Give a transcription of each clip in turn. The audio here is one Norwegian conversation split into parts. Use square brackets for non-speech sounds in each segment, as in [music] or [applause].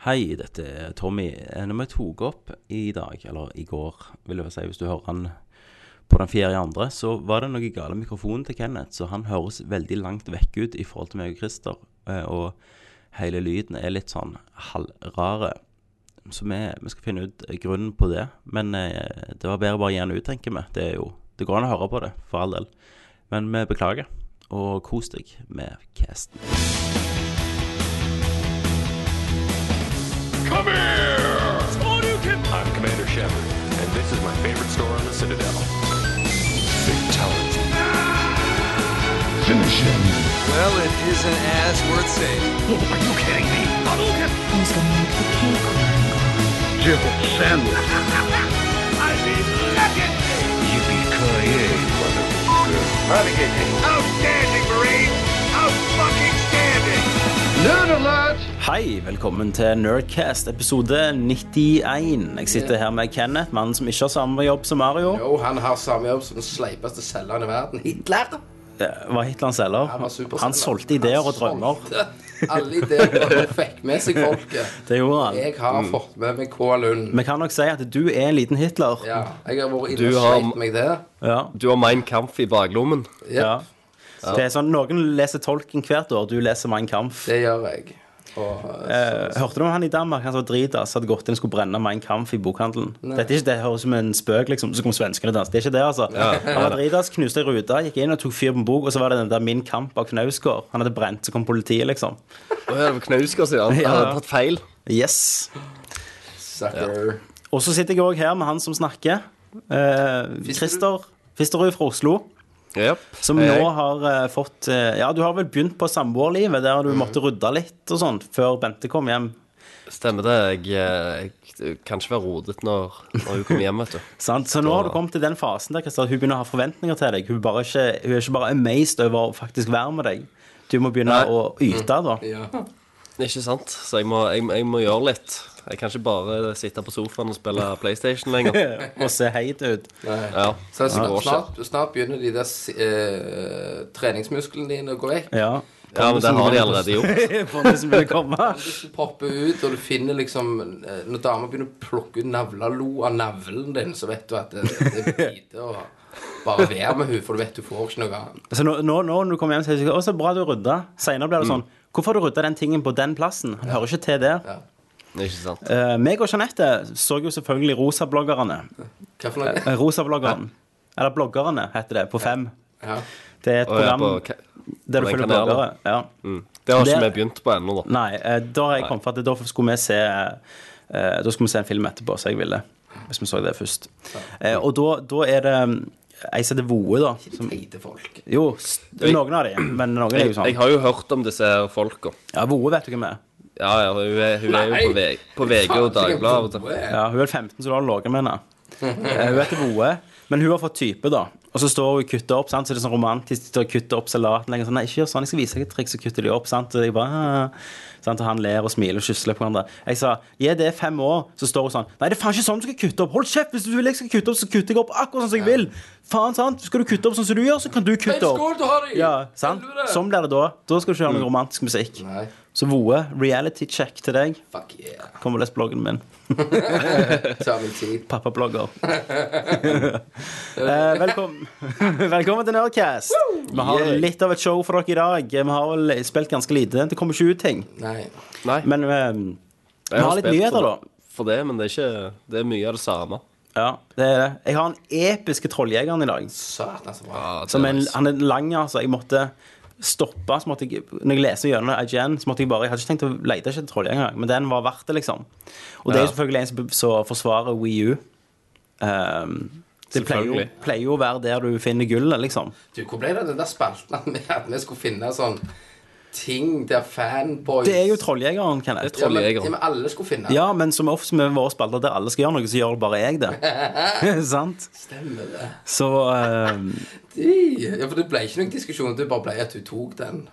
Hei, dette er Tommy. Eh, Når vi tok opp i dag, eller i går, vil jeg vel si, hvis du hører han på den fjerde i andre, så var det noe gale med mikrofonen til Kenneth, så han høres veldig langt vekk ut i forhold til meg og Christer, eh, og hele lyden er litt sånn halvrare. Så vi, vi skal finne ut grunnen på det, men eh, det var bedre bare å gi han ut, tenker vi. Det er jo, det går an å høre på det, for all del. Men vi beklager, og kos deg med casten. Come here! I'm Commander Shepard, and this is my favorite store on the Citadel. Fatality. Well, it isn't as worth saying. Who's gonna make the cake work? Outstanding, Marine! Out fucking standing! Hei, velkommen til Nerdcast episode 91. Jeg sitter her med Kenneth, mannen som ikke har samme jobb som Mario. Jo, han har samme jobb som den sleipeste selgeren i verden. Hitler! Det var Hitler selger. Han var superselger. Han solgte ideer og drømmer. solgte [laughs] Alle ideer og han fikk med seg folket. [laughs] Det gjorde han. Mm. Jeg har fått med meg K. Lund. Vi kan nok si at du er en liten Hitler. Ja, jeg har vært inne Du og har- sleit meg der. Ja. Du har Mein Kampf i baklommen. Ja, Ja. Det er sånn, Noen leser Tolkien hvert år, du leser Mein Kampf. det gjør jeg. Og, Eh, Hørte du om han i Danmark, han som var dritass, hadde gått inn og skulle brenne Mein Kampf i bokhandelen? Dette er ikke, det høres ut som en spøk, liksom. Så kom svenskene og danset. Det er ikke det, altså. Han var dritass, knuste ei rute, gikk inn og tok fyr på en bok, og så var det den der Min Kamp av Knausgård. Han hadde brent, så kom politiet, liksom. Å [laughs] ja, det var Knausgård, sier han. Han hadde tatt feil. Yes. sucker. Og så sitter jeg òg her med han som snakker. Eh, Christer Fisterud fra Oslo. Yep. Som nå har eh, fått eh, Ja, du har vel begynt på samboerlivet, der du måtte rydde litt og sånn, før Bente kom hjem. Stemmer det. Jeg, eh, jeg kan ikke være rodet når, når hun kommer hjem, vet du. Sant? Så nå har du kommet til den fasen der Kristian, at hun begynner å ha forventninger til deg. Hun, bare ikke, hun er ikke bare amazed over å faktisk være med deg. Du må begynne Nei. å yte, da. Ja. [laughs] Ikke sant? Så jeg må, jeg, jeg må gjøre litt. Jeg kan ikke bare sitte på sofaen og spille PlayStation lenger. Og se heit ut. [laughs] Ja, Så det går ikke. snart, snart begynner de der eh, treningsmusklene dine å gå vekk. Ja. [laughs] Ja, men det har de allerede gjort. [laughs] Pontus ville komme. Popper ut, og du finner liksom eh, Når damer begynner å plukke ut navlelo av navlen din, så vet du at det, det er på tide å bare være med henne, for du vet du får ikke noe annet. Så nå, nå, nå når du kommer hjem, sier du 'Å, så bra du rydda'. Senere blir det Mm. sånn 'Hvorfor har du rydda den tingen på den plassen?' Han hører ikke til der. Ikke sant? Eh, meg og Jeanette så jo selvfølgelig Rosabloggerne. Hva for noe? Eh, Rosabloggeren. Eller Bloggerne, heter det, på Fem. Ja. Det er et Å, ja, program på ka- der du på den følger kanalen. bloggere. Ja. det har ikke vi Det- begynt på ennå, da. Nei, eh, da har jeg kommet for at da skulle vi se eh, Da skulle vi se en film etterpå, så jeg ville Hvis vi så det først. Eh, Og da, da er det mm, ei som heter Voe, da. Som, Teite folk. jo, s- noen av de, men noen er Jeg, jo sånn. jeg har jo hørt om disse her folka. Ja, Voe vet du hvem er. Ja, ja, hun er, hun er jo på, Nei! VG på VG og Dagbladet. vet du. Dagbladet. Ja, hun er 15, så du har ligget med henne. Eh, Hun heter Voe, men hun har fått type, da. Og så står hun og kutter opp, sant? så det er sånn romantisk. De står og kutter opp salaten. Jeg er Sånn, Nei, ikke gjør sånn, jeg skal vise deg et triks, så kutter de opp. Sant? Og, jeg bare, ah. sant? og han ler og smiler og kysser litt på hverandre. Jeg sa ja, det er fem år. Så står hun sånn Nei, det er faen ikke sånn du skal kutte opp. Hold kjeft! Hvis du vil jeg skal kutte opp, så kutter jeg opp akkurat sånn som jeg vil. Faen, sant? Skal du kutte opp sånn som du gjør, så kan du kutte opp. Skål, du har det! Ja, sant? Helvete! Sånn blir det da. Da skal du ikke gjøre noe romantisk musikk. Nei, Så Voe, reality check til deg. fuck yeah. Kom og les bloggen min. Ta min tid. Pappablogger. eh, velkommen. [laughs] velkommen til Nerdcast. Vi har Yay. litt av et show for dere i dag. Vi har vel spilt ganske lite. Det kommer ikke ut ting. Nei. Nei. Men eh, vi Jeg har litt spilt nyheter, da. for det- For det, men det er ikke Det er mye av det samme. Ja, det er det. Jeg har den episke trolljegeren i dag. Satan, så bra. Som en, han er lang, altså. Jeg måtte stoppe. Så måtte jeg, når jeg leser gjennom IGN, så måtte jeg bare Jeg hadde ikke tenkt å lete etter trollet engang, men den var verdt det, liksom. Og det er jo Ja. selvfølgelig en som be- som forsvarer WiiU. Um, det pleier jo, Selvfølgelig. pleier jo å være der du finner gullet, liksom. Du, hvor ble det av den der spalten at vi, at vi skulle finne sånn ting der fanboys Det er jo trolljegeren, Kenneth. Det er troll- men, Trolljegeren. ja, men alle skulle finne Ja, men som ofte med våre spalter der alle skal gjøre noe, så gjør bare jeg det. [laughs] Sant? Stemmer det. Så um, De. Ja, for det ble ikke noen diskusjon, det bare ble at du tok den.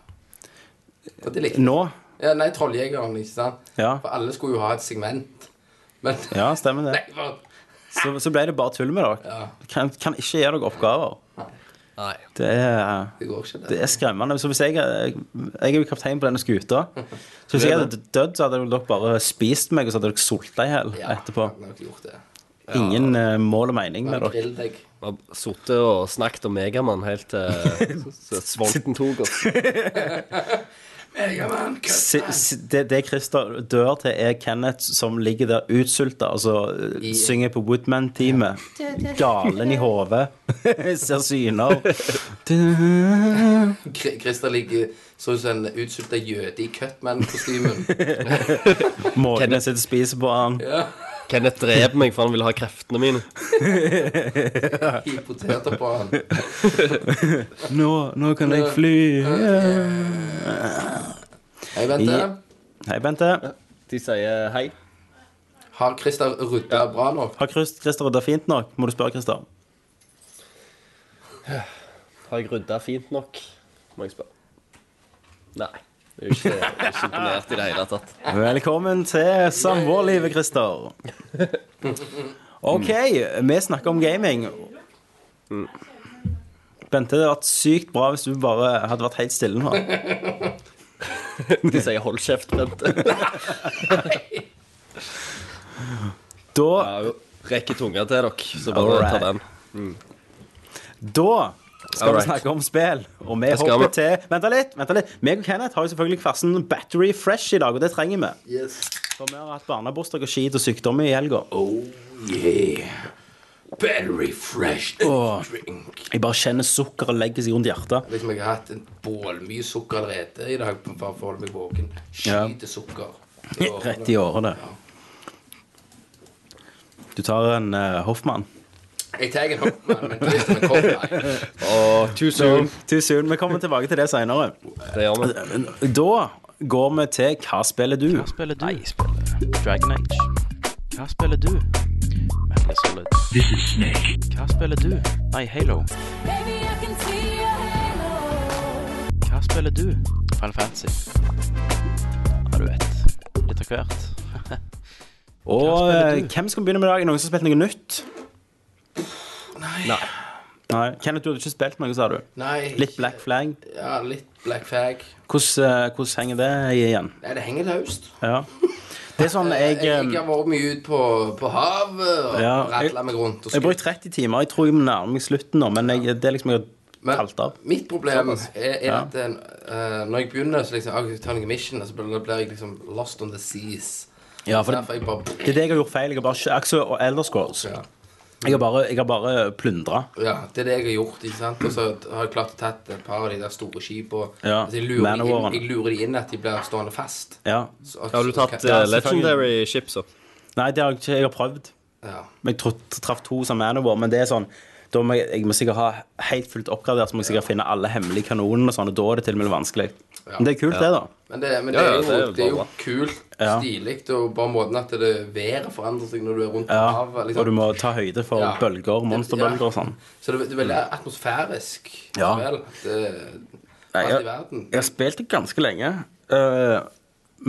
Og det likte nå Ja, nei, Trolljegeren, ikke sant? Ja. For alle skulle jo ha et segment. Men Ja, stemmer det. [laughs] Nei, bare Så, så ble det bare tull med dere. Kan, kan ikke gi dere oppgaver. Nei. Det er Det går ikke, Det det. er skremmende. Så hvis jeg, jeg, jeg er jo kaptein på denne skuta. Så hvis jeg hadde dødd, så hadde vel dere bare spist meg, og så hadde dere sulta i hjel etterpå. jeg har nok gjort det. Ingen eh, mål og mening med Bare dere. grill deg. Vi har sittet og snakket om Megamann helt til svolten tok oss. Megaman, cut. Si- si- Det, det Christer dør til, er Kenneth som ligger der utsulta og så eh, I- synger på Woodman-teamet. Galen i hodet. [laughs] Ser syner. Kri- Christer ligger sånn som en utsulta jøde i Cutman-kostymen. [laughs] Måkene sitter og spiser på han. Kenneth dreper meg, for han vil ha kreftene mine. I poteter på han. Nå, nå kan jeg fly. Hei, vente. I- Hei, Bente. De sier hei. Har Christer rydda bra nok? Har Chris- Christer rydda fint nok? Må du spørre, Christer. Har jeg rydda fint nok? Må jeg spørre. Nei. Jeg er ikke, jeg er ikke imponert i det hele tatt. Velkommen til samboerlivet, Christer. OK, vi snakker om gaming. Bente, det hadde vært sykt bra hvis du bare hadde vært helt stille nå. De sier hold kjeft, Bente. [laughs] Da, Rekker tunga til dere, så bare Alright. ta den. da skal vi Alright. snakke om spill, og vi skal hopper vi. til Vent litt. vent litt Meg og Kenneth har jo selvfølgelig kvassen Battery Fresh i dag, og det trenger vi. Yes. For vi har hatt barnebursdag og skit og sykdom i helga. Oh yeah. Battery fresh Åh. drink. Jeg bare kjenner sukkeret legge seg rundt hjertet. Liksom jeg har hatt en bålmye sukker allerede i dag bare for å holde meg våken. Ja. Skyte sukker. [laughs] Rett i årene. Du tar en eh, Hoffmann. Jeg tar en hoppmann, men det er som en kopp. Og too soon. Too soon. Vi kommer tilbake til det seinere. Det gjør vi. Da går vi til Hva spiller du? Hva spiller du? Dragon Age. Hva spiller du? Metal Gear Solid. Hva spiller du? Nei, Halo. Baby, I can see your halo. Hva spiller du? Final Fantasy. Ja, du vet. Litt av hvert. Og Hva spiller du? eh, hvem skal begynne med i dag? Er det Noen som har spilt noe nytt? Nei. Nei. Kenneth, du hadde ikke spilt noe, sa du? Nei. Litt Black Flag. Ja, litt black fag. Hvordan, eh, hvordan henger det igjen? Nei, det henger løst. Ja. Det er sånn jeg Jeg, jeg, eh, har vært mye ute på, på havet og ja, Ja, jeg- ratla meg rundt. Og Jeg bruker 30 timer. Jeg tror jeg nærmer meg slutten nå, men jeg, det er liksom jeg har Men kalt av. mitt problem er, er at eh, når jeg begynner, så liksom, ah, jeg tar noen mission, og så blir, da blir jeg liksom lost on the seas. Ja, for Derfor det, jeg bare det er det jeg har gjort feil. Jeg har bare ikke Axel og Elder Scrolls. Ja. Jeg har bare, jeg har bare plyndra. Ja, det er det jeg har gjort. ikke sant? Og så har jeg klart å tatt et par av de der store skipene. Ja, Altså, jeg, lurer de Manowaren. inn- jeg lurer de inn at de blir stående fast. Ja. Så- at- Har du tatt Ja, eh, så- Legendary Ships opp? Nei, det har jeg ikke. Jeg har prøvd. ja. Men Jeg tro- traff to som Manowar, men det er sånn da må jeg, jeg må sikkert ha helt fullt oppgradert, så må jeg sikkert finne alle hemmelige kanonene. og sånn, og Da er det til og med vanskelig. Men det er kult, det, da. Men, det, men Ja, det, er ja, jo, det er jo det er jo bra. kult, Ja. stilig, og bare måten at det været forandrer seg når du er rundt på Ja, havet. liksom. Og du må ta høyde for Ja. bølger, monsterbølger og sånn. Så det, det er veldig atmosfærisk. Ja. Vel, det, Nei, alt i jeg, verden. jeg har spilt det ganske lenge, øh,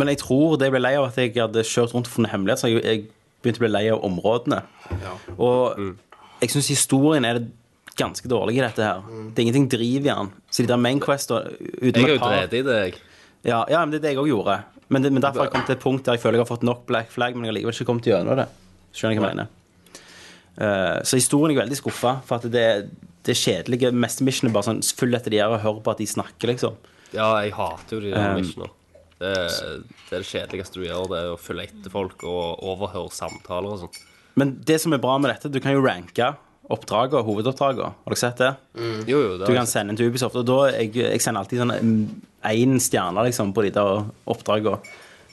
men jeg tror det jeg ble lei av at jeg hadde kjørt rundt og funnet hemmelighet, så jeg, jeg begynte å bli lei av områdene. Ja. Og Mm. jeg syns historien er ganske dårlig i dette her. Mm. Det er ingenting driv i den. Så de der Main Quest og uten Jeg er jo et par drevet i det, jeg. Ja, ja men det er det jeg òg gjorde. Men, det, men derfor har jeg kommet til et punkt der jeg føler jeg har fått nok black flag, men jeg har likevel ikke kommet gjennom det. Skjønner jeg hva jeg mener. Eh, så historien er jeg veldig skuffa, for at det, det kjedelige meste missionet bare sånn følg etter de her og hør på at de snakker, liksom. Ja, jeg hater jo de der Um, missionene. Det, det er det kjedeligste du gjør, det er å følge etter folk og overhøre samtaler og sånn. Men det som er bra med dette, du kan jo ranke oppdragene, hovedoppdragene. Har dere sett det? Jo, jo, det Du er, kan sende en til Ubisoft, og da jeg, jeg sender alltid sånn mm, én stjerne, liksom, på de der oppdragene.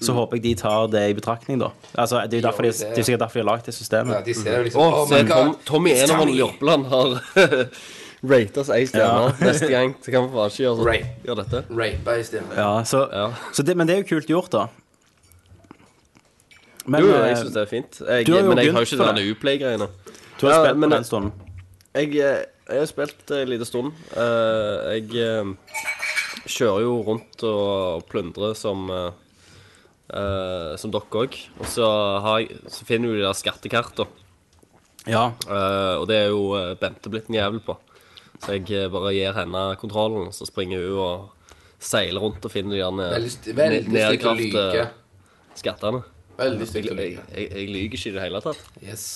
Så håper jeg de tar det i betraktning, da. Altså, det er jo derfor Mm. de, det er jo sikkert derfor de har lagd det systemet. Ja, de ser jo liksom Å, «Oh se, my Tom, God, Tommy it's Enervann Tommy!» i Oppland har [laughs] ratet oss ei stjerne neste gang. Så kan vi faen ikke gjøre, sånn. Rate. gjøre dette. Rape i stedet. Ja, så, Ja. så det, men det er jo kult gjort, da. Men Jo, jo, eh, jeg syns det er fint. Jeg, du har jo men jeg begynt har jo ikke på denne Uplay-greiene. du har Ja, spilt men- på den stunden. Jeg, eh, jeg har spilt en liten stund. Eh, jeg eh, kjører jo rundt og plundrer som eh, eh, Som dere òg. Og så, har jeg, så finner du de der skattekartene. Ja. Eh, og det er jo eh, Bente blitt en jævel på. Så jeg eh, bare gir henne kontrollen, så springer hun og seiler rundt og finner de der Veldig, st- veldig stygt å lyke. skattene. Veldig Jeg, stygt å jeg, lyke. jeg, jeg lyver ikke i det hele tatt. Yes.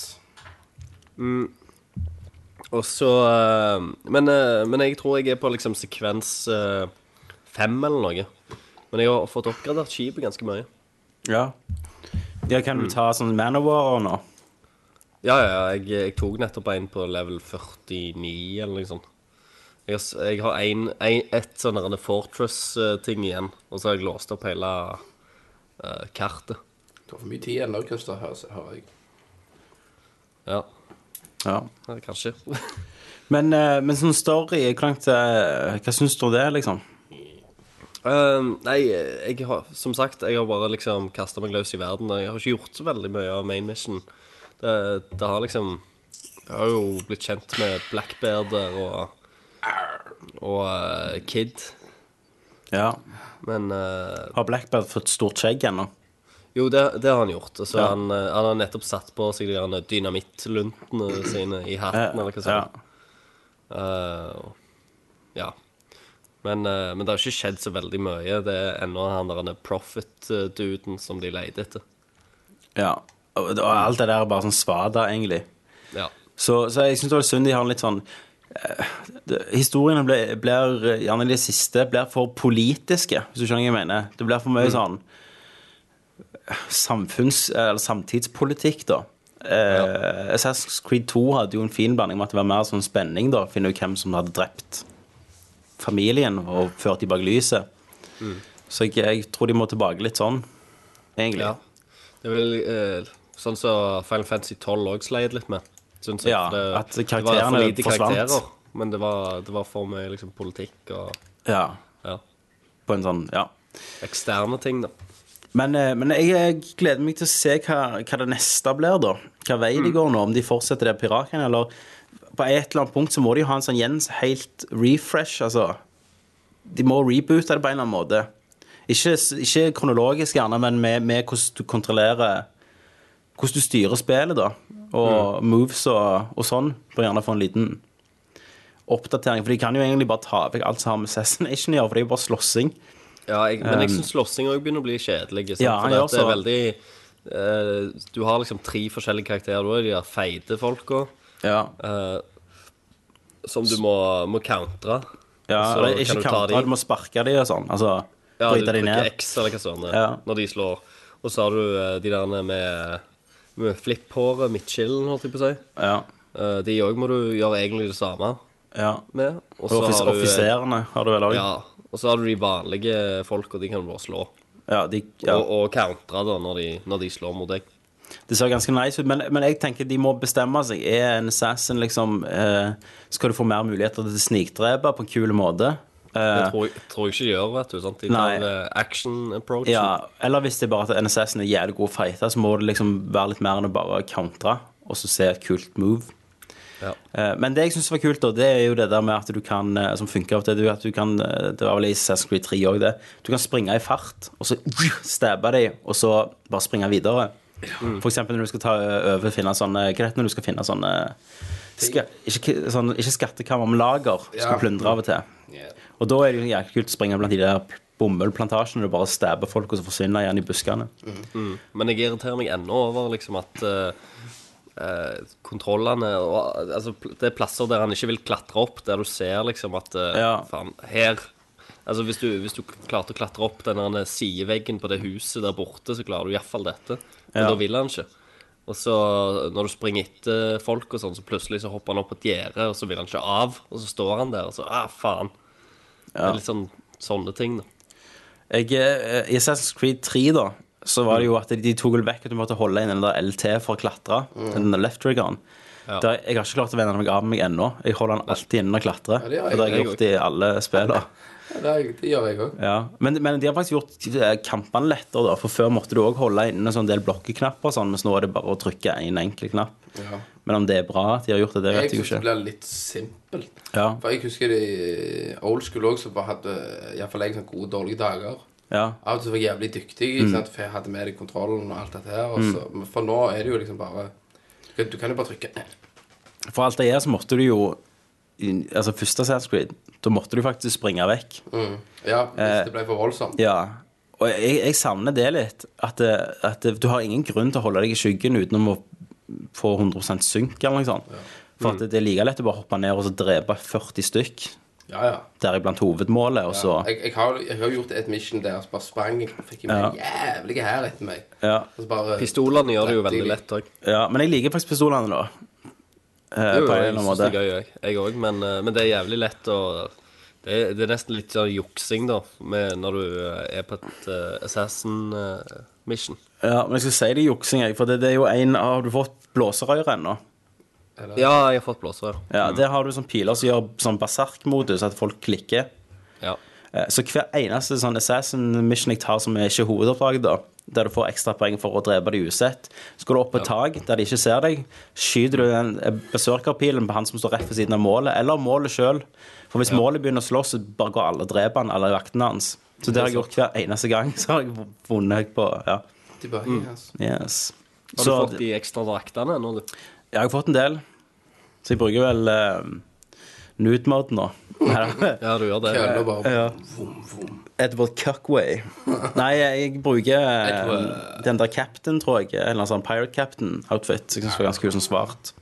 Og så eh, men, eh, men jeg tror jeg er på liksom sekvens eh, fem eller noe. Men jeg har fått oppgradert skipet ganske mye. Ja. ja, kan du ta sånn Manowar nå? Ja, ja, ja, jeg, jeg tok nettopp en på level 49 eller noe sånt. Jeg har, s- jeg har en, en, et sånn der Fortress-ting igjen, og så har jeg låst opp hele eh, kartet. Du har for mye tid ennå, Christer, hører hører jeg. Ja, Ja. eh, kanskje. [laughs] Men, eh, men sånn story, hvor langt eh, Hva syns du om det, liksom? Um, nei, jeg har, som sagt, jeg har bare liksom kasta meg løs i verden. og Jeg har ikke gjort så veldig mye av main mission. Det, det har liksom Jeg har jo blitt kjent med Blackbear der og, og eh, Kid, Ja. men eh, Har Blackbird fått stort skjegg ennå? Jo, det, det har han gjort. Altså, Ja. han, eh, han har nettopp satt på seg de der dynamittluntene sine i Eh, hatten, eller hva ja. sånt. Eh, ja. Men, eh, men det har ikke skjedd så veldig mye. Det er ennå han der profit-duden som de leter etter. ja. Og og alt det der er bare sånn svada, egentlig. Ja. Så, så jeg syns det var synd de har en litt sånn eh, det- Historiene ble- blir eh, gjerne de siste blir for politiske, hvis du skjønner hva jeg mener. Det blir for mye sånn eh, samfunns- eller samtidspolitikk, da. Eh, Assassin's Creed 2 hadde jo en fin blanding med at det var mer sånn spenning, da. Finne ut hvem som hadde drept familien og ført dem bak lyset. Så jeg, jeg tror de må tilbake litt sånn, egentlig. ja. Det er vel eh, sånn som Final Fantasy 12 òg sleit litt med. Synes jeg. Ja, det, at det var for karakterene lite forsvant. karakterer, men det var, det var for mye liksom, politikk og ja. ja, På en sånn, ja. eksterne ting, da. Men, eh, men jeg, jeg gleder meg til å se hva, hva det neste blir, da. Hva vei de går nå. Om de fortsetter det piratgreiene, eller På et eller annet punkt så må de jo ha en sånn Jens helt refresh, altså. De må reboote det på en eller annen måte. Ikke, ikke kronologisk, gjerne, men med, med hvordan du kontrollerer Hvordan du styrer spillet, da. Og moves og, og sånn. Bør gjerne få en liten oppdatering. For de kan jo egentlig bare ta vekk alt som har med Sassination å gjøre, for det er jo bare slåssing. Ja, jeg, men jeg syns slåssing òg begynner å bli kjedelig. um, sant? Ja, jeg For det, det er også. veldig eh, Du har liksom tre forskjellige karakterer. Du har de der feite folka Ja. eh, som du må, må countre. Ja, Så eller kan ikke du ta kanter, de? du må sparke de og sånn. Altså Ja, du bryte de trykker ned. X eller hva sånt Ja. når de slår. Og så har du eh, de der med, med flipphåret, midtskillen, holdt jeg på å si. Ja, Eh, de òg må du gjøre egentlig det samme ja. med. Og Og så offis har du, eh, offiserene har du vel òg? Ja. Ja, og så har du de vanlige folka, de kan du bare slå. de, ja. Og, og countre da når de, når de slår mot deg. Det ser ganske nice ut, men, men jeg tenker de må bestemme seg. Er en assassin liksom eh, Skal du få mer muligheter til å snikdrepe på en kul måte? Eh, Det tror jeg, tror jeg ikke de gjør, vet du. sant? De tar Nei. eh, action approach. ja, eller hvis det er bare at en assassin er jævlig god fighter, så må det liksom være litt mer enn å bare countre og så se et kult move. Ja. Eh, Men det jeg syns var kult, da, det er jo det der med at du kan eh, Som funker av og til, det er jo at du kan eh, Det var vel i Assassin's Creed 3 òg, det. Du kan springe i fart, og så stabbe de, og så bare springe videre. For eksempel når du skal ta eh, over finne sånne Hva heter det når du skal finne sånne ska, ikke, sånn, ikke skattekammer, men lager du Ja. skal plundre av og til. Yeah. Og da er det jo jæklig kult å springe blant de der bomullplantasjene og bare stabbe folk, og så forsvinner igjen i buskene. Men jeg irriterer meg ennå over liksom at eh, eh, kontrollene og, altså, pl- Det er plasser der han ikke vil klatre opp, der du ser liksom at eh, Ja. Faen, her Altså hvis du, hvis du klarte å klatre opp den der sideveggen på det huset der borte, så klarer du iallfall dette. Men Ja. da vil han ikke. Og så når du springer etter folk og sånn, så plutselig så hopper han opp på et gjerde, og så vil han ikke av, og så står han der, og så ah, faen. Det er litt sånn sånne ting, da. Jeg, eh, I Assassin's Creed 3 da Så var det jo at de tok vel vekk At du måtte holde inn den der LT for å klatre Mm. Den der left triggeren Der, Jeg har ikke klart å vende meg av meg ennå Jeg holder den alltid inne og klatre Ja, Og det det har jeg- har jeg jeg gjort i alle [laughs] spillene Ja, det, er- det gjør jeg òg. ja. men, men de har faktisk gjort eh, kampene lettere da For før måtte du også holde inn en sånn del blokkeknapper og sånn, Mens nå er det bare å trykke en enkel knapp Ja. Men om det er bra at de har gjort det, det Jeg vet jeg jo syns det ikke blir litt simpelt. Ja, For jeg husker det i old school òg, så bare hadde iallfall jeg sånne gode, dårlige dager. ja, Av og til var jeg jævlig dyktig, ikke Mm. sant? for jeg hadde med deg kontrollen og alt dette her. Og så, men For nå er det jo liksom bare Du kan, du kan jo bare trykke for alt det er så måtte du jo i- Altså første Assassin's Creed, da måtte du faktisk springe vekk. Mm. Ja, hvis Eh, det ble for voldsomt. Ja. Og jeg, jeg savner det litt. At, det, at det, du har ingen grunn til å holde deg i skyggen utenom å få 100 synk eller noe sånt. For Mm. at det, det er like lett å bare hoppe ned og så drepe 40 stykk, Ja, ja. deriblant hovedmålet, og så Jeg, jeg, har, jeg har gjort et mission der jeg bare sprang og fikk en jævlig hær etter meg. Ja. Og så bare, Pistolene gjør det jo veldig lett òg. ja. Men jeg liker faktisk pistolene, da. Eh, Jo, jo, på en jeg eller annen synes det måte. er gøy, jeg. jeg òg. Men, eh, men det er jævlig lett å det er, det er nesten litt sånn juksing, da, med når du eh, er på et eh, assassin eh, mission. Ja, men jeg skal si det er juksing, jeg. For det, det er jo en av Har du fått blåserøyre ennå? Ja, jeg har fått blåser. Ja, Der har du sånn piler som gjør sånn berserk-modus, at folk klikker. Ja. Eh, Så hver eneste sånn assassin mission jeg tar som er ikke hovedoppdraget, da, der du får ekstrapoeng for å drepe de usett, så går du opp på et tak der de ikke ser deg, skyter du den eh, besøkerpilen på han som står rett ved siden av målet, eller målet sjøl. For hvis målet begynner å slåss, så bare går alle og dreper han, eller vaktene hans. Så det har jeg gjort hver eneste gang. [laughs] Så har jeg vunnet på Ja. tilbake, Mm. altså. Yes. Har du Så- fått de ekstra draktene ennå, du? jeg har fått en del. Så jeg bruker vel uh, nude-mode [laughs] nå. Neida. Ja, du gjør det. Eh, Køller bare Ja. vom, vom. Edward Cuckway. Nei, jeg bruker eh, Edward. den der captain, tror jeg. En Eller annen sånn pirate captain-outfit. Jeg synes det var ganske kul som svart.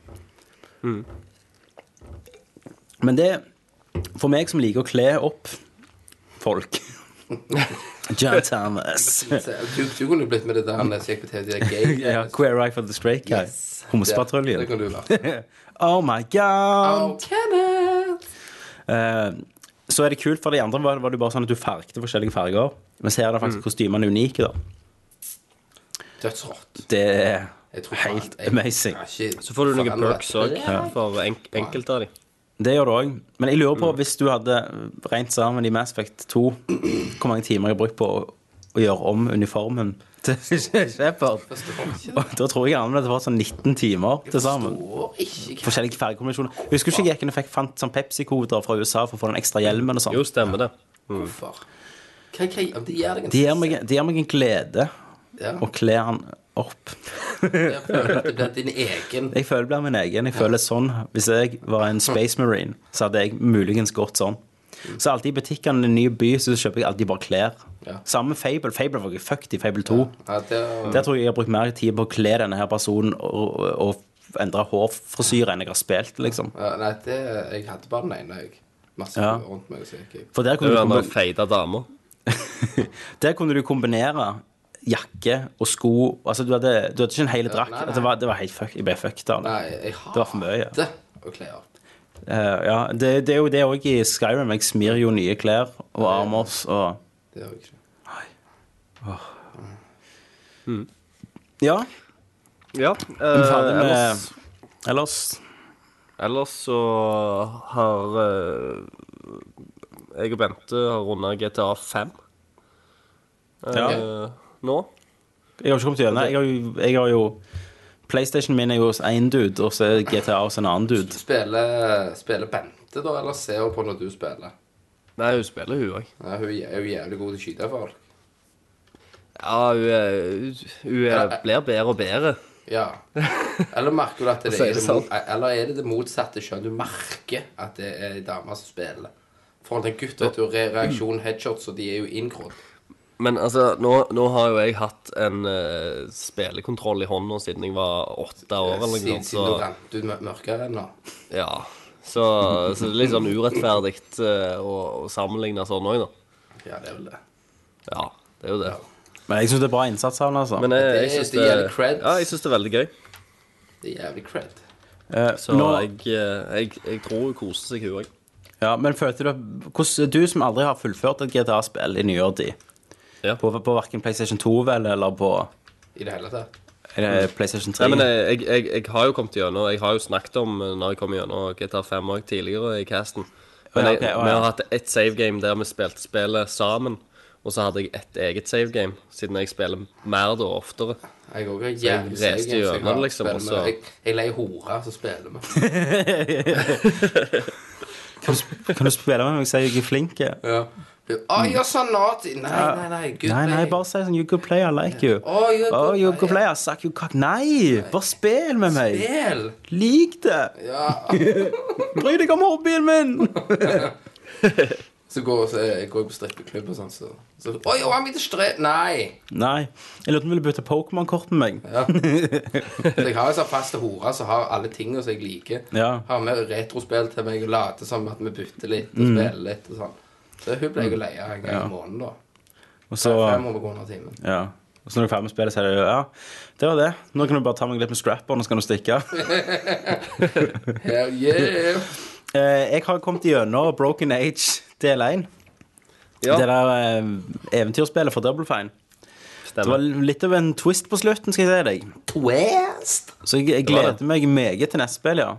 Mm. Men det For meg som liker å kle opp [laughs] folk John Thomas. Så, Du, du kunne jo blitt med det der når jeg gikk på TV, de der gay [laughs] Ja, Queer Eye for the Straight Guy. Yes. Det, det [laughs] Homsepatruljen. kan du være. Oh my god! Oh, Kenneth! Eh, så er det kult, for de andre var, var det jo bare sånn at du fargte forskjellige farger. Mens her er det Mm. faktisk kostymene unike, da. Dødsrått. Det er Jeg tror faen- helt jeg- amazing. Ja, shit. Så får du Faen, noen perks vet òg, du. for enk enkelte av de. Det gjør du òg. Men jeg lurer på, hvis du hadde regnet sammen i Mass Effect 2, hvor mange timer jeg har brukt på å, å gjøre om uniformen til Shepherd? Og Da tror jeg jeg anmeldte for sånn 19 timer til sammen. Forstår ikke hva Forskjellige fargekombinasjoner. Husker du ikke jeg gikk inn og fikk, fant sånn Pepsi-koder fra USA for å få den ekstra hjelmen og sånn? Jo, stemmer det. hvorfor. Hva, hva, ja, de gjør deg en De gir meg, de gir meg en glede Ja, å kle han opp. jeg føler at det blir din egen. Jeg føler blir min egen. Jeg føler sånn Hvis jeg var en Space Marine, så hadde jeg muligens gått sånn. Så alltid i butikkene i en ny by så kjøper jeg alltid bare klær. Ja. Samme med Fable. Fable var jo fucked i Fable 2. Ja, det, Der tror jeg jeg har brukt mer tid på å kle denne her personen og, og, og endre hårfrisyre enn jeg har spilt, liksom. ja, nei, det Jeg hadde bare den ene, jeg. Masse Ja. rundt meg. Så jeg, gikk i. For der Det er kunne, jo du den der kombinere, feita dama. [laughs] der kunne du kombinere jakke og sko Altså, du hadde, du hadde ikke en hel drakt. Altså, nei, nei. Det var, det var helt fuck, jeg ble fucked av det. nei, jeg Det var for mye. hater å kle opp. Eh, ja, det, det er jo det òg i Skyrim. Jeg smir jo nye klær og armors og Det gjør jeg ikke. Ja. Ja. Men eh, ferdig med ellers- ellers. ellers Ellers så har eh, jeg og Bente har runda GTA 5 eh, Ja. nå. Jeg har ikke kommet gjennom. Jeg har jo, jeg har jo PlayStation min er jo hos én dude, og så er GTA hos en annen dude. Spiller, spiller Bente, da, eller ser hun på når du spiller? Nei, hun spiller, hun òg. Ja, hun er jo jævlig god til å skyte folk. Ja, hun, er, hun er, blir bedre og bedre. [laughs] Ja. Eller merker du at det, sier er, det det mot, sånn. Eller er det det motsatte kjønn? Du merker at det er ei dame som spiller. Forhold til en gutt, vet du, re- reaksjon, headshots, og de er jo inngrodd. Men altså, nå, nå har jo jeg hatt en eh, spillekontroll i hånda siden jeg var åtte år. eller noe Siden, sånt. siden du Så, rant ut mør- mørkere ennå. ja. så, så det er litt sånn urettferdig eh, å, å sammenligne sånn òg, da. Ja, det er vel det. Ja, det er jo det. Men jeg syns det er bra innsats av han, altså. Men eh, jeg, Det- jeg syns det det, gjelder creds. ja, jeg synes det er veldig gøy. Det er jævlig cred. Eh, Så nå, jeg, eh, jeg, jeg tror hun koser seg, hun òg. ja, men følte du hvordan, Du som aldri har fullført et GTA-spill i nyere tid, Ja. på, på verken PlayStation 2 vel, eller på I det hele tatt. eh, PlayStation 3 Nei, men jeg, jeg, jeg, jeg har jo kommet gjennom Jeg har jo snakket om eh, når jeg kom gjennom GTA 5 òg tidligere i casten. Men Ja, jeg, ok, å, vi har ja. hatt ett save game der vi spilte spillet sammen. Og så hadde jeg ett eget save game, siden jeg spiller mer da oftere. Jeg òg er jeg jævlig reste seig, jeg, så jeg gjennom, har- liksom, og spiller så- med- Jeg, jeg leier hore, så spiller vi. [laughs] kan, du, sp- kan du spille med meg og si jeg er flink? [laughs] Ja. Du, oh, you're so naughty. Nei, nei, nei. Good Nei, nei, play. bare si sånn You good player, like you. Oh, you're Oh, good you good player. player, suck you cock. Nei! Bare spill med meg. Spill. Lik det. Ja. [laughs] Bry deg om hobbyen min. Så går, så jeg går jeg på strippeklubb og sånn, så, så Oi, oh, han vil til strep... Nei! Nei. Jeg lurte om du ville bytte Pokémon-kort med meg. Ja. Så jeg har en sånn fast hore som har alle tingene som jeg liker. Ja. Har med retrospill til meg og later som at vi bytter litt Mm. og spiller litt og sånn. Så hun ble jeg å leie en gang i måneden, da. Og Mm. så, 500 kroner timen. ja. Og så når du er ferdig med spillet, så er det ja, det var det. Nå kan du bare ta meg litt med scrapper, og så kan du stikke. Hell yeah! Eh, jeg har kommet gjennom Broken Age del 1. Ja, Det der eh, eventyrspillet for Double Fine. Det var stemmer. litt av en twist på slutten, skal jeg si deg. Twist! Så jeg, jeg Det var det. gleder meg meget til neste spill, ja.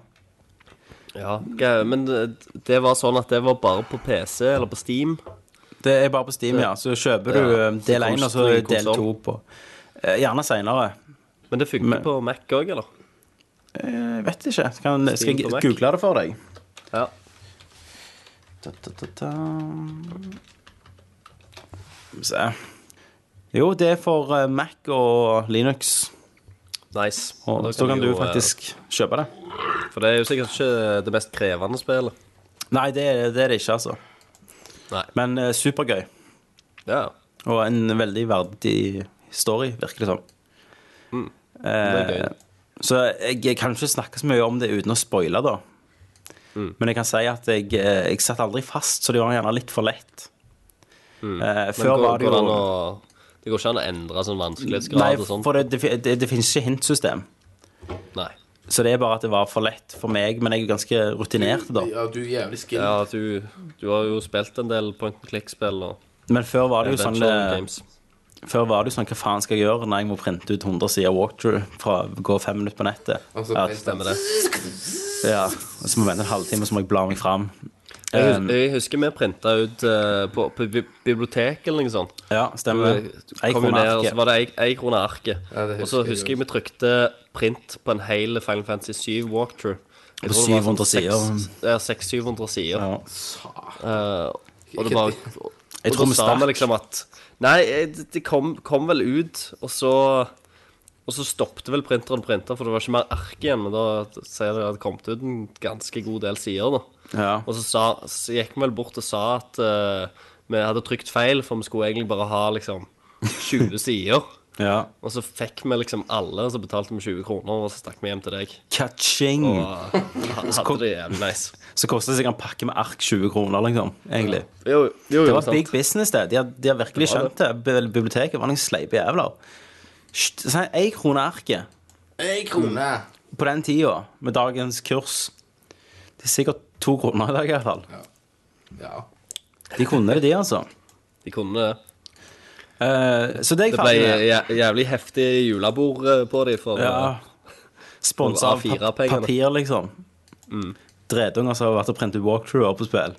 Ja, ok, men det det var sånn at det var bare på PC eller på Steam. Det er bare på Steam, ja. Så kjøper du Ja. eh, del Så 1 og så konsol- del konsol. 2 på. Eh, Gjerne seinere. Men det funker Men- på Mac òg, eller? Eh, Jeg vet ikke. Kan, skal på jeg Mac. google det for deg? Ja. Ta, ta, ta, ta. Skal vi se. Jo, det er for eh, Mac og Linux. Nice. Og Da så kan vi du jo, eh, faktisk kjøpe det. For det er jo sikkert ikke det mest krevende spillet. Nei, det, er- det er det ikke, altså. Nei. Men eh, supergøy. Ja. Og en veldig verdig story, virker det som. Mm. Eh, Det er gøy. Så jeg, jeg kan ikke snakke så mye om det uten å spoile, da. Mm. Men jeg kan si at jeg, eh, jeg satt aldri fast, så det var gjerne litt for lett. Eh, Mm. Men før går, var det går jo an å, det går ikke an å endre sånn vanskelighetsgrad Nei, og sånt? for det, det, fin- det, det finnes ikke hintsystem. Nei. Så det er bare at det var for lett for meg, men jeg er jo ganske rutinert, [laughs] da. Ja, du er jævlig skill. Ja, du, du har jo spilt en del point and click-spill og Men før var det jo sånn, adventure eh, games. før var det jo sånn Hva faen skal jeg gjøre når jeg må printe ut 100 sider walkthrough fra gå fem minutter på nettet? Og så Ja, ble det Stemmer det. Ja, og så må jeg vente en halvtime, så må jeg bla meg fram. Jeg, Um, hus- jeg husker vi printa ut eh, på, på bi- biblioteket eller noe sånt. Eh, Ja, stemmer det. Du Jeg kom jo kommer ned, og ikke. så var det ei- ei krone arket. Ja, det og så husker jeg husker jeg vi trykte print på en hel Final Fantasy 7 walkthrough. Jeg På tror det var 700 sånn seks- sider. Ja, 600-700 sider. Ja. Eh, og det var Jeg Og tror da vi sa stakk. vi liksom at Nei, eh, det- det kom, kom vel ut, og så Og så stoppte vel printeren printer, for det var ikke mer ark igjen. Men da sier det at det kommet ut en ganske god del sider, da. Ja. Og så, sa, så gikk vi vel bort og sa at eh, vi hadde trykt feil, for vi skulle egentlig bare ha liksom 20 [laughs] sider. ja. Og så fikk vi liksom alle, og så betalte vi 20 kroner, og så stakk vi hjem til deg. Ka-ching! Og Mm. hadde det jævlig nice. Så koster det sikkert en pakke med ark 20 kroner, liksom. Egentlig. Jo, jo, Det jo, var sant. big business, det. De har, de har virkelig Det var skjønt det. Bi- Biblioteket var noen sleipe jævler. Sht, så Én krone arket Ei krone! på den tida, med dagens kurs Det er sikkert to kroner i dag, i hvert fall. Ja. De kunne det, de, altså. De kunne det. Eh, så det er jeg Det ble ferdig med. jæ- jævlig heftig julebord eh, på dem. For, Ja. Sponsa av Og A4 pap pengene. papir, liksom. Mm. Dredunger som har vært og printet walkthrougher på spill.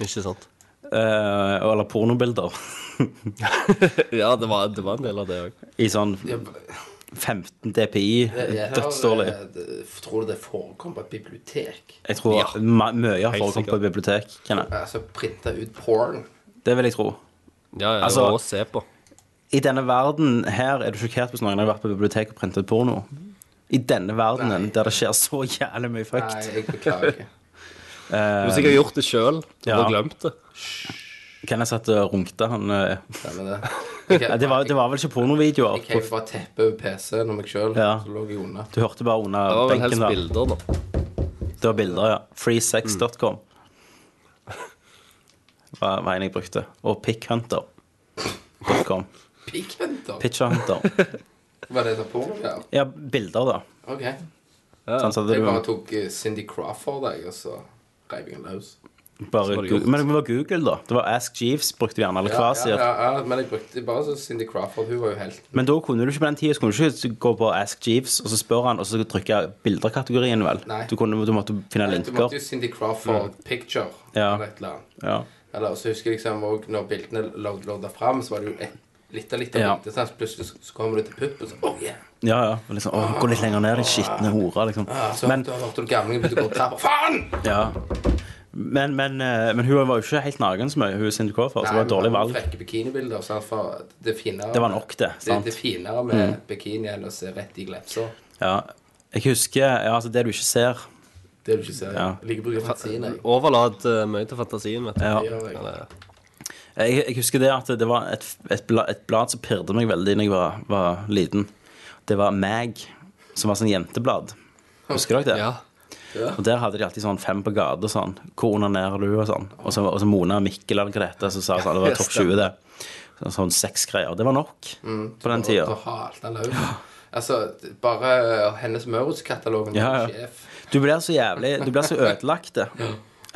Ikke sant? Eh, eller pornobilder. [laughs] Ja, det var, det var en del av det òg. I sånn Jeg, 15 DPI. jeg, Dødsdårlig. har, eh, det- tror du det forekom på et bibliotek? Jeg tror Ja. ma- mye har Helt forekommet på sikkert. bibliotek. Kan jeg. Altså printa ut porn? Det vil jeg tro. Ja, ja, Altså- det var å se på. I denne verden her er du sjokkert hvis noen har vært på bibliotek og printet porno. I denne verdenen Nei. der det skjer så jævlig mye Nei, fucked. jeg beklager. Du har sikkert gjort det sjøl og ja. glemt det. Kan jeg satt og runkte han eh, Stemmer [laughs] det. Jeg, ja, det, var, det var vel ikke pornovideoer? Jeg kan jo på- bare teppe over PC-en og meg sjøl, Ja. så lå jeg unna. [laughs] Du hørte bare Det under var vel benken helst der. bilder, da. Det var bilder, ja. [laughs] Freesex.com var, var en jeg brukte. Og pickhunter.com. Pigghunter? [laughs] Pitcherhunter. Var det et porno? Ja. Ja, bilder, da. Ok. Sånn, så Jeg du bare bare, tok eh, Cindy Crawford, jeg, og så reiv jeg den løs. var det Goog- gjort. Men det var Google, da. Det var Ask Jeeves brukte vi gjerne, eller Ja, Kvasir. ja, ja, ja, men jeg brukte bare så Cindy Crawford. Hun var jo helt Men da kunne du ikke på den tida så kunne du ikke gå på Ask Jeeves og så spørre han, og så trykke bilderkategorien, vel? Nei. Du, kunne, du måtte finne Du måtte linker. jo Cindy Crawford picture Mm. Ja. eller et eller annet. Ja. Eller så husker jeg liksom også når bildene lå lå der fram, så var det jo et litt av litt av Ja. bildet. sant? Så Plutselig så- så kommer du til puppen, så oh, yeah. Ja, ja. Og Liksom, å, gå litt lenger ned, din skitne hore, liksom. Ah, Så Men, hørte du gamlingen begynte å gå opp trappa. Faen! ja. Men, men, eh, men hun var jo ikke helt naken så mye, hun Cindy Crawford. Så det var et dårlig valg. Frekke bikinibilder. Sant? For det, finere, Det var nok det, Det, sant? Mm. det finere med bikini enn å se rett i glepser. Ja. Jeg husker ja, altså det du ikke ser. Det du ikke ser. Ja. Jeg liker å bruke fantasien. jeg. Overlat eh, mye til fantasien, vet du. Ja. Det gjør jeg. Eller, Jeg, jeg husker det at det var et, et, blad, et blad som pirret meg veldig da jeg var, var liten. Det var Mag, som var sånn jenteblad. Husker dere det? ja. Og der hadde de alltid sånn fem på gata sånn. Hvor onanerer du? Og sånn. Og så, og så Mona Mikkel eller Grete som sa sånn, det var topp 20, det. Sånn, sånn sexgreier. Det var nok på den Og tida. da halte han løs. Altså, d- bare eh, hennes Maurits-katalogen Ja, ja. sjef. Du blir så jævlig Du blir så ødelagt det.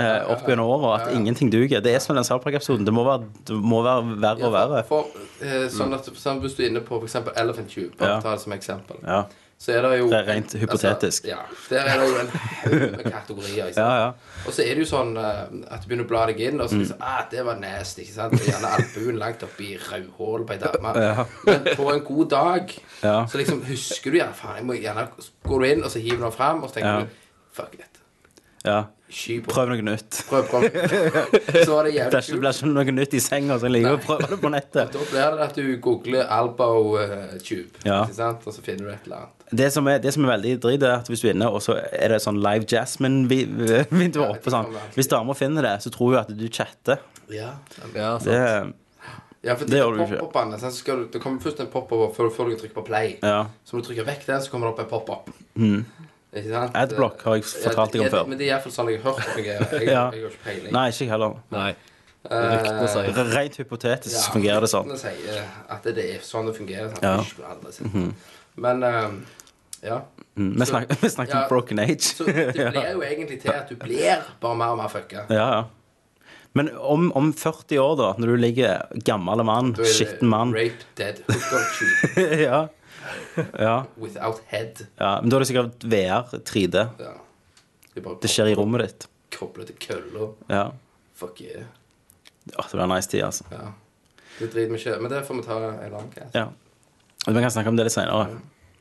Eh, opp gjennom åra at ingenting duger. Det er som den Sarpak-episoden. Det må være, det må være verre og verre. For, eh, sånn at, for eksempel, hvis du er inne på for eksempel Elephant Tube, bare Ja. ta det som eksempel, Ja. så er det jo Det er rent hypotetisk. Altså, ja. Der er det jo en haug med kategorier. Ikke sant? Ja, ja. Og så er det jo sånn eh, at du begynner å bla deg inn, Mm. og så liksom ah, Det var nasty. ikke sant? Og Gjerne albuen langt oppi rødhålet på ei dame. Men på en god dag Ja. så liksom husker du gjerne Faen, jeg må gjerne Går du inn, og så hiver du den fram, og så tenker Ja. du Fuck it. ja. Sky på. Prøv noe nytt. Prøv, [laughs] prøv. Så var det Det jævlig er ikke- det kult. blir ikke noe nytt i senga, så jeg liker å prøve det på nettet. Da blir det at du googler elbow eh, tube, Ja. ikke sant? og så finner du et eller annet. Det som er, det som er veldig drit, er at hvis du er inne, og så er det sånn live jasmine-vindu Ja, det oppe sånn. kan være. Hvis damer finner det, så tror hun at du chatter. Ja, ja sant. Det, ja for Det gjør du ikke. pop-up-ene, sant, så skal du, Det kommer først en pop-up før, før du trykker på play. ja. Så må du trykke vekk den, så kommer det opp en pop-up. Ikke sant? Mm. Adblock har jeg fortalt deg om Ja, det- før. Men det er iallfall sånn jeg har hørt om [laughs] det. Jeg, jeg, Ja. jeg har ikke peiling. Nei, ikke jeg heller. Nei. Eh, Ryktene sier R- Rent hypotetisk Ja, fungerer det sånn. ryktene sier at det er sånn det fungerer. Sant? Ja. Mhm. Jeg skulle aldri sett det. Men eh, ja. Mm, Vi snakker, vi snakker Ja. om broken age. Så det blir jo egentlig til at du blir bare mer og mer fucka. [laughs] Ja, ja. Men om, om 40 år, da, når du ligger gammel mann, Da er det skitten mann Rape dead hooker shoot [laughs] ja. ja, without head. ja. Men da er det sikkert VR, 3D. Ja. Det, er bare Det skjer i rommet ditt. Koblet til køller. Ja. Fuck yeah. Åh, det blir en nice tid, altså. Ja. Det driter vi ikke i. Men det får vi ta en annen gang. Ja. Vi kan snakke om det litt senere.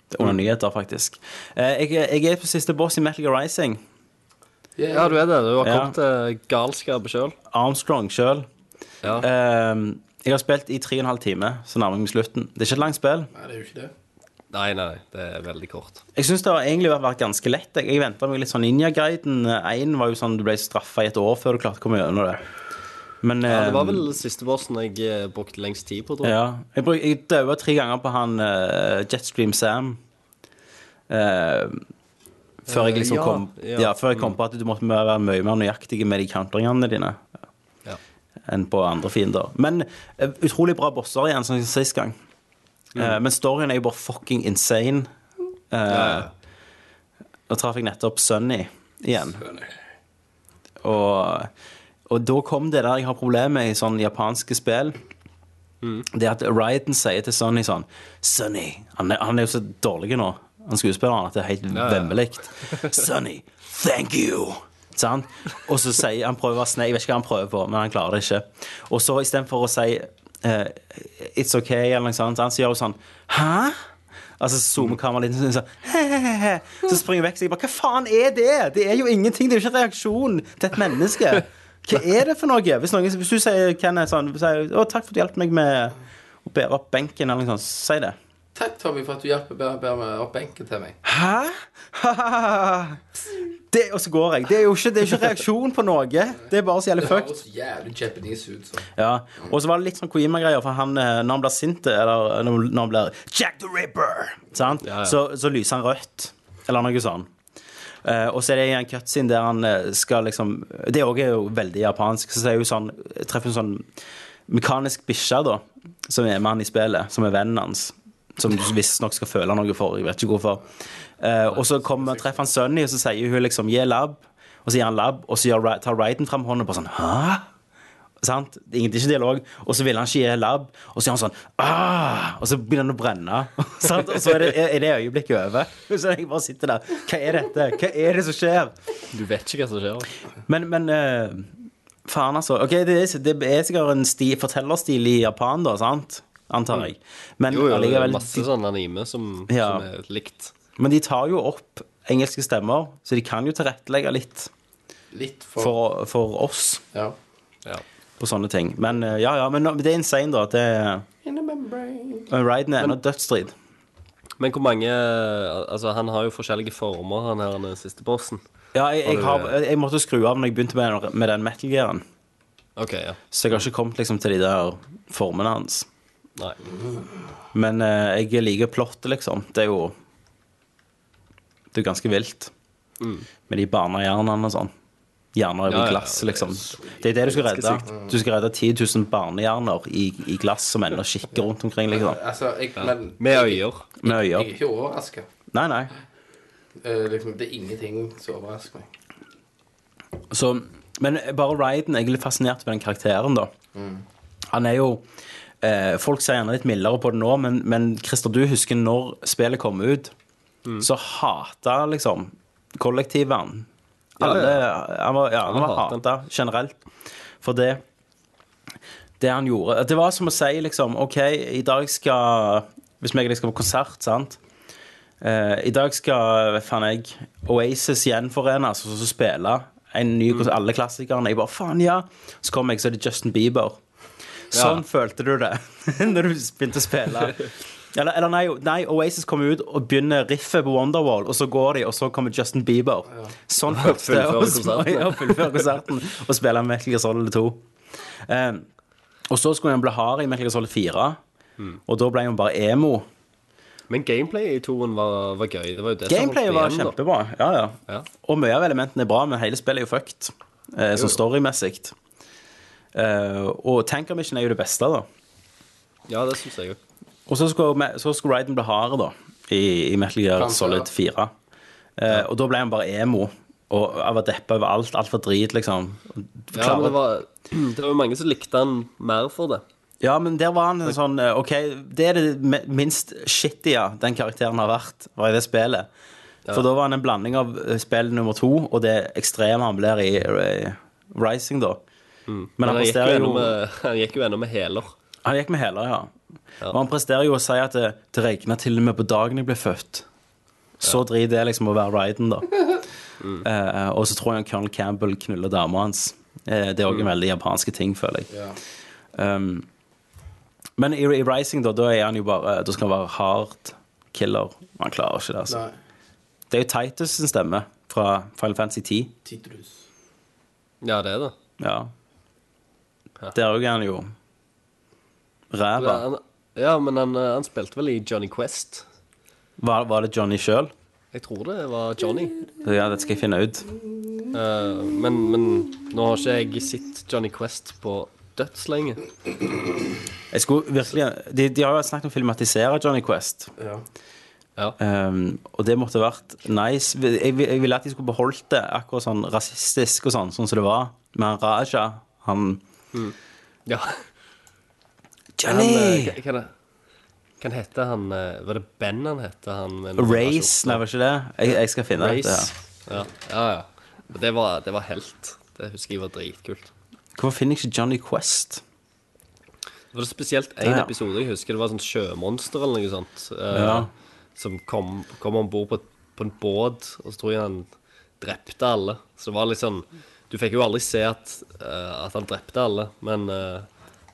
Det Mm. er Under nyheter, faktisk. Eh, Jeg, jeg er på siste boss i Metal Gear Rising. Yeah. Ja, du er det. Du har Ja. kommet til galskap sjøl. Armstrong sjøl. Ja. Eh. Jeg har spilt i tre og en halv time, så nærmer jeg meg slutten. Det er ikke et langt spill. Nei, det er jo ikke det. Nei, nei. Det er veldig kort. Jeg syns det har egentlig vært- vært ganske lett. Jeg- Jeg venta meg litt sånn Ninja Guiden 1 var jo sånn du ble straffa i et år før du klarte å komme gjennom det. Men Ja, det var eh, vel siste bossen jeg eh, brukte lengst tid på, tror jeg. Ja. Jeg, bruk, jeg daua tre ganger på han eh, Jetstream Sam. Eh, før jeg liksom Eh, ja, kom ja, ja. før jeg kom på at du måtte være mye mer nøyaktig med de countringene dine Ja. enn på andre fiender. Men eh, utrolig bra bosser igjen, som sist gang. Mm. Eh, men storyen er jo bare fucking insane. Eh, Nå traff jeg nettopp Sunny igjen. Og, og da kom det der jeg har problemer med i sånne japanske spill. Mm. Det at Ryden sier til Sunny sånn Sunny han er, han er jo så dårlig nå, han skuespilleren, at det er helt ja. vemmelig. Sunny, thank you! Sant? Og så sier han prøver å være snill, jeg vet ikke hva han prøver på, men han klarer det ikke. Og så istedenfor å si eh, It's OK, eller noe sånt, sant, så gjør hun sånn Hæ? Altså så zoomer kameraet litt sånn, sånn «Hehehe». Så springer hun vekk. Så jeg bare Hva faen er det? Det er jo ingenting. Det er jo ikke en reaksjon til et menneske. Hva er det for noe? Hvis, noen, hvis du sier Kenneth sånn sier, Å, takk for at du hjalp meg med å bære opp benken, eller noe sånt. Si det. Takk, Tommy, for at du hjelper bærer bærer meg opp benken til meg. Hæ? [laughs] Det, og så går jeg. Det er jo ikke, det er ikke reaksjon på noe. Det er bare så Det jævlig fucked. høres jævlig Japanese ut. sånn. Ja. Og så var det litt sånn Kojima-greier, for han, eh, når han blir sint, eller når når han blir Jack the Ripper, sant? Ja, ja. Så, så lyser han rødt, eller noe sånn. Eh, og så er det en cutscene der han eh, skal liksom Det òg er jo veldig japansk. Så det er jo sånn, treffer en sånn mekanisk bikkje, da, som er med han i spillet, som er vennen hans. Som du visstnok skal føle noe for. Jeg vet ikke hvorfor. Eh, og så kommer, treffer han Sunny, og så sier hun liksom 'gi lab', og så gir han lab, og så gjør, Ra- tar Ryden fram hånda og bare sånn 'hæ'? Sant? Det er ingen- det er ikke dialog. Og så vil han ikke gi lab, og så gjør han sånn ah! Og så begynner han å brenne. [laughs] Sant? Og så er det, er det øyeblikket over. [laughs] Så jeg bare sitter der. Hva er dette? Hva er det som skjer? Du vet ikke hva som skjer. Men, men eh, Faen, altså. Ok, det er, det er sikkert en sti, fortellerstil i Japan, da, sant? Antar jeg. Men, Jo, jo, det er allikevel, masse sånn anime som, Ja. som er likt. men de tar jo opp engelske stemmer, så de kan jo tilrettelegge litt. Litt for, for, for oss Ja. på sånne ting. Men eh, ja, ja, men nå- det er insane, da. at Det er In a membrane. men Ryden er ennå dødsstrid. Men hvor mange Altså, han har jo forskjellige former, han her den siste bossen. Ja, jeg, jeg, Har har, du- jeg måtte skru av når jeg begynte med, den- med den metal gearen. OK, ja. Så jeg har ikke kommet liksom til de der formene hans. Nei. Men eh, jeg liker plottet, liksom. Det er jo Det er jo ganske vilt. Med de barnehjernene og sånn. Hjerner Mm. Ja, over ja, glass, det er liksom. Det er det du skal ganske redde. Du skal redde 10 000 barnehjerner i, i glass som ennå kikker rundt omkring, liksom. Altså, jeg, men Med øyer. Med jeg er øyer. ikke overraska. Nei, nei. liksom, det er ingenting som overrasker meg. Så, men bare Ryden Jeg er litt fascinert ved den karakteren da Han er jo eh, Folk ser gjerne litt mildere på det nå Men, men Christer, du husker når spillet kom ut Så hata liksom Kollektivet han Alle, han var, ja, han var hatet hata generelt For det Det han gjorde Det var som å si liksom Ok, i dag skal Hvis meg og deg skal på konsert, sant Eh, I dag skal hva faen jeg, Oasis gjenforenes og så spille en ny Mm. konsert. Alle klassikerne. Jeg bare faen, ja. Så kom jeg, så er det Justin Bieber. Sånn følte du det [laughs] når du begynte å spille. [laughs] Eller, eller nei, nei, Oasis kommer ut og begynner riffet på Wonderwall, og så går de, og så kommer Justin Bieber. Sånn føltes [laughs] det Fullføre å sm- konserten. ja, fullføre konserten og spille Metal Gear Solid 2. Eh, og så skulle han bli hard i Metal Gear Solid 4, Mm. og da ble han bare emo. Men gameplay i toen var, var gøy. Det var jo det Gameplayet var igjen, da. kjempebra. Ja, ja. Ja. Og mye av elementene er bra, men hele spillet er jo fucked. Eh, sånn storymessig. Eh, og Tanker Mission er jo det beste, da. Ja, det syns jeg òg. Og så skulle, me- så skulle Ryden bli hard, da, i, i Metal Gear Kanskje, ja. Solid 4. Eh, og da ble han bare emo. Og jeg var deppa over alt. Alt var drit, liksom. Ja, men Klarer- det var, [clears throat] det var jo mange som likte han mer for det. Ja, men der var han en sånn eh, OK, det er det me- minst shittige den karakteren har vært, var i det spillet. For da var han en blanding av eh, spill nummer to og det ekstreme han blir i eh, Rising, da. Men Men han han gikk eh, jo presterer ennå jo med, [laughs] han gikk jo ennå med hæler. Han gikk med hæler, ja. Og han presterer jo å si at det, det regna til og med på dagen jeg ble født. Så drit det liksom å være Ryden, da. Eh, og så tror jeg han Colonel Campbell knuller dama hans. Eh, det er òg en veldig japanske ting, føler jeg. Ja. Um, men i, i Rising, da, da er han jo bare Da skal han være hard killer. Men Han klarer ikke det, altså. Nei. Det er jo Titus sin stemme fra Final Fantasy 10. Titus. Ja, det er det. Ja. Ja. Der òg er han jo Ja, ræva. han, ja men han, eh, han spilte vel i Johnny Quest. Var, var det Johnny sjøl? Jeg tror det var Johnny. Ja, dette skal jeg finne ut. Eh, men, men nå har ikke jeg sett Johnny Quest på dødslenge. Jeg skulle virkelig De, de har jo snakket om å filmatisere Johnny Quest. Ja. Ja. Um, og det måtte vært nice. Jeg, jeg ville at de skulle beholdt det akkurat sånn rasistisk og sånn, sånn som det var. Men han Raja, han ja. Han, eh, Johnny! hva- hva er det? Kan hete han eh, Var det Ben han hette? Han, med noen Race, nei, var ikke det? Jeg, jeg skal finne Race. dette. her. Ja, ja. ja. Og Det var, det var helt. Det husker jeg var dritkult. Hvorfor finner jeg ikke Johnny Quest? Det var spesielt én Ja, ja. episode jeg husker. Det var sånn sjømonster eller noe sånt. eh, Ja. Som kom, kom om bord på, på en båt, og så tror jeg han drepte alle. Så det var litt sånn Du fikk jo aldri se at, eh, at han drepte alle, men eh,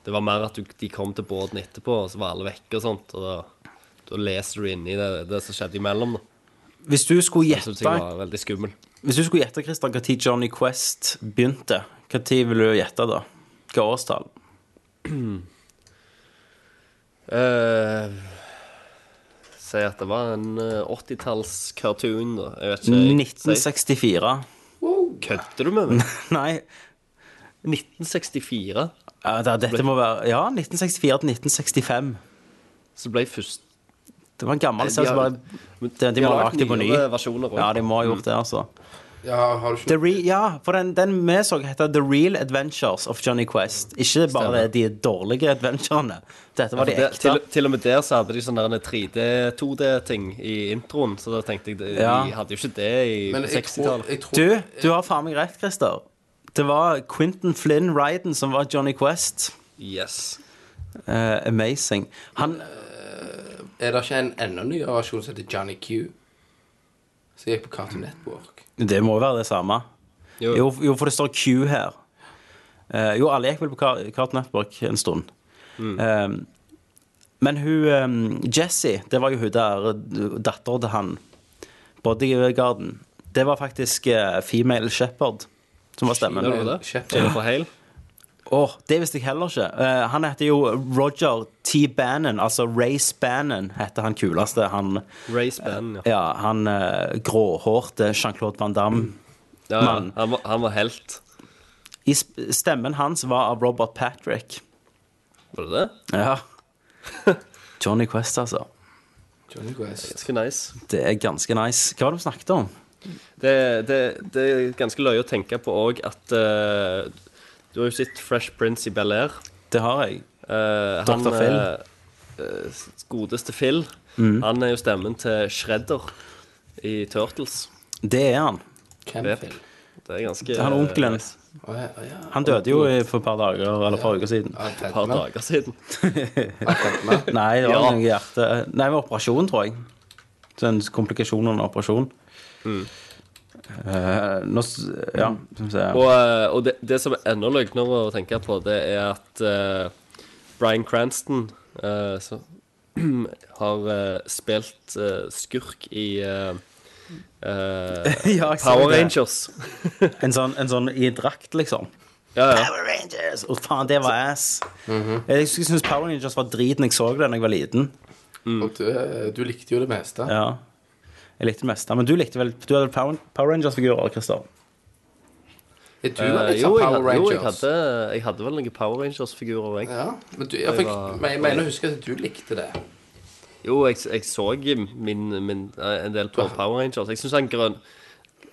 det var mer at du, de kom til båten etterpå, og så var alle vekke og sånt. Og da, da leser du inn i det, det som skjedde imellom. Da. Hvis du skulle Det synes jeg gjette, var veldig skummel. hvis du skulle gjette Christian, hva tid Johnny Quest begynte, hva tid vil du gjette da? Hva årstall? eh si at det var en eh, 80-talls-cartoon, da. Jeg vet ikke. jeg- si- 1964. Kødder du med meg? [laughs] Nei, 1964 ja, da, dette må være Ja, 1964 til 1965. så ble jeg først Det var en gammel serie som har- bare De, de har må ha lagt lagt det på ny. nyere versjoner også. Ja, de må ha gjort det, altså. ja, har du The ikke Re ja, for den, den vi så, heter The Real Adventures of Johnny Quest. Ikke bare Stemmer. de dårlige adventurene. Dette var de Der- ekte. Altså, til, til og med der så hadde de sånne der 3D, 2D-ting i introen, så da tenkte jeg de, Ja. de hadde jo ikke det i Men jeg tror, 60-tallet. jeg tror Du, du har faen meg rett, Christer. Det var Quentin Flynn Ryden som var Johnny Quest. Yes. Eh, amazing. Han Er det ikke en enda nyere versjon som heter Johnny Q? Som gikk på Cartoon Network? Det må jo være det samme. Jo. Jo, jo, for det står Q her. Eh, jo, alle gikk vel på Car- Cartoon Network en stund. Mm. Eh, men hun eh, Jessie, det var jo hun der datteren til han bodyguarden. Det var faktisk eh, female shepherd som var stemmen. Det var det. Kjeft. Er det for heil? Åh, det visste jeg heller ikke. Eh, han heter jo Roger T. Bannon, altså Race Bannon heter han kuleste. Han, Race Band, ja. ja, han eh, gråhårte Jean-Claude Van Damme. Mm. ja, ja. mann. Han, var, han var helt. I sp- stemmen hans var av Robert Patrick. Var det det? Ja. [laughs] Johnny Quest, altså. Johnny Quest. Ganske nice. Det er ganske nice. Hva var det du snakket om? Det, det, det er ganske løye å tenke på òg at eh, Du har jo sett Fresh Prince i Bel-Air. Det har jeg. Eh, Dr. han, Phil. Mm. eh, eh, godeste Phil. Han er jo stemmen til Shredder i Turtles. Det er han. Yep. Campfield. Det er ganske Han eh, onkelen. Å, ja, å, ja. Han døde jo i- for et par dager eller et par uker siden. Ja, Et par dager siden. dager. Nei, det var Ja. noe hjerte... Nei, med operasjon, tror jeg. Sånn komplikasjon under operasjon. Mm. Eh, nå s- Ja, skal vi se. Og, eh, og det, det som er enda løgnere å tenke på, det er at eh, Bryan Cranston eh, så, [clears throat] har eh, spilt eh, skurk i eh, [laughs] eh, [laughs] Ja, jeg så Power det. Rangers. En sånn, en sånn i drakt, liksom. [laughs] ja, ja. Power Rangers! Å, faen, det var ass. Jeg syns Power Rangers var drit når jeg så det da jeg var liten. Og du, eh, du likte jo det meste. Ja. Jeg likte det meste. Men du likte vel Du hadde Power, Power Rangers-figurer, Christer? Er du Eh, litt jo, sånn Power jeg, hadde- jo jeg, Rangers? hadde, jeg hadde vel noen Power Rangers-figurer, jeg. Ja, men du, jeg, Jeg fikk, var- men jeg mener å huske at du likte det. Jo, jeg, jeg så min, min, eh, en del på Power Rangers. Jeg syns han grønn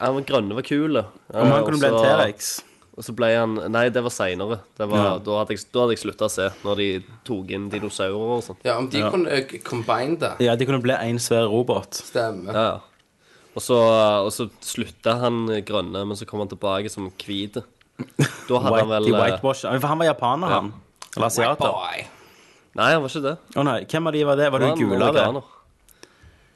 Han var grønne var kul. Om han kunne bli en T-rex? Og så ble han Nei, det var seinere. Da hadde jeg, da hadde jeg slutta å se, når de tok inn dinosaurer og sånn. Ja, om de kunne eh, combine det. Ja, de kunne bli en svær robot. Stemmer. Ja, ja. Og så, og så slutta han grønne, men så kom han tilbake som hvit. Da hadde White, han vel de eh, whitewash. Ja, For han var japaner, Ja. han. Eller asiater. Å Boy. Nei, han var ikke det. nei, hvem av de var det? Var det Han hun gule av det? amerikaner.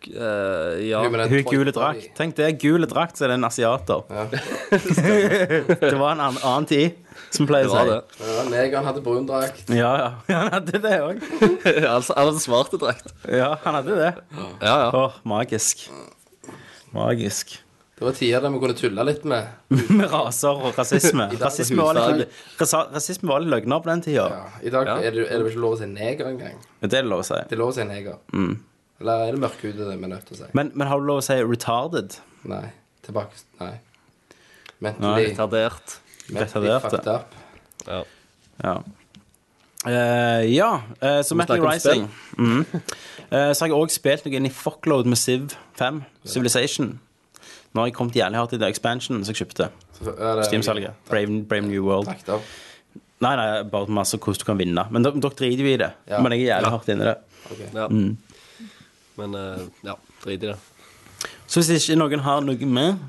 Eh, ja. Jo, men den Hun i gule trøyta di. drakt. Tenk det, gule drakt, så er det en asiater. [laughs] det var en annen, annen tid, som pleier Det å var si. det. [laughs] Ja, Negeren hadde brun drakt. Ja, ja. [laughs] Han hadde det òg. altså, han hadde svarte drakt. Ja, han hadde det. Ja, ja. Åh, magisk. Magisk. [laughs] Det var tider der vi kunne tulle litt med. Med raser og rasisme. Rasisme var litt, husdag. rasa- rasisme var litt løgner på den tida. Ja, I dag Ja. er, det, er det vel ikke lov å si neger engang. Det er det lov å si. Det er lov å si neger. Mm. Eller er det mørkhudede vi er nødt til å si? Men, men har du lov å si retarded? Nei. Tilbake Nei. Nei, Mentally, Tardert. mentally retardert, fucked up. Ja. Ja. Eh, ja, eh, så Metal snakke om spill. Rising. Mhm. Eh, så har jeg òg spilt noe inn i Fuckload med Civ 5, Civilization. Nå har jeg kommet jævlig hardt i det expansionen som jeg kjøpte. Så er det- Steam-salget. Brave, Brave New World. Fucked up. Nei, nei, bare masse hvordan du kan vinne. Men dere dere driter jo i det. Ja. Men jeg er jævlig hardt inne i det. Ja. Men eh, ja, drit i det. Så hvis ikke noen har noe med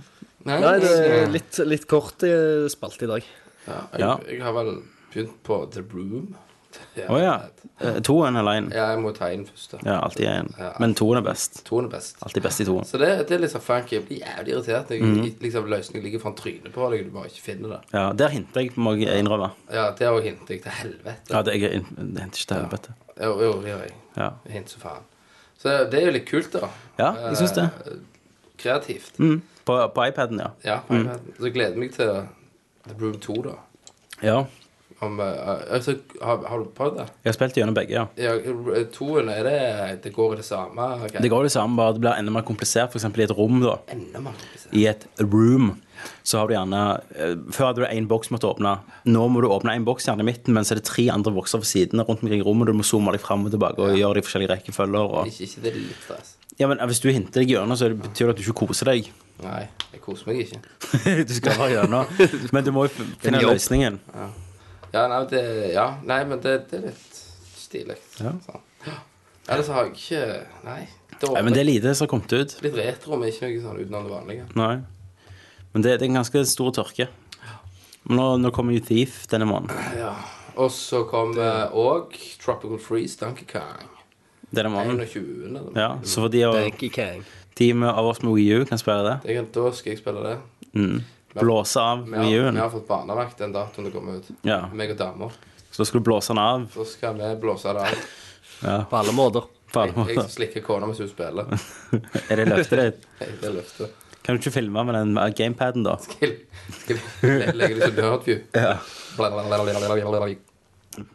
Nei, Nei, det er litt, litt kort eh, spalte i dag. ja, Ja. jeg, jeg har vel begynt på The Room. [laughs] Å ja. Eh, Toen eller én? Ja, jeg må ta inn først. da. Ja, alltid én. Men toen er best. Toen er best. Alltid best i toen. Så det, det er litt sånn funky. Jeg blir jævlig irritert når Mhm. jeg- liksom, løsningen ligger foran trynet på deg, og du bare ikke finner det. Ja, der hinter jeg, må jeg innrømme. Ja, det òg hinter jeg til helvete. Ja, det, jeg, jeg hinter ikke til helvete. Jo, jo, det gjør jeg. Ja. Jeg Hinter så faen. Så det er jo litt kult, da. Ja, jeg syns det. Eh, Kreativt. Mm. På, på iPaden, ja. Ja, på iPaden. Så jeg gleder jeg meg til The Broom 2, da. Ja, Om, eh, altså, har, har du prøvd det? jeg har spilt gjennom begge, ja. Ja, eh, toen er det Det går i det samme? Okay. Det går jo det samme, bare det blir enda mer komplisert, f.eks. i et rom, da. enda mer komplisert. I et room så har du gjerne eh, Før hadde du én boks du måtte åpne. Nå må du åpne én boks gjerne i midten, men så er det tre andre bokser ved siden rundt omkring i rommet. og Du må zoome deg fram og tilbake og gjøre de forskjellige rekkefølger. Og... Ikke, ikke det er litt stress. Ja, men Hvis du hinter deg gjennom, så betyr det at du ikke koser deg. [laughs] Nei, jeg koser meg ikke. du skal bare gjennom. Men du må jo f- finne jobb. løsningen. Ja, nei, det, ja, nei men det, det er litt stilig. Sånn. Ja. Ellers har jeg ikke Nei. Det Nei, var men det er lite som har kommet ut. litt retro, men ikke noe sånn utenom det vanlige. Nei. Men det, det er en ganske stor tørke. Men nå, nå kommer jo Thief denne måneden. Ja. Og så kom òg Tropical Freeze Donkey Kong. Denne måneden. 21. eller noe. Ja, så for de, av- Banky Kang. de med- av oss med Wii U kan spille det. Mm. Jeg, kan- da skal jeg spille det. Blåse av Vi har, miljøen. vi har fått barnevakt den datoen det kommer ut. Ja. Meg og dama. Så skal du blåse den av Så skal vi blåse det av. På alle måter. på alle Jeg, jeg måter. slikker kona mens hun spiller. Er det løftet ditt? Jeg- Det løftet. Kan du ikke filme med den eh, gamepaden, [laughs] da? Skal skal jeg legge det som nerdview? Ja. Blablabla. Ja,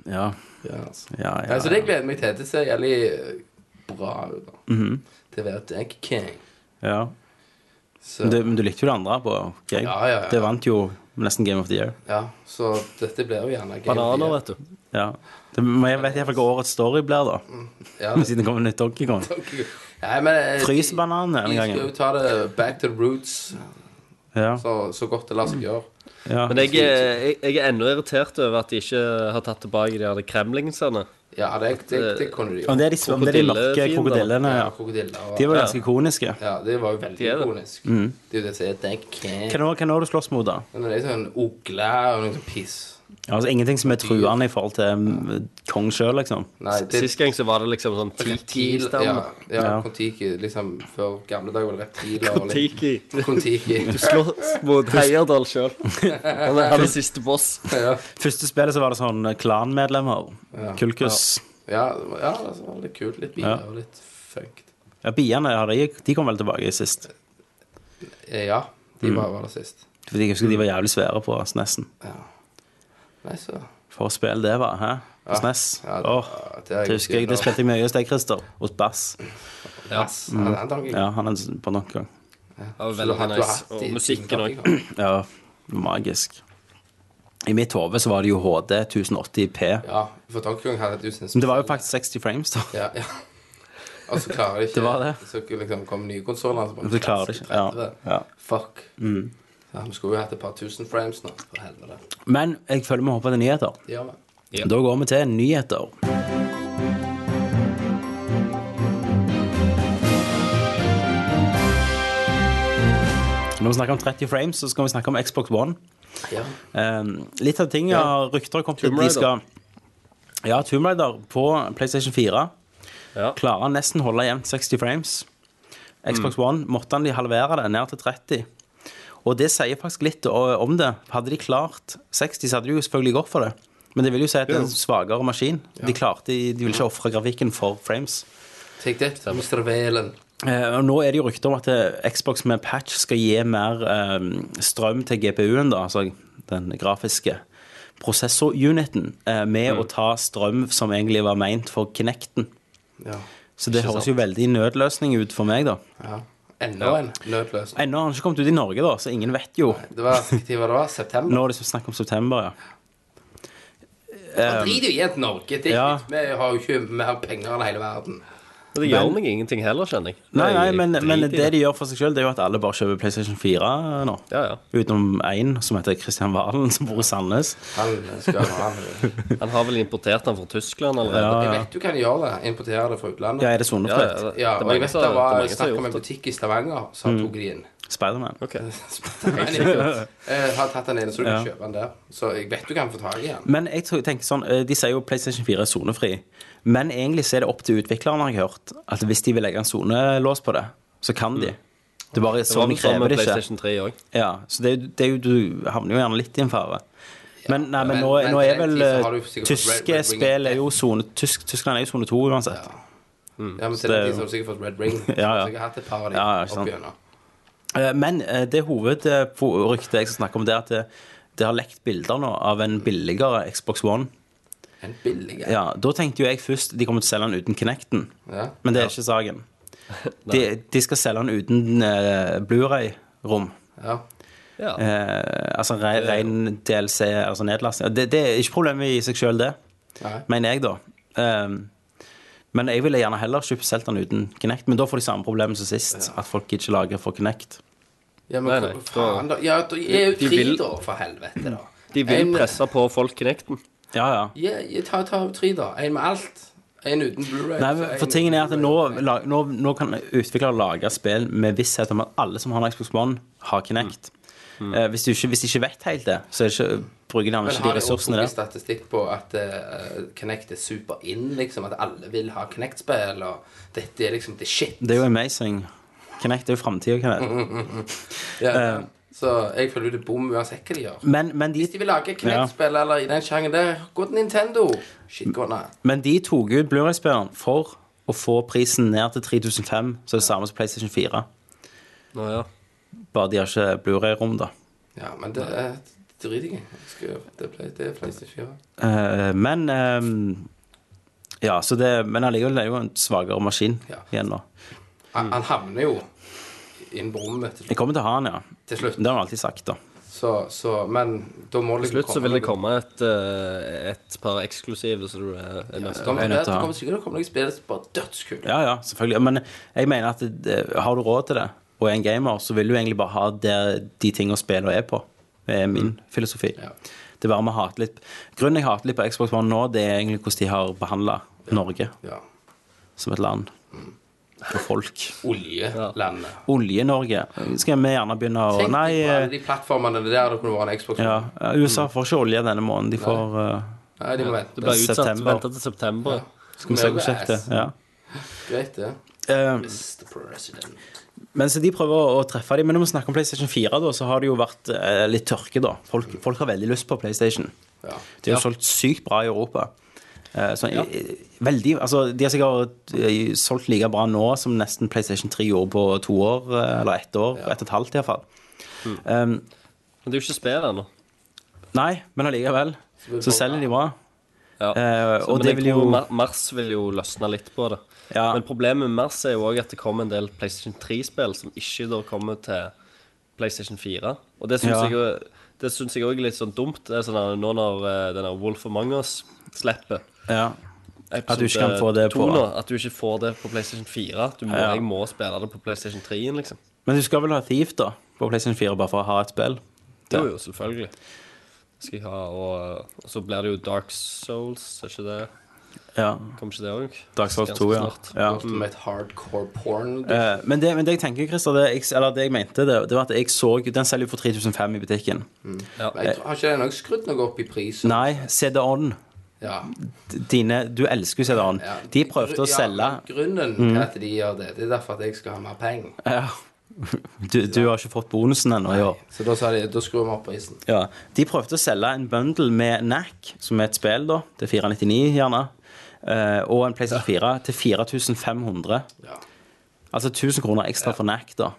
Ja. altså. ja, Nei, ja. så det gleder jeg meg til. Det ser jævlig eh, bra ut. da. Mhm. Til å være Dank King. ja. Så, Men, du, men du likte jo det andre på game. eh, Ja, ja, ja. Det vant jo nesten Game of the Year. ja, så dette blir jo gjerne gøy. Bananer, vet du. Ja. Det, men jeg vet iallfall hva årets story blir, Mm. [laughs] da. Ja, [laughs] Siden det kommer nytt Donkey Kong. Nei, men, eh, de- Frysebanan denne De skal gangen. jo ta det back to the roots Ja, så, så godt det lar seg gjøre. ja. Men jeg, eh, jeg, jeg er ennå irritert over at de ikke har tatt tilbake de her kremlingsene. Ja, det, det, det kunne de Om gjøre. det er de, om det er de mørke Krokodillefiender. krokodillene, Ja, ja. krokodiller og De var Mhm. ganske ikoniske. Ja, det var jo veldig De er det. ikonisk. Det er jo det som er Dank King. Hva er det du slåss mot, da? Men det er sånn ogle og noe sånn piss. Altså Ingenting som er truende i forhold til mm, kong sjøl, liksom. Nei, det Sist gang så var det liksom sånn reptil Ja, Tiki-stemme. ja, Ja. Kon-Tiki. Liksom før gamle dager var det reptiler og litt Tiki. Kon-Tiki. [laughs] Du slåss mot Heierdal sjøl. [laughs] Han er han er siste boss. Ja, Første spillet så var det sånn eh, klanmedlemmer. Kulkus. ja, det var- ja, det var litt kult. Litt bier og litt funked. Ja, Biene ja, de, de kom vel tilbake sist. Eh, Ja, de Mm. var, var det sist. Fordi jeg husker de var jævlig svære på SNES-en. Nei, så For å spille det, var, hæ? På SNES. ja, det- Åh, det er det husker jeg. Det ikke- spilte jeg mye hos deg, Christer. Hos Bass. Yes. Ja, den dagen. Ja, han er en- på noen gang. Ja, Så du har- du veldig har nice. hatt Og de- musikken òg. Ja, magisk. I mitt hode så var det jo HD 1080P. Ja, for Donkey Kong hadde du sin Men det var jo faktisk 60 frames, da. Ja, ja. Og så klarer de [laughs] ikke Det var det. Så liksom kom nye konsoller så bare Du klarer det ikke. Ja, 30. ja. Mm. Fuck. Ja, vi skulle jo hatt et par tusen frames nå, for helvete. Men jeg føler vi hopper til nyheter. Det gjør vi. Da går vi til nyheter. Når vi snakker om 30 frames, så skal vi snakke om Xbox One. Ja. Eh, litt av ting ja. rykter har kommet til Tomb at de Raider. skal Ja, Tomb Raider på PlayStation 4 Ja. klarer nesten holde jevnt 60 frames. Xbox One måtte han de halvere det ned til 30. Og det sier faktisk litt o- om det. Hadde de klart 60, så hadde de jo selvfølgelig gått for det. Men det vil jo si at det er en svakere maskin. De klarte, de ville ikke ofre grafikken for frames. Take that, Mr. Valen. Eh, og nå er det jo rykter om at eh, Xbox med patch skal gi mer eh, strøm til GPU-en, da, altså den grafiske prosessoruniten, eh, med å ta strøm som egentlig var meint for Kinecten. Ja. Så det høres jo veldig nødløsning ut for meg, da. ja. Enda en nødløsning. Ennå har den ikke kommet ut i Norge, da, så ingen vet jo. Det var hva tid var det var? September? Nå er det så snakk om september, ja. Han driter jo i et Norge. Det eh, er Ja. ikke, vi har jo ikke mer penger enn hele verden. Men det gjør meg ingenting heller, kjenner jeg. Eh, Nei, nei, jeg men, driter men i det de gjør for seg sjøl, er jo at alle bare kjøper PlayStation 4 nå. Ja, ja. Utenom én, som heter Kristian Valen, som bor i Sandnes. Han skal ha han. Han har vel importert den fra Tyskland allerede. Jeg vet du kan gjøre det. Importere det fra utlandet. Ja, er det sonefritt? det- Ja, og jeg det er mange vet som- det det er var mange som har snakk om en gjort det. butikk i Stavanger Mm. som tok de [laughs] inn. Spiderman. Ok. [laughs] Jeg har tatt den ene, så du kan Ja. kjøpe den der. Så jeg vet du kan få tak i den. Men jeg tror- tenker sånn, eh, de sier jo PlayStation 4 er sonefri. Men egentlig så er det opp til utvikleren, har jeg hørt. At hvis de vil legge en sonelås på det, så kan de. Det er bare Mm. Det var sånn vel sånn krever med det ikke. PlayStation 3 òg. Ja, så det, er jo- det er jo, du havner jo gjerne litt i en fare. Men, nei, men, men- nå, men nå til er vel den tid så har du eh, jo sikkert Red- Tyske Red Wing spill er Death. jo sone tysk, Tyskland er jo sone to uansett. Ja, men til Mm. det er den tid jo- så har du sikkert fått Red [laughs] Ring. Ja, ja. Så jeg har hatt et par av de Ja, ja, ikke sant. opp gjennom. Eh, Men eh, det hovedryktet jeg skal snakke om, det er at det, det har lekt bilder nå av en billigere Xbox One. En billig en. Ja, Da tenkte jo jeg først de kommer til å selge den uten Kinecten. Ja. Men det er ikke [laughs] saken. De, de skal selge den uten eh, Blu-ray-rom. Ja. Ja. Eh, altså re ren DLC, altså nedlasting. Det, det er ikke problemet i seg sjøl, det, Nei. mener jeg, da. Ehm, men jeg ville gjerne heller kjøpt solgt den uten Kinect. Men da får de samme problemet som sist, at folk gidder ikke lagre for Kinect. Ja, men Nei, nei, hvor- faen, da. Ja, da er jo De- de tre, vil- da, for helvete, da. De vil En- presse på folk Kinecten. Ja, ja. Ja, ja, ta, ta tre, da. En med alt. En uten Blu-ray. Nei, så men en for tingen er at uten nå, Blu-ray. la- nå, nå kan utviklere lage spill med visshet om at alle som har en Xbox One, har Kinect. Eh, hvis, du ikke, hvis de ikke vet helt det, så er det ikke, bruker de gjerne Mm. Men ikke de har de også ressursene brukt der. statistikk på at eh, Kinect er super in, liksom? At alle vil ha Kinect-spill, og dette er liksom the shit? Det er jo amazing. Kinect er jo framtida, Kinect. Ja, ja. Så jeg føler jo det er bom uansett hva de gjør. Men, men, Hvis de de, vil lage knettspill eller i den sjangen der, gå til Nintendo. Shit, gå ned. men de tok ut Blu-ray-spilleren for å få prisen ned til 3005, så det samme som PlayStation 4. Nå, ja. Bare de har ikke Blu-ray-rom, da. Ja, men det er driter jeg i. Jeg skal- Det ble- det er PlayStation 4. Eh, men ehm, Ja, så det Men allikevel er det jo en svakere maskin Ja. igjen nå. Han, han havner jo inn på rommet til, Jeg kommer til å ha den, ja. til slutt. Det har vi alltid sagt, da. Så, så, men da må det Til slutt så vil det noe- komme et, eh, et par eksklusive, så du eh, er, er Ja, nødt så til å kommer Jeg er det, nødt til å det ha. kommer sikkert til å komme noen spill som bare er dødskule. Ja, ja, selvfølgelig. Men jeg mener at det, det- har du råd til det, og er en gamer, så vil du egentlig bare ha der, de tingene spillet er på. Det er min filosofi. Mm. Ja. Det er bare med å hate litt Grunnen jeg hater litt på Xbox One nå, det er egentlig hvordan de har behandla Norge Ja. Mm. som et land. Og folk. Oljelandet. Olje-Norge. Skal vi gjerne begynne å Tenk Nei, på alle eh, de plattformene der det kunne vært en Xbox. ja, eh, USA får ikke olje denne måneden. De får eh, Mm. Nei, de må vente. Det ble utsatt. September. Venta til september. Skal vi se hvor kjekt det er. Ja. Greit, det. Eh, Mr. President. Men så de prøver å, å treffe dem. Men når vi snakker om PlayStation 4, da, så har det jo vært eh, litt tørke, da. Folk, folk har veldig lyst på PlayStation. Mm. Ja. De har jo solgt sykt bra i Europa. Eh, så, eh, veldig, altså, de har sikkert eh, solgt like bra nå som nesten PlayStation 3 gjorde på to år, eh, eller ett år, ett og et halvt iallfall. Mm. Um, Men det er jo ikke spill ennå. nei, men allikevel. Så selger de bra. Ja. Eh, Så- og men det jeg vil tror jo- Mar- Mars vil jo løsne litt på det. Ja. Men problemet med Mars er jo òg at det kommer en del PlayStation 3-spill som ikke da kommer til PlayStation 4. Og det syns Ja. jeg jo- det syns jeg òg er litt sånn dumt. Det er sånn at Nå når eh, den der Wolf Among Us slipper Ja. At du ikke kan episode få det to på- nå, At du ikke får det på PlayStation 4. Du må, Ja. Jeg må spille det på PlayStation 3, liksom. Men du skal vel ha Thief, da, på PlayStation 4, bare for å ha et spill? Det er jo selvfølgelig. Det Skal jeg ha, og, og så blir det jo Dark Souls, er ikke det? Ja. Kommer ikke det òg? Dark Souls 2, ja. ja. Med et hardcore porn. Eh, men, det, men det jeg tenker, Christer, det, jeg- eller det jeg mente, det, det var at jeg så Den selger jo for 3500 i butikken. Men jeg tror, har ikke den også skrudd noe opp i pris? Nei, CD-on. Ja. Dine, du elsker jo CD-on. Ja. De prøvde å Ja, selge Mm. men Grunnen til at de gjør det, det er derfor at jeg skal ha mer penger. ja. [laughs] du, du har ikke fått bonusen ennå i år. Så da sa de da skrur vi opp prisen. Ja. De prøvde å selge en bundle med NAC, som er et spill, da. Til 499, gjerne. eh, og en PlayStation 4 til 4500. Ja. Altså 1000 kroner ekstra for NAC, da.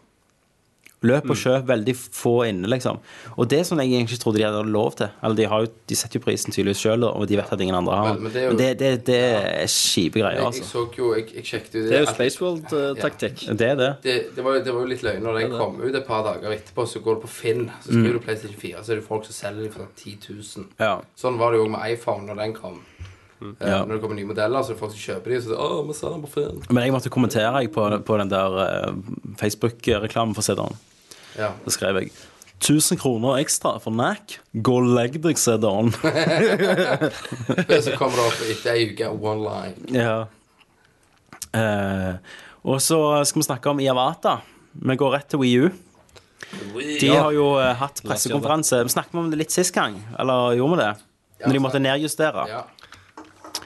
Løp Mm. og kjøp, veldig få inne, liksom. Og det er sånn jeg egentlig ikke trodde de hadde lov til. Eller de, har jo, de setter jo prisen tydeligvis sjøl, og de vet at ingen andre har Men- den. men Men det er jo- det, det, det er kjipe Jeg, greier, jeg altså. så eh, jo Jeg, jeg sjekket jo det. Det er jo at- Spaceworld-taktikk. Det er det. det, det, var, jo- det var jo litt løgn når jeg kom ut et par dager etterpå, så går du på Finn, så skriver du PlayStation 4, så er det folk som selger dem for sånn 10 000. Mm. Ja. Mm. Sånn var det jo også med iPhone når den kom. Eh, Ja. Når det kommer nye modeller, så er det folk som kjøper dem, så sier de, «Åh, vi selger den på Finn. Men jeg måtte kommentere jeg, på, på den der eh, Facebook-reklamen for CD-en. Ja. Da skrev jeg 1000 kroner ekstra for NAC. Gå og legg deg, [laughs] CD-en. Så kommer det opp etter ei uke one line. Ja. Eh, og så skal vi snakke om Iavata. Vi går rett til WiiU. De har jo eh, hatt pressekonferanse. Vi snakket om det litt sist gang, eller gjorde vi det? Når de måtte nedjustere. Ja.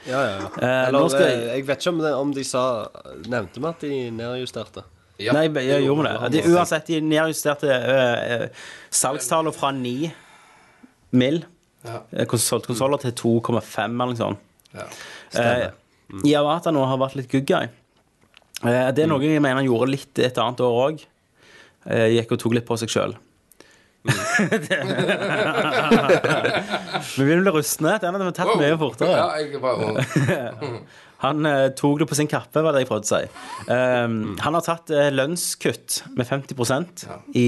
Ja, ja, ja. Eh, Eller, nå skal jeg- eh, jeg vet ikke om, det, om de sa Nevnte vi at de nedjusterte? Ja. Nei, jeg, gjorde vi det? De, uansett, de nedjusterte uh, salgstallene fra 9 mill. Ja. eh, kons- solgte konsoller til 2,5 eller noe sånt. Ja. Eh, Iawata nå har vært litt good guy. Eh, det er noe jeg mener han gjorde litt et annet år òg. Eh, gikk og tok litt på seg sjøl. Mm. [laughs] Vi begynner å bli rustne. Den hadde vi tatt mye fortere. Ja, jeg bare, Han eh, tok det på sin kappe, var det jeg prøvde å si. Um, Han har tatt eh, lønnskutt med 50 i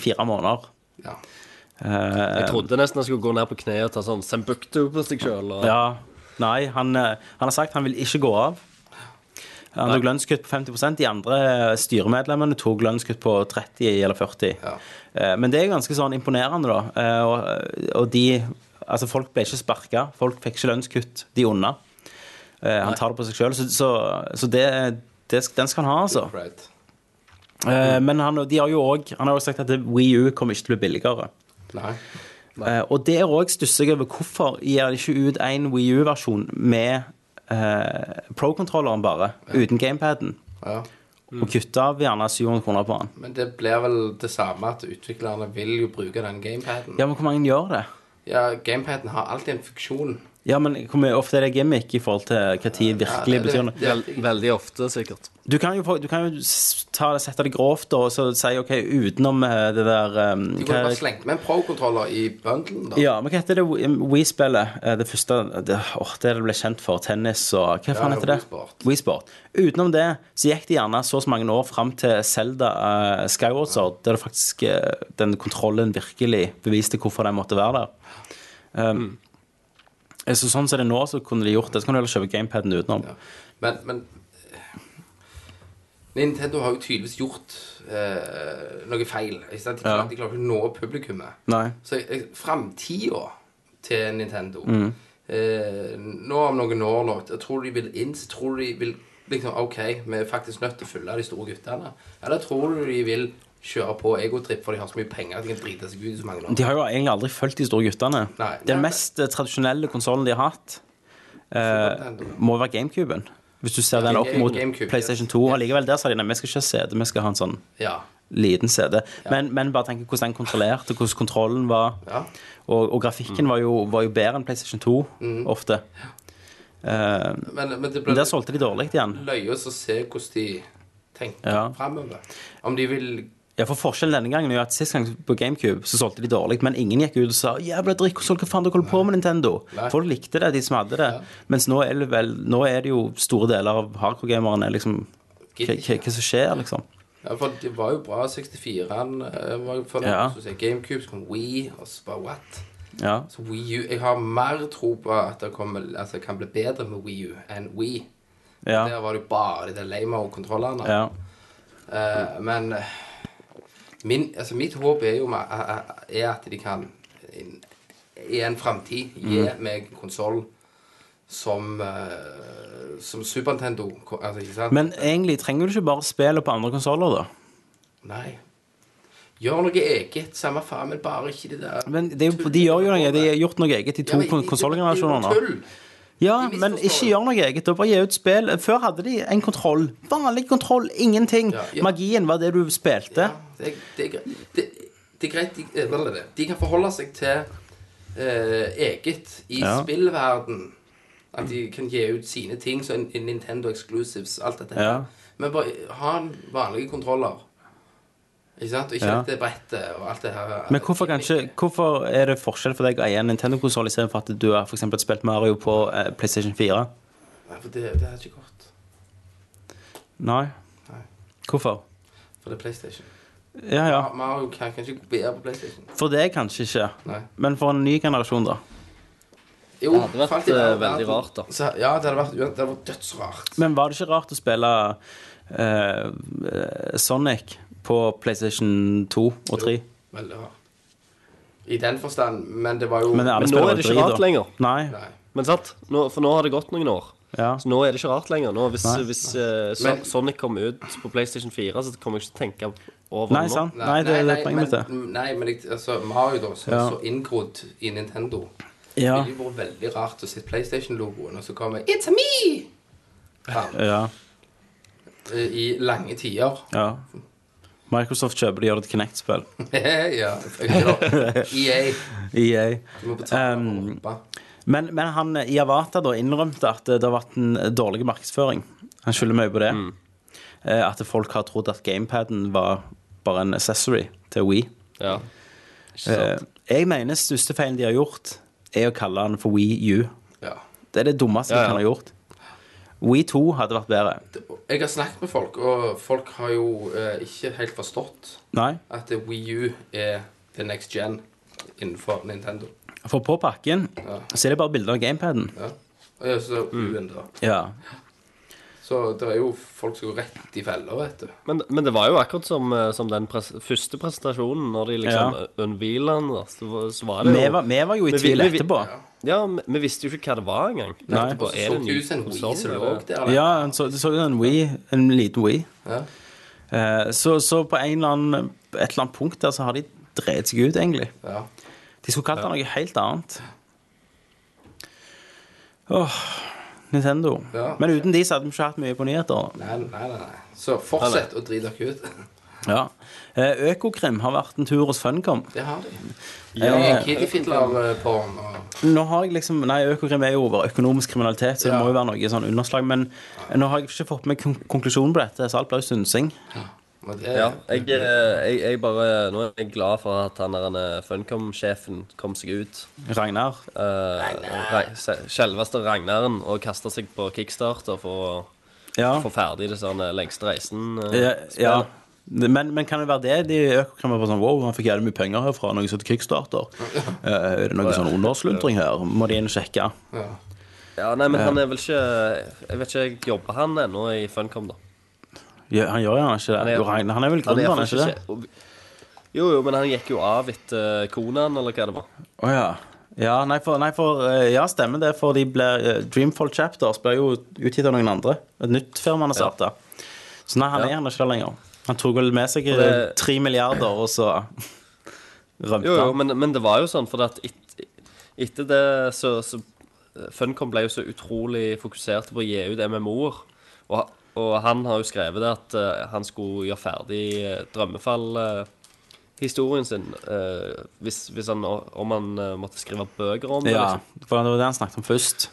fire måneder. Eh, ja. Jeg trodde nesten han skulle gå ned på kne og ta sånn Sembuktu på seg sjøl. Og... Ja, Nei, han, eh, han har sagt han vil ikke gå av. Han tok lønnskutt på 50 De andre eh, styremedlemmene tok lønnskutt på 30 eller 40 Ja. Eh, Men det er ganske sånn imponerende, da. Eh, Og, og de Altså, folk ble ikke sparka. Folk fikk ikke lønnskutt, de unna. Eh, Han tar det på seg sjøl, så, så, så det, det, sk- den skal han ha, altså. Right. Eh, Men han, de har jo også, han har jo sagt at Wii U kommer ikke til å bli billigere. Nei. Eh, og der òg stusser jeg over hvorfor gir de ikke ut en Wii U-versjon med eh, pro-kontrolleren bare, uten gamepaden. Ja. Og kutte av gjerne 700 kroner på den. Men det blir vel det samme at utviklerne vil jo bruke den gamepaden. Ja, men hvor mange gjør det? Ja, gamepaden har alltid en funksjon. Ja, men hvor mye ofte er det gimmick i forhold til hva tid virkelig det- betyr noe? det- Vel, veldig ofte, sikkert. Du kan jo, få- du kan jo s- ta, det- sette det grovt da, og så si OK, utenom eh, det der um, De kunne hva, bare slengt med en pro-kontroller i bundlen, da. Ja, men hva heter det We-spillet? eh, Det første det, åh, det det ble kjent for. Tennis og Hva faen ja, heter det? Wii Sport. Wii Sport. Utenom det så gikk det gjerne så og så mange år fram til Zelda eh, Skyward Sword, der det faktisk eh, den kontrollen virkelig beviste hvorfor den måtte være der. Um, Mm. Så sånn som det er nå, så kunne de gjort det. Så kan du heller kjøpe gamepaden utenom. Ja. Men, men eh, Nintendo har jo tydeligvis gjort eh, noe feil. Ikke sant? De, klarer, Ja. de klarer ikke å nå publikummet. Nei. Så eh, framtida til Nintendo Mm. eh, Nå om noen år nå, jeg tror de vil inn så Tror de vil liksom OK, vi er faktisk nødt til å følge de store guttene. Eller tror du de vil kjøre på egotripp for de har så mye penger at de kan drite seg ut i så mange år? De har jo egentlig aldri fulgt de store guttene. Nei. Den mest eh, tradisjonelle konsollen de har hatt, eh, må være GameCuben. Hvis du ser den opp mot GameCube, PlayStation yes. 2. Og likevel der sa de nei, vi skal ikke ha CD, vi skal ha en sånn Ja. liten CD. Men, men bare tenk hvordan den kontrollerte, hvordan kontrollen var. Ja. Og, og grafikken var, jo, var jo bedre enn PlayStation 2 ofte. Eh, Men, Mm. men det men ble der solgte de dårlig igjen. løye å se hvordan de tenker Ja. fremover Om de vil Ja, for Forskjellen denne gangen er jo at sist gang på GameCube så solgte de dårlig, men ingen gikk ut og sa 'jævla drittkonsoll, hva faen dere holder på med Nintendo'? Nei. Folk likte det, de som hadde det. Mens nå er det vel Nå er det jo store deler av hardcore-gamerne liksom Hva hva- hva som skjer, liksom? Ja, for det var jo bra. 64-en eh, var jo for Ja. noe, så sier GameCube, så kom Wii, og så bare what? Ja. Så Wii U Jeg har mer tro på at det kommer, altså, kan bli bedre med Wii U enn Wii. Der Ja. var det jo bare de der lame-kontrollene. ja. Eh, men eh, min, altså, mitt håp er jo med, eh, eh, er at de kan in- i en framtid Mhm. gi meg en konsoll som, eh, som Super Nintendo. ko- Altså, ikke sant? Men egentlig trenger du ikke bare spillet på andre konsoller, da. Nei. Gjør noe eget. Samme faen, men bare ikke det der. Men det er jo, de gjør jo noe. De har gjort noe eget i to kon- konsollgenerasjoner nå. Ja, De men ikke misforstår gjør noe eget. Da bare gi ut spill. Før hadde de en kontroll. Vanlig kontroll, ingenting. Ja, ja. Magien var det du Det, spilte. det, er- det, er greit. det, det er greit. De, eh, hva er det? de kan forholde seg til eh, eget i Ja. spillverden. At de kan gi ut sine ting, så en- en Nintendo Exclusives, alt dette. her. Ja. Men bare ha en vanlige kontroller. Ikke sant? Og ikke Ja. dette brettet og alt det her. Men hvorfor, kan ikke, hvorfor er det forskjell for deg å eie en Nintendo-konsoll istedenfor at du har for eksempel spilt Mario på eh, PlayStation 4? Nei, for det, det er ikke godt. Nei. Nei. Hvorfor? For det er PlayStation. Ja, ja. Mario kan, kan ikke kopiere på PlayStation. For det kanskje ikke. Nei. Men for en ny generasjon, da. Jo, Det hadde vært, faktisk, det eh, hadde vært- veldig rart, da. Så, ja, det hadde vært, det hadde vært dødsrart. Men var det ikke rart å spille eh, eh, Sonic på PlayStation 2 og 3? Veldig rart. I den forstand, men det var jo Men alle Men nå spiller er det jo ikke drit, rart da. lenger. Nei. Nei. Men sant? Nå, for nå har det gått noen år. Ja. Så Altså, nå er det ikke rart lenger. Nå, hvis Nei. hvis eh, So- Men- Sonic kommer ut på PlayStation 4, så kommer jeg ikke til å tenke over Nei, det nå. sant? Nei, det er det er poenget mitt, det. men, Nei, men jeg- altså, Mario, da, som Ja. er så inngrodd i Nintendo Ja. Det ville vært veldig rart å se PlayStation-logoen, og så kommer It's me! Fram, ja. eh, I lange tider. [laughs] ja. Microsoft kjøper det, gjør det til Kinect-spill. ja. [laughs] selvfølgelig. EA. EA. E Du må betale for å E Um, hoppe. Men, men han eh, Iavata da innrømte at eh, det har vært en dårlig markedsføring. Han skylder mye på det. Mm. Eh, At folk har trodd at gamepaden var bare en accessory til Wii. Ja. Ikke Eh, sant? Jeg mener største feilen de har gjort, er å kalle den for Wii U. Ja. Det er det dummeste Ja, ja. de kan ha gjort. Wii 2 hadde vært bedre. Jeg har snakket med folk, og folk har jo eh, ikke helt forstått Nei. at Wii U er the next gen innenfor Nintendo. For på pakken Ja. så er det bare bilder av gamepaden. Ja. Og jeg så Mm. U-en da. Ja. Så det er jo folk som går rett i feller, vet du. Men, men det var jo akkurat som, eh, som den pres første presentasjonen, når de liksom Ja. ja. unveila den. da, Så, var- så var det Vi jo var, vi var jo i Men vi- tvil men vi- etterpå. Ja, vi, vi visste jo ikke hva det var engang. Nei. Etterpå, Og så er så det det ut som en Wii konsoll, som lå eller? der. Ja, en så, så en Wii, en liten Wii. Ja. Eh, Så, så på en eller annen, et eller annet punkt der så har de drevet seg ut, egentlig. ja. De skulle kalt det noe helt annet. Åh, Nintendo. Ja. Men uten de så hadde vi ikke hatt mye på nyheter. Nei, nei, nei. nei. Så fortsett å drite dere ut. [laughs] Ja. Eh, Økokrim har vært en tur hos Funcom. Det har de. Eh, Kiddyfidler-porn eh, og nå har jeg liksom Nei, Økokrim er jo over økonomisk kriminalitet, så det Ja. må jo være noe sånn underslag. Men nå har jeg ikke fått med kon konklusjonen på dette, så alt blir jo synsing. og det, Ja, jeg, eh, jeg, jeg bare, nå er jeg glad for at han der han, eh, Funcom-sjefen kom seg ut. Ragnar. Ragnar. Eh, Selveste Ragnaren og kasta seg på kickstarter for å Ja. få ferdig det sånn eh, lengste reisen. eh, ja, ja. spillet. Men, men kan det være det de i Økokrim er bare sånn Wow, han fikk jævlig mye penger her fra noe som heter Kickstarter. Eh, er det noe sånn undersluntring her? Må de inn og sjekke? ja. ja, nei, men han er vel ikke Jeg vet ikke, jobber han ennå i Funcom, da? Ja, han gjør gjerne ikke det. Jo, Ragnar, han er vel gründeren, er ikke det? ikke Jo, jo, men han gikk jo av etter konaen, eller hva det var. Å ja. Ja, nei, for, nei, for eh, Ja, stemmer det, for de ble, eh, Dreamfall Chapters ble jo utgitt av noen andre. Et nytt firma han har starta. Så nei, han Ja. er gjerne ikke der lenger. Han tok vel med seg eh, det- tre milliarder, og så rømte Jo, jo, han. men, men det var jo sånn, for at et, etter det så, så eh, Funcom ble jo så utrolig fokusert på å gi ut MMO-er. Og, ha- og han har jo skrevet det at eh, han skulle gjøre ferdig eh, Drømmefall-historien sin. eh, hvis, hvis han, om han eh, måtte skrive bøker om det. Ja, liksom. for det var det han snakket om først.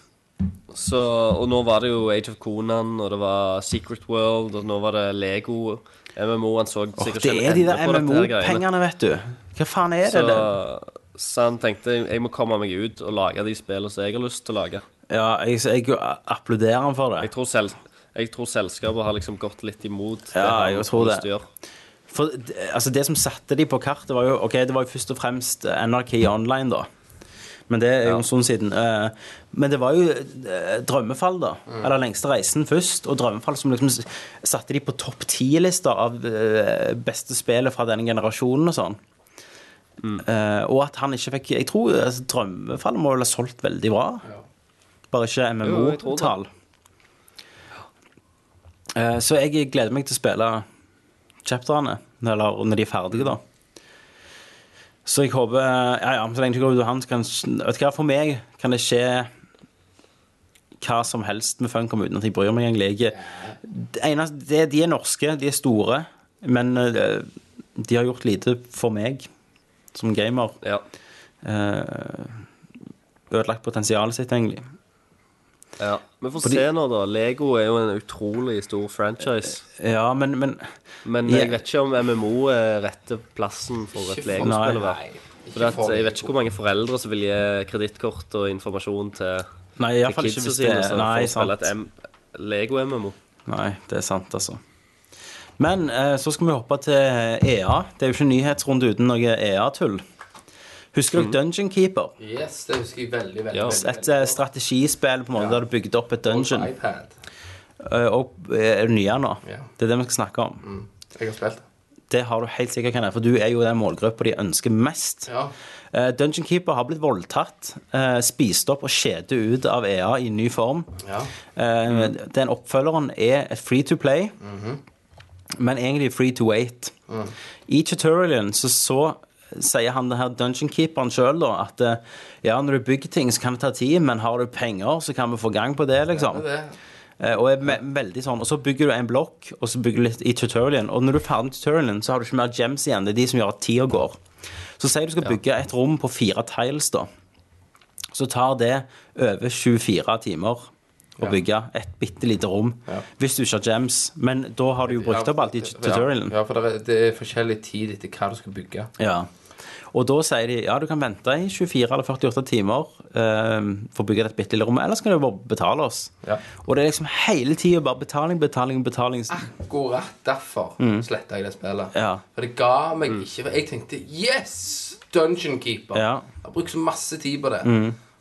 Så, og nå var det jo Age of Conan, og det var Secret World, og nå var det Lego. MMO, han så Åh, sikkert det ikke en er de ende der på dette her greiene. MMO-pengene, vet du. Hva faen er det? Så, det? så han tenkte jeg må komme meg ut og lage de spillene som jeg har lyst til å lage. Ja, jeg, jeg applauderer han for Jeg det. tror, sel jeg tror selskapet har liksom gått litt imot Ja, han jeg tror har lyst det. til å gjøre. For det- altså, det som satte de på kartet, var jo Ok, det var jo først og fremst eh, NRK Online, da. Men det er jo en stund siden. Eh, Men det var jo eh, Drømmefall, da. Mm. Eller Lengste reisen først. Og Drømmefall som liksom s- satte de på topp ti-lista av eh, beste spillet fra denne generasjonen og sånn. Mm. Eh, og at han ikke fikk Jeg tror altså, Drømmefall må vel ha solgt veldig bra. Bare ikke Jo, jeg tror det. MMO-tall. Eh, så jeg gleder meg til å spille chapterne, eller når de er ferdige, da. Så jeg håper Ja, ja, så lenge det går ut av han, så kan Vet du hva, for meg kan det skje hva som helst med Funcom uten at jeg bryr meg egentlig. Jeg, det eneste, det, de er norske, de er store, men eh, de har gjort lite for meg som gamer. Ja. Eh, ødelagt potensialet sitt, egentlig. Ja. Vi får Fordi- se nå, da. Lego er jo en utrolig stor franchise. Ja, men, men Men Ja. jeg vet ikke om MMO er rette plassen for et Ikke for- Lego-spill Nei. å være. Ikke For at for- jeg vet ikke hvor mange foreldre som vil gi kredittkort og informasjon til, Nei, til iallfall ikke kidsa hvis det sine som Nei, får spille sant. et M- Lego-MMO. Nei, det er sant, altså. Men eh, så skal vi hoppe til EA. Det er jo ikke en nyhetsrunde uten noe EA-tull. Husker dere Dungeon Keeper? Yes, det husker jeg veldig, veldig. Ja, veldig, Et veldig eh, godt. strategispill på en måte der Ja. du bygde opp et dungeon. Og på iPad. Eh, Og eh, er du nye nå? Ja. Det er det vi skal snakke om. Mm. Jeg har spilt. Det har du helt sikkert, Kenneth, for du er jo den målgruppa de ønsker mest. Ja. Eh, Dungeon Keeper har blitt voldtatt, eh, spist opp og skjedet ut av EA i ny form. Ja. Mm. Eh, Den oppfølgeren er et free to play, Mhm. men egentlig free to wait. Mm. I tutorialen så, så sier han det her Dungeon Keeperen sjøl da at eh, ja, når du bygger ting, så kan det ta tid, men har du penger, så kan vi få gang på det, liksom. Det er det. Eh, Og er me- veldig sånn, og så bygger du en blokk, og så bygger du litt i tutorialen. Og når du er ferdig med tutorialen, så har du ikke mer gems igjen. Det er de som gjør at tida går. Så sier du skal bygge et rom på fire tiles, da. Så tar det over 24 timer å bygge et bitte lite rom. Ja. Hvis du ikke har gems. Men da har du jo brukt Ja, opp alt i for- tut- tutorialen. Ja, for det er, det er forskjellig tid etter hva du skal bygge. Ja. Og da sier de ja, du kan vente i 24 eller 48 timer eh, for å bygge dette bitte lille rommet, ellers kan du bare betale oss. Ja. Og det er liksom hele tida bare betaling, betaling, betaling. Akkurat derfor sletta jeg det spillet. Mm. Ja. Mm. For det ga meg ikke For jeg tenkte Yes! Dungeon Keeper. Ja. Mm. Jeg har brukt så masse tid på det.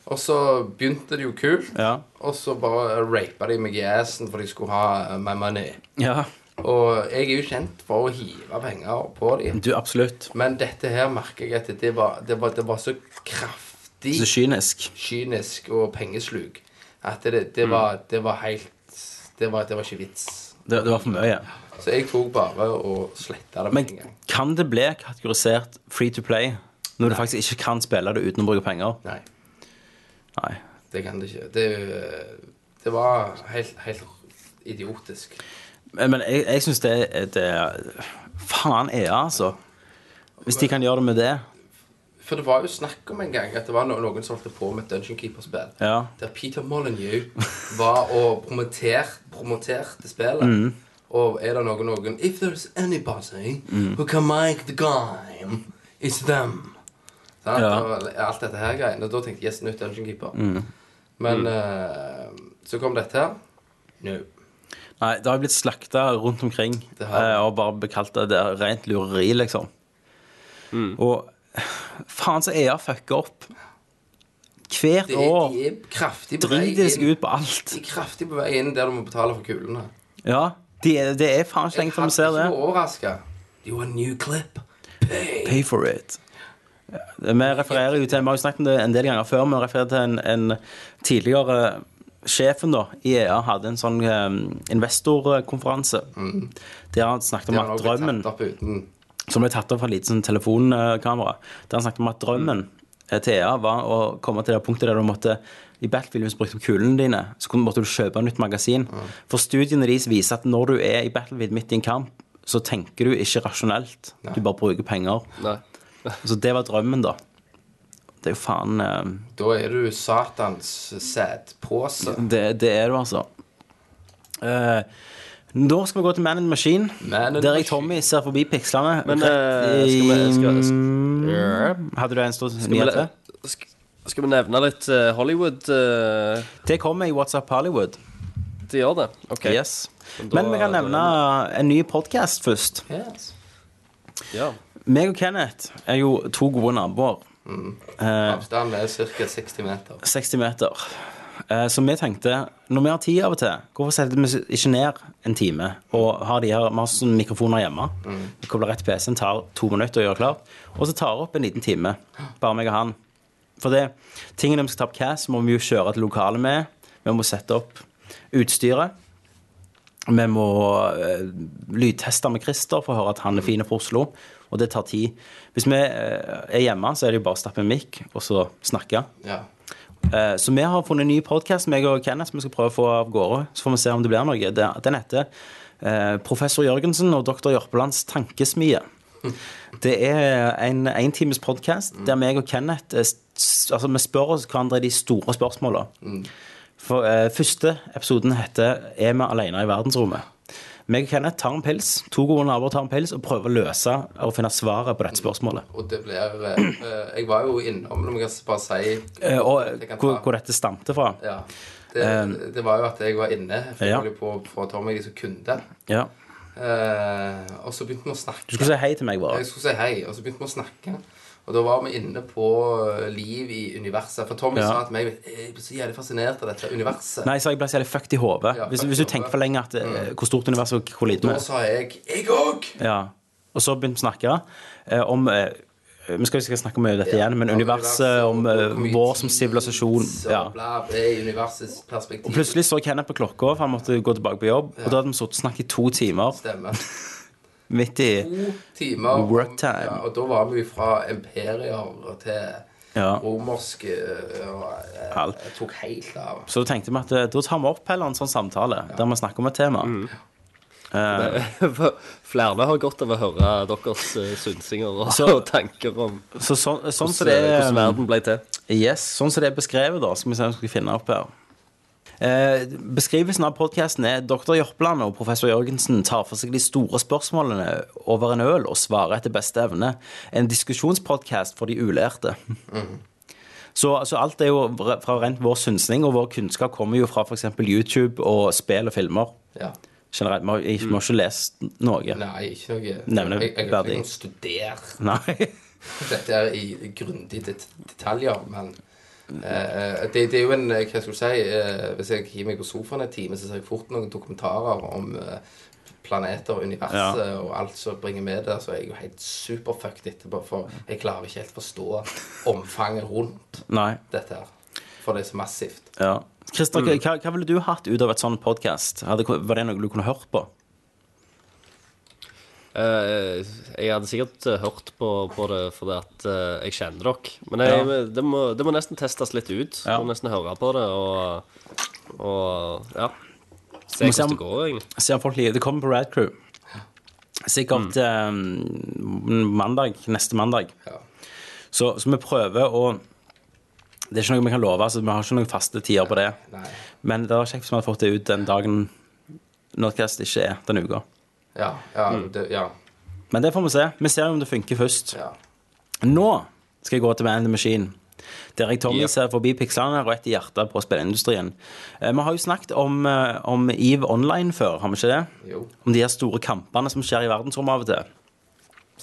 Og så begynte det jo kult, Ja. og så bare rapa de meg i assen for de skulle ha eh, my money. Ja, Og jeg er jo kjent for å hive penger på de. du absolutt. Men dette her merker jeg at det var, det var, det var så kraftig Så kynisk. kynisk og pengesluk at det, det, Mm. var, det var helt det var, det var ikke vits. Det, det var for mye. Så jeg tok bare og sletta det med Men en gang. kan det bli kategorisert free to play når du faktisk ikke kan spille det uten å bruke penger? Nei, Nei. det kan det ikke. Det, Det var helt, helt idiotisk. Men men jeg, jeg syns det, er- det er Faen EA, altså. Hvis de kan gjøre det med det. For det var jo snakk om en gang at det var no- noen som holdt på med et Dungeon Keeper-spill. Ja. Der Peter Molyneux var og promoter, promoterte spillet. Mm. Og er det noen noen If there's anybody Mm. who can make the game, it's them. Sant? Ja. Mm. Og alt dette her greiene. Og da tenkte jeg yes, nytt Dungeon Keeper. Men eh, så kom dette her. No. Nei, det har blitt slakta rundt omkring. Det har det. eh, Og bare bekalt det det er rent lureri, liksom. Mm. Og faen så EA fucker opp. Hvert Det er, år de er kraftig på vei driter de seg inn. ut på alt. De er kraftig på vei inn der du må betale for kulene. Ja, de er- det er faen ikke lenge før vi ser det. Jeg hadde ikke overraska. Do you want new clip? Pay. Pay for it. Vi refererer jo til, vi har jo snakket om det en del ganger før, vi refererer til en, en tidligere sjefen da, i EA hadde en sånn eh, investorkonferanse der Mm. han snakket om Det har at nok blitt drømmen, tatt opp uten. som ble tatt opp fra et lite sånn telefonkamera, der han snakket om at drømmen eh, til EA var å komme til det punktet der du måtte i Battlefield hvis du brukte opp kulene dine, så kunne- måtte du kjøpe nytt magasin. For studiene deres viser at når du er i Battlefield midt i en kamp, så tenker du ikke rasjonelt. Du bare bruker penger. Nei. Så det var drømmen, da. Det er jo faen eh, Da er du Satans sædpose. Det, det er du, altså. Eh, nå skal vi gå til Man in the Machine, Man in der the jeg, Tommy, ser forbi pikslene. Men eh, rett i- Mm. skal vi skal, skal, Hadde du en stor skal, nyhet til? vi- sk- skal vi nevne litt eh, Hollywood? eh, Det kommer i WhatsApp Hollywood. de gjør det? OK. Yes. Men da- Men vi kan nevne en ny podkast først. Yes. Ja. Meg og Kenneth er jo to gode naboer. Eh, Avstanden er ca. 60 meter. 60 meter. Eh, Så vi tenkte, når vi har tid av og til, hvorfor setter vi ikke ned en time og har de her masse sånne mikrofoner hjemme? Vi Kobler rett til PC-en, tar to minutter å gjøre klart, og så tar det opp en liten time. Bare meg og han. For det, tingene vi skal ta opp cast, må vi jo kjøre til lokalet med. Vi må sette opp utstyret. Vi må eh, lydteste med Christer for å høre at han er fin for Oslo, og det tar tid. Hvis vi eh, er hjemme, så er det jo bare å stappe en mikk og så snakke. Ja. Eh, Så vi har funnet en ny podkast, meg og Kenneth, som vi skal prøve å få av gårde. Så får vi se om det blir noe. Det- Den heter eh, 'Professor Jørgensen og doktor Jørpelands tankesmie'. Det er en entimes podkast der meg og Kenneth eh, s- s- Altså, vi spør oss hverandre de store spørsmåla. For eh, første episoden heter 'Er vi alene i verdensrommet?' Meg og Kenneth tar en pils, to gode naboer tar en pils og prøver å løse og finne svaret på dette spørsmålet. Og det blir eh, eh, Jeg var jo innom, når jeg bare si Eh, Og Jeg kan ta- hvor, hvor dette stamte fra. ja. det, det var jo at jeg var inne. Jeg eh, Ja. holdt jo på å få ta meg som kunde. Ja. Eh, og så begynte vi å snakke. Du skulle si hei til meg, bare. Jeg skulle si hei, og så begynte vi å snakke. Og da var vi inne på eh, liv i universet. For Tommy Ja. sa til meg Jeg blir så jævlig fascinert av dette universet. Nei, så jeg ble så jævlig fucked i hodet. Ja, hvis, fucked hvis du i tenker hodet. for lenge at eh, hvor stort universet og hvor lite Da vi er. sa jeg 'jeg òg'. Ja. Og så begynte vi å snakke eh, om eh, Vi skal ikke snakke mye om eh, dette igjen, men Ja, universet, om og hvor eh, mye vår som tid, sivilisasjon. så Ja. Bla, det er universets perspektiv. Og plutselig så Kenneth på klokka, for han måtte gå tilbake på jobb. Og da hadde vi sittet og snakket i to timer Stemmer. midt i To timer. om- Work time. Ja, og da var vi fra imperier til Ja. romerske eh, og jeg, Alt. jeg tok helt av. Så da tenkte vi at eh, da tar vi opp heller en sånn samtale der vi snakker om et tema. [laughs] Mm. Flere har godt av å høre deres eh, synsinger og, Så- [laughs] og tanker om Så sånn, sånn som hvordan, det er hvordan verden ble til. Yes, sånn som det er beskrevet da Skal vi se om vi skal finne opp her Eh, beskrivelsen av podcasten er Dr. Jørpland og professor Jørgensen tar for seg de store spørsmålene over en øl og svarer etter beste evne. En diskusjonspodcast for de ulærte. Så altså, alt er jo re- fra rent vår synsning, og vår kunnskap kommer jo fra for eksempel YouTube og spill og filmer. Ja. Generelt, vi har, vi har ikke lest noe. Nei, ikke noe Nevneverdig. Jeg, jeg har ikke noe studert Nei. [laughs] dette er i grundige det- detaljer, men eh, eh, det, det er jo en eh, Hva skal du si? eh, hvis jeg hiver meg på sofaen en time, så ser jeg fort noen dokumentarer om eh, planeter og universet og alt som bringer med det, så er jeg jo helt superfucked etterpå, for jeg klarer ikke helt forstå omfanget rundt Nei. dette her. For det er så massivt. Ja. Christer, hva, hva ville du hatt ut av et sånt podcast? Hadde, var det noe du kunne hørt på? Eh, jeg hadde sikkert eh, hørt på, på det fordi at eh, jeg eh, kjenner dere. Men jeg, det, må, det må nesten testes litt ut. Ja. Må nesten høre på det og Og ja. Se hvordan det går, egentlig. Se om folk liker det. Kommer på Rad Crew. Sikkert Mm. eh, mandag, neste mandag. Ja. Så, så vi prøver å Det er ikke noe vi kan love, altså, vi har ikke noen faste tider på det. Nei. Men det var kjekt hvis vi hadde fått det ut den dagen Nordcast ikke er denne uka. Ja. Ja. Mm. Det, ja, Men det får vi se. Vi ser jo om det funker først. ja. Nå skal jeg gå til Man in the Machine. Der jeg Tommy Yep. ser forbi pikslene og ett i hjertet på spilleindustrien. Eh, Vi har jo snakket om, eh, om EVE Online før, har vi ikke det? Jo. Om de her store kampene som skjer i verdensrommet av og til.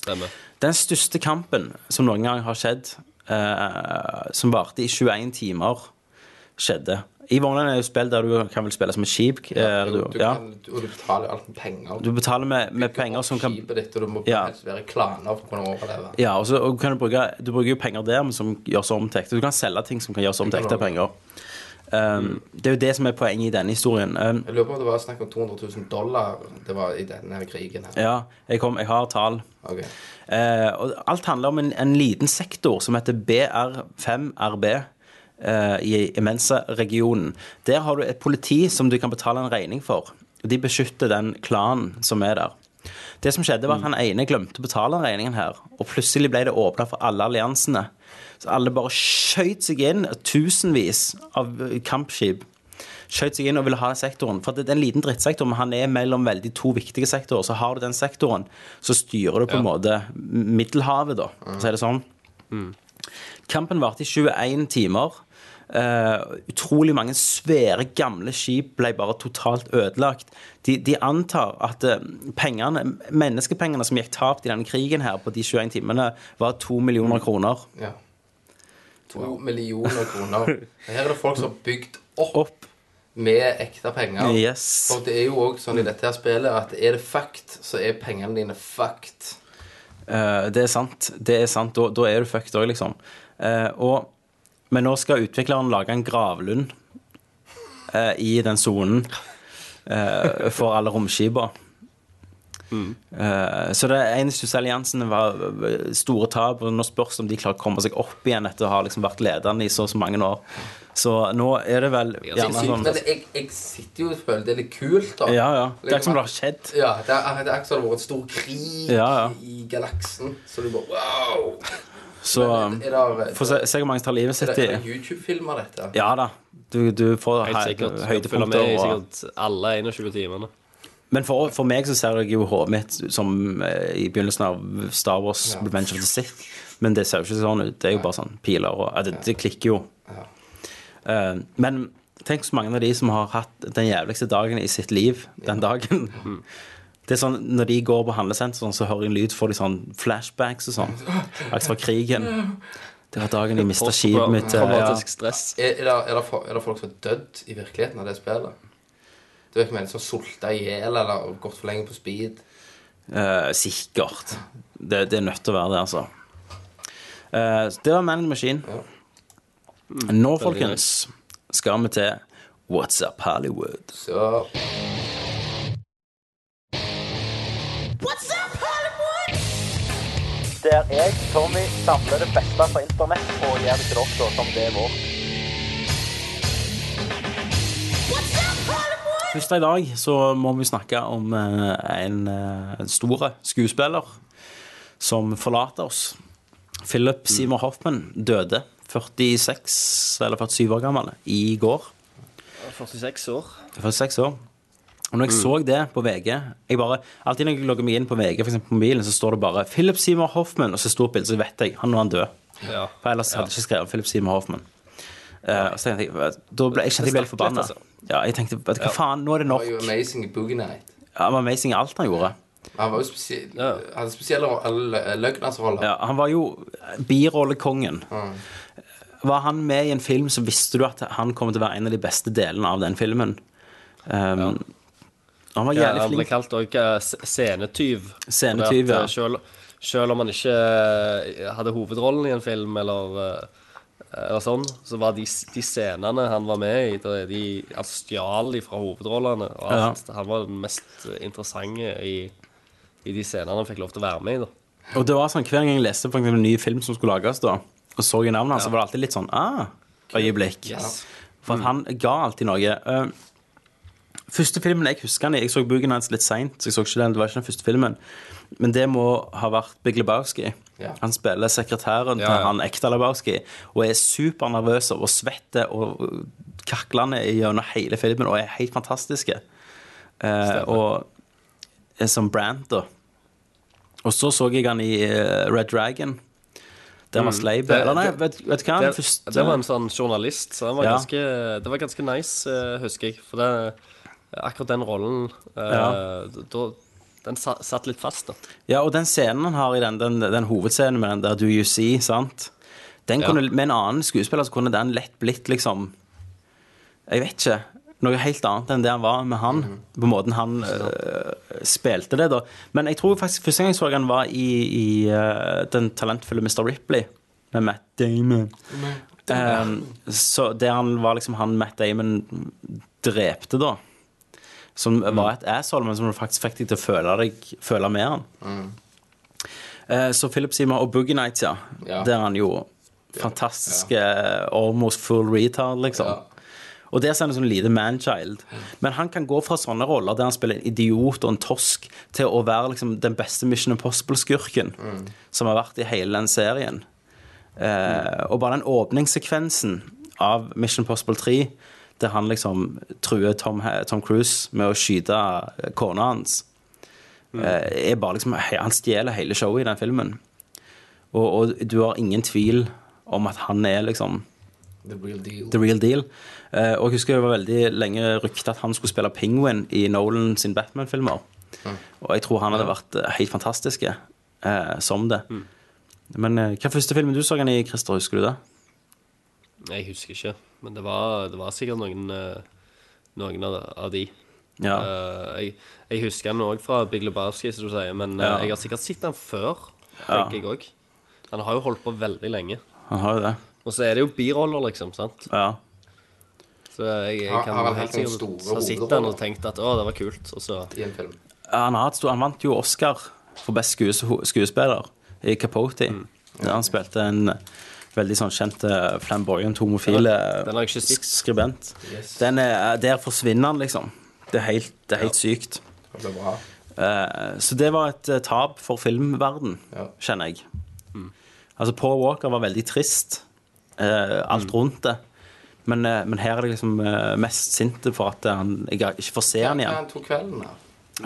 Stemmer. Den største kampen som noen gang har skjedd, eh, som varte i 21 timer, skjedde. I Vågland er jo spill der du kan vel spille som et skip. eh, Du, du, du ja. kan, og du betaler alt med penger. du betaler med, med penger som kan Skipet ditt, og du må Ja. helst være i klaner for å kunne overleve. Ja, og så og kan du bruke Du bruker jo penger der men som gjøres om til ekte. Du kan selge ting som kan gjøres om til ekte penger. Um, det er jo det som er poenget i denne historien. Um, Jeg lurer på om det var snakk om 200 000 dollar det var i denne krigen her. ja, jeg, kom, jeg har tall. Ok. Eh, og alt handler om en, en liten sektor som heter BR5RB eh, i Imensa-regionen. Der har du et politi som du kan betale en regning for. Og de beskytter den klanen som er der. Det som skjedde, var at han ene glemte å betale den regningen her. Og plutselig ble det åpna for alle alliansene. Så alle bare skjøt seg inn, tusenvis av eh, kampskip skjøt seg inn og ville ha den sektoren. For det er en liten drittsektor, men han er mellom veldig to viktige sektorer. Så har du den sektoren, så styrer du på en måte Middelhavet, da, for å si det sånn. Kampen varte i 21 timer. Eh, utrolig mange svære, gamle skip ble bare totalt ødelagt. De, de antar at eh, pengene, menneskepengene som gikk tapt i denne krigen her på de 21 timene, var to millioner kroner. Ja. To millioner kroner. [laughs] Her er det folk som har bygd opp, Opp. med ekte penger. Yes. Mm. Og det er jo òg sånn i dette her spillet at er det fucked, så er pengene dine fucked. Eh, det er sant. Det er sant. Da, da er du fucked òg, liksom. Eh, og, men nå skal utvikleren lage en gravlund eh, i den sonen eh, for alle romskipa. Mm. Eh, så det ene alliansen var eh, store tap, og nå spørs det om de klarer å komme seg opp igjen etter å ha liksom vært ledende i så og så mange år. Så nå er det vel Jeg, gjerne synes- sånn men jeg, jeg sitter jo og føler det er litt kult, da. Ja, ja. Det er ikke som det har skjedd. Ja, det er, det er ikke som det har vært en stor krig Ja, ja. i galaksen. Så du bare wow! Så eh, Men er det, får se, se hvor mange tar livet er sitt det, i. er det YouTube-film av dette? Ja da. Du, du får Helt sikkert. hø- Jeg følger med i høydepunkter. og- sikkert alle 21 timene. Men for, for meg så ser jeg jo hodet mitt som eh, i begynnelsen av Star Wars Ja. Revenge of the Sith. Men det ser jo ikke sånn ut. Det er jo bare sånn piler og ja, det, det klikker jo. Ja. Eh, men tenk så mange av de som har hatt den jævligste dagen i sitt liv den dagen. [laughs] Det er sånn, Når de går på handlesenteret, så hører jeg en lyd, får de sånn flashbacks og sånn. [laughs] Akkurat fra krigen. Det var dagen jeg mista skipet mitt. eh, ja. Posttraumatisk stress. Er, er, det, er, det, fo- er det folk som er dødd i virkeligheten av det spillet? Du vet ikke, men som sulta i hjel eller gått for lenge på speed? Eh, sikkert. Det, det er nødt til å være det, altså. Eh, så det var Man in the Machine. Nå, folkens, skal vi til What's Up Hollywood. Så Der jeg, Tommy, samler det beste fra internett og gjør det til dere som det er vårt. Først i dag så må vi snakke om eh, en, eh, en stor skuespiller som forlater oss. Philip Seymour Hoffman døde 46 eller 47 år gammel i går. 46 år. For seks år. Og når jeg så det på VG jeg bare, Alltid når jeg logger meg inn på VG, for eksempel på mobilen, så står det bare 'Philip Seymour Hoffman', og så stort bilde, så vet jeg han nå er han død. Ja. For ellers hadde jeg ikke skrevet 'Philip Seymour Hoffman'. Eh, og så tenkte jeg, da ble, jeg kjente jeg ble litt Det stakk litt, forbanna. altså. Ja, jeg tenkte vet du hva faen, nå er det Han nok. var jo amazing i Boogie Night. Ja, det var amazing alt han gjorde. Han var jo spesiell, Ja. han hadde spesielle ro- eller, eh, løgnersroller. Ja, han var jo birollekongen. Var han med i en film, så visste du at han kom til å være en av de beste delene av den filmen. Um, Han var Ja, jævlig han ble flink. kalt òg scenetyv. Scenetyv, Fordi at, ja. eh, Selv, selv om han ikke eh, hadde hovedrollen i en film eller, eh, eller sånn, så var de, de scenene han var med i, da de han stjal de fra hovedrollene. Og alt. Han var den mest interessante i, i de scenene han fikk lov til å være med i. da. Og det var sånn, Hver gang jeg leste for eksempel, en ny film som skulle lages, da, og så i navnet hans, så var det alltid litt sånn ah, øyeblikk. Yes. For at han ga alltid noe. Eh, første filmen jeg husker han i Jeg så boken hans litt seint, så jeg så ikke den. Det var ikke den første filmen. Men det må ha vært Big Lebowski. Ja. Han spiller sekretæren til Ja, ja. han ekte Lebowski og er supernervøs og svetter og kaklende gjennom hele filmen og er helt fantastiske. Eh, og er som brand, da. Og så så jeg han i eh, Red Dragon. Der var Slave Mm. Det- Eller nei, det- vet, vet du hva? Det, Den første- det var en sånn journalist, så han var Ja. ganske, det var ganske nice, eh, husker jeg. For det, akkurat den rollen eh, Ja. da, Den sa, satt litt fast, da. Ja, og den scenen han har i den, den, den hovedscenen med den der Do You See, sant? Den Ja. kunne, Med en annen skuespiller så kunne den lett blitt liksom Jeg vet ikke. Noe helt annet enn det han var med han. Mhm. På måten han øh, spilte det, da. Men jeg tror faktisk første gang jeg så han var i, i øh, den talentfulle Mr. Ripley med Matt Damon. Um, så der han var liksom han Matt Damon drepte, da. Som var et asshole, men som du faktisk fikk deg til å føle, deg, føle med han. Eh, så Philip Seymour og Boogie Nights, ja. Ja. Der han jo fantastiske Almost full retard, liksom. Ja. Og der ser han ut som en liten manchild. Men han kan gå fra sånne roller der han spiller en idiot og en tosk, til å være liksom den beste Mission Impossible-skurken som har vært i hele den serien. Eh, og bare den åpningssekvensen av Mission Impossible 3, der han liksom truer Tom, Tom Cruise med å skyte kona hans, eh, er bare liksom he- Han stjeler hele showet i den filmen. Og, og du har ingen tvil om at han er liksom The real deal. The Real Deal. Eh, og jeg husker det var veldig lenge ryktet at han skulle spille Penguin i Nolan sin Batman-filmer. Og jeg tror han hadde vært eh, helt fantastisk eh, som det. Men eh, hva første filmen du så han i, Christer? Husker du det? Jeg husker ikke, men det var, det var sikkert noen, eh, noen av, av de. Ja. Eh, jeg, jeg husker han òg fra Big Lebowski, som du sier, men eh, Ja. jeg har sikkert sett han før. Ja. tenker jeg også. Han har jo holdt på veldig lenge. han har jo det. Og så er det jo biroller, liksom. sant? Ja. Så jeg, jeg Har- kan har han helt hatt sånne sikkert store ha sittet han hovedroller? og tenkt at å, det var kult, og så I en film. Han, har, hatt stor- han vant jo Oscar for best skues, skuespiller i Capote. Der han spilte en eh, veldig sånn kjent eh, flamboyant homofil Ja, den har jeg ikke sett. skribent. Yes. Den er, eh, der forsvinner han, liksom. Det er helt, det er helt sykt. Det ble bra. Eh, Så det var et eh, tap for filmverden, Ja. kjenner jeg. Altså, Paul Walker var veldig trist, eh, alt rundt det. Men, eh, men her er det liksom eh, mest sinte for at han, jeg ikke får se han Ja, igjen. Han tok kvelden, da.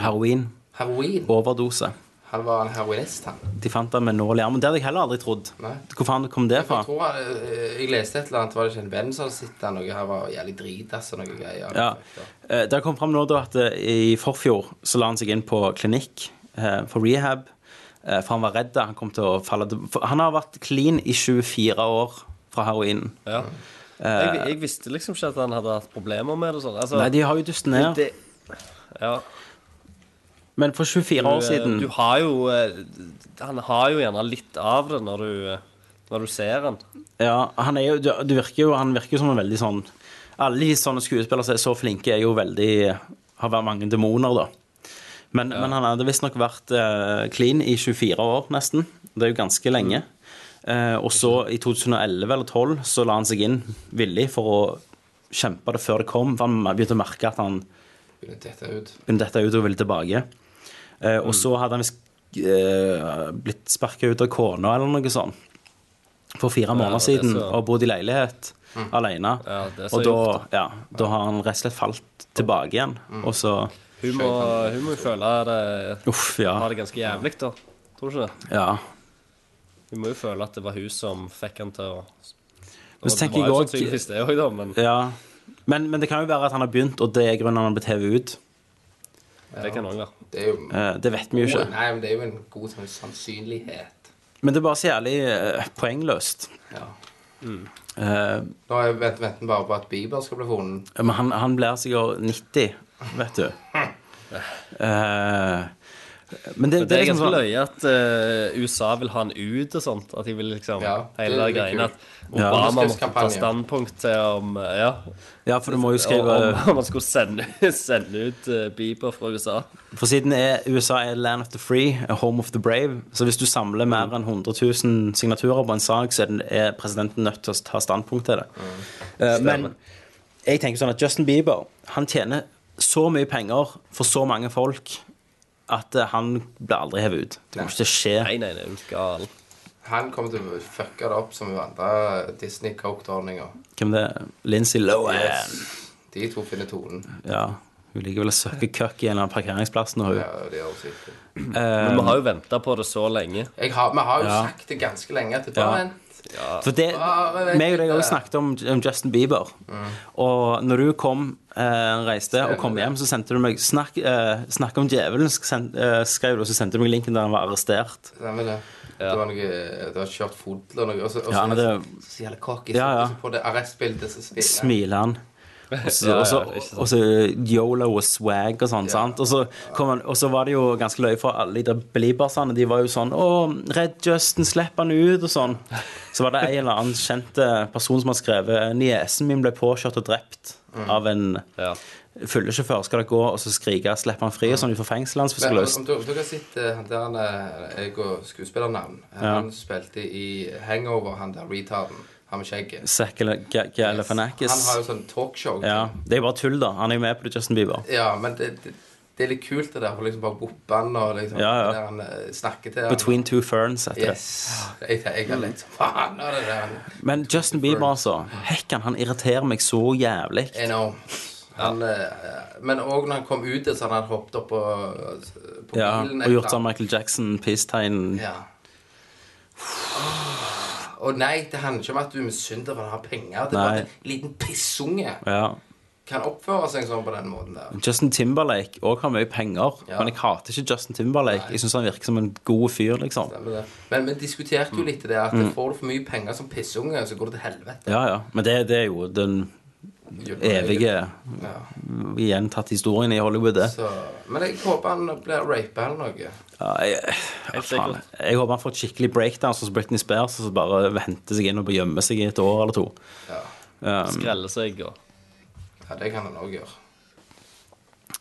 Heroin. Heroin. Overdose. Han var en heroinist, han. De fant han med nål i armen. Det hadde jeg heller aldri trodd. Nei. Hvor faen kom det fra? Jeg tror han, eh, jeg leste et eller annet, var det ikke en venn som hadde sett han, noe her var jævlig dritass og noe greier. Ja. Eh, Det har kommet fram nå da at eh, i forfjor så la han seg inn på klinikk eh, for rehab. eh, For han var redd han kom til å falle til- for Han har vært clean i 24 år fra heroinen. Ja. Eh. Jeg, jeg visste liksom ikke at han hadde hatt problemer med det. og sånn. Altså, Nei, de har jo dustet ned. det- ja, Men for 24 du, eh, år siden Du har jo eh, Han har jo gjerne litt av det når du, eh, når du ser han. Ja, han er jo du, du virker jo Han virker jo som en veldig sånn Alle de sånne skuespillere som er så flinke, er jo veldig Har vært mange demoner, da. Men, men han hadde visstnok vært eh, clean i 24 år, nesten. Det er jo ganske lenge. Eh, og så, i 2011 eller 2012, så la han seg inn villig for å kjempe det før det kom. For han begynte å merke at han Begynner dette ut. begynte dette ut og ville tilbake. Eh, og Mm. så hadde han visst eh, blitt sparka ut av kona eller noe sånt for fire måneder det er siden så- Mm. og bodd i leilighet alene. Ja, det er så og da, ja, da har han rett og slett falt tilbake igjen. Mm. Og så Hun må, hun må jo føle det, Uff, ja. ha det ganske jævlig, da. Tror du ikke det? ja. Hun må jo føle at det var hun som fikk han til å Men så Det tenker var jeg jo også- sannsynligvis det også, da, men ja. Men, men det kan jo være at han har begynt, og det er grunnen han har blitt hevet ut. det kan òg være. Det er jo Eh, det vet vi jo Oh, ikke. Nei, men det er jo en god sånn sannsynlighet. Men det er bare så jævlig eh, poengløst. Ja. Eh, Nå er- vent- venter vi bare på at Bieber skal bli funnet. Men han, han blir sikkert 90, vet du. Eh, men det, det Men er ganske liksom sånn løye at eh, USA vil ha han ut og sånt. At de vil liksom Ja, det Hele er den greien kult. at Obama måtte ta Underskriftskampanje. standpunkt til om eh, Ja. Ja, for du må jo Om, skrive om man skulle sende, [laughs] sende ut eh, Bieber fra USA. For siden er USA er land of the free, a home of the brave. Så hvis du samler mer enn 100 000 Mm. signaturer på en sak, så er, den, er presidenten nødt til å ta standpunkt til det. Eh, men Jeg tenker sånn at Justin Bieber Han tjener så mye penger for så mange folk at eh, han blir aldri hevet ut. Det kommer ikke til å skje. Nei, nei, nei, er du gal. Han kommer til å fucke det opp som hun andre Disney-coke-dronninger. Hvem det er? Lindsay Lohan. De to finner tonen. Ja, hun liker vel å søke køkk i en eller annen parkeringsplass når hun Ja, det gjør hun sikkert. Men vi har jo venta på det så lenge. Jeg har, vi har jo Ja. sagt det ganske lenge at det Ja. bare vent. For det, Ah, men- meg og deg har jo snakket om, om Justin Bieber. Og når du kom, eh, reiste og kom Mm. det. hjem, så sendte du meg Snakk, eh, snakk om djevelen, sk- send- eh, skrev du, og så sendte du meg linken der han var arrestert. Stemmer det? Det var noe Det var kjørt fodel og noe. Og så, og så, Ja, men det- så jævlig cocky. Ja, ja. Og så på det arrestbildet så smiler han. Smiler [laughs] han. Og så- Ja, ja, og så- ikke sant. Og så yolo og swag og sånn. sant? Og så, kom han, og så var det jo ganske løye for alle de der beliebersene. De var jo sånn Å, Red Justin, slipp han ut, og sånn. Så var det en eller annen kjent eh, person som har skrevet Niesen min ble påkjørt og drept av en Mm. Ja. fyllesjåfør skal det gå og så skrike 'slipp han fri' og sånn ut fra fengselet hans hvis du Men, har om, lyst. dere- om dere har sett eh, han der eh, jeg og skuespillernavn Han spilte i Hangover, han der retarden. Han med skjegget. Zac Gale- Ga- Galifianakis. Han har jo sånn talkshow. Ja, det er jo bare tull, da. Han er jo med på det, Justin Bieber. Ja, men det, det, det er litt kult det der for liksom bare boppe han og liksom Ja, ja. Der han eh, snakker til han. Between Two Ferns etter Yes. Jeg, jeg har litt som faen av det der. det. Men Justin Bieber, altså. Hekken, han irriterer meg så jævlig. Enormt. Han, eh, Men òg når han kom ut, så hadde han hoppet opp på, på Ja, bilen. og gjort sånn Michael Jackson, peace-tegn. Ja. Og nei, det handler ikke om at du misunner for han har penger. Det er Nei. bare at en liten pissunge Ja. kan oppføre seg sånn på den måten der. Justin Timberlake òg har mye penger, Ja. men jeg hater ikke Justin Timberlake. Jeg syns han virker som en god fyr, liksom. Stemmer det. Men vi diskuterte jo litt det at Mm. får du for mye penger som pissunge, så går det til helvete. Ja, ja. Men det, det er jo den Mm. evige Mm. Ja. gjentatte historien i Hollywood, det. Så, men jeg håper han blir rapet eller noe. Ja, jeg, ja, faen. sikkert. jeg håper han får et skikkelig breakdown som Britney Spears, og så bare henter seg inn og gjemmer seg i et år eller to. Ja, Skrelle seg og ja det kan han òg gjøre.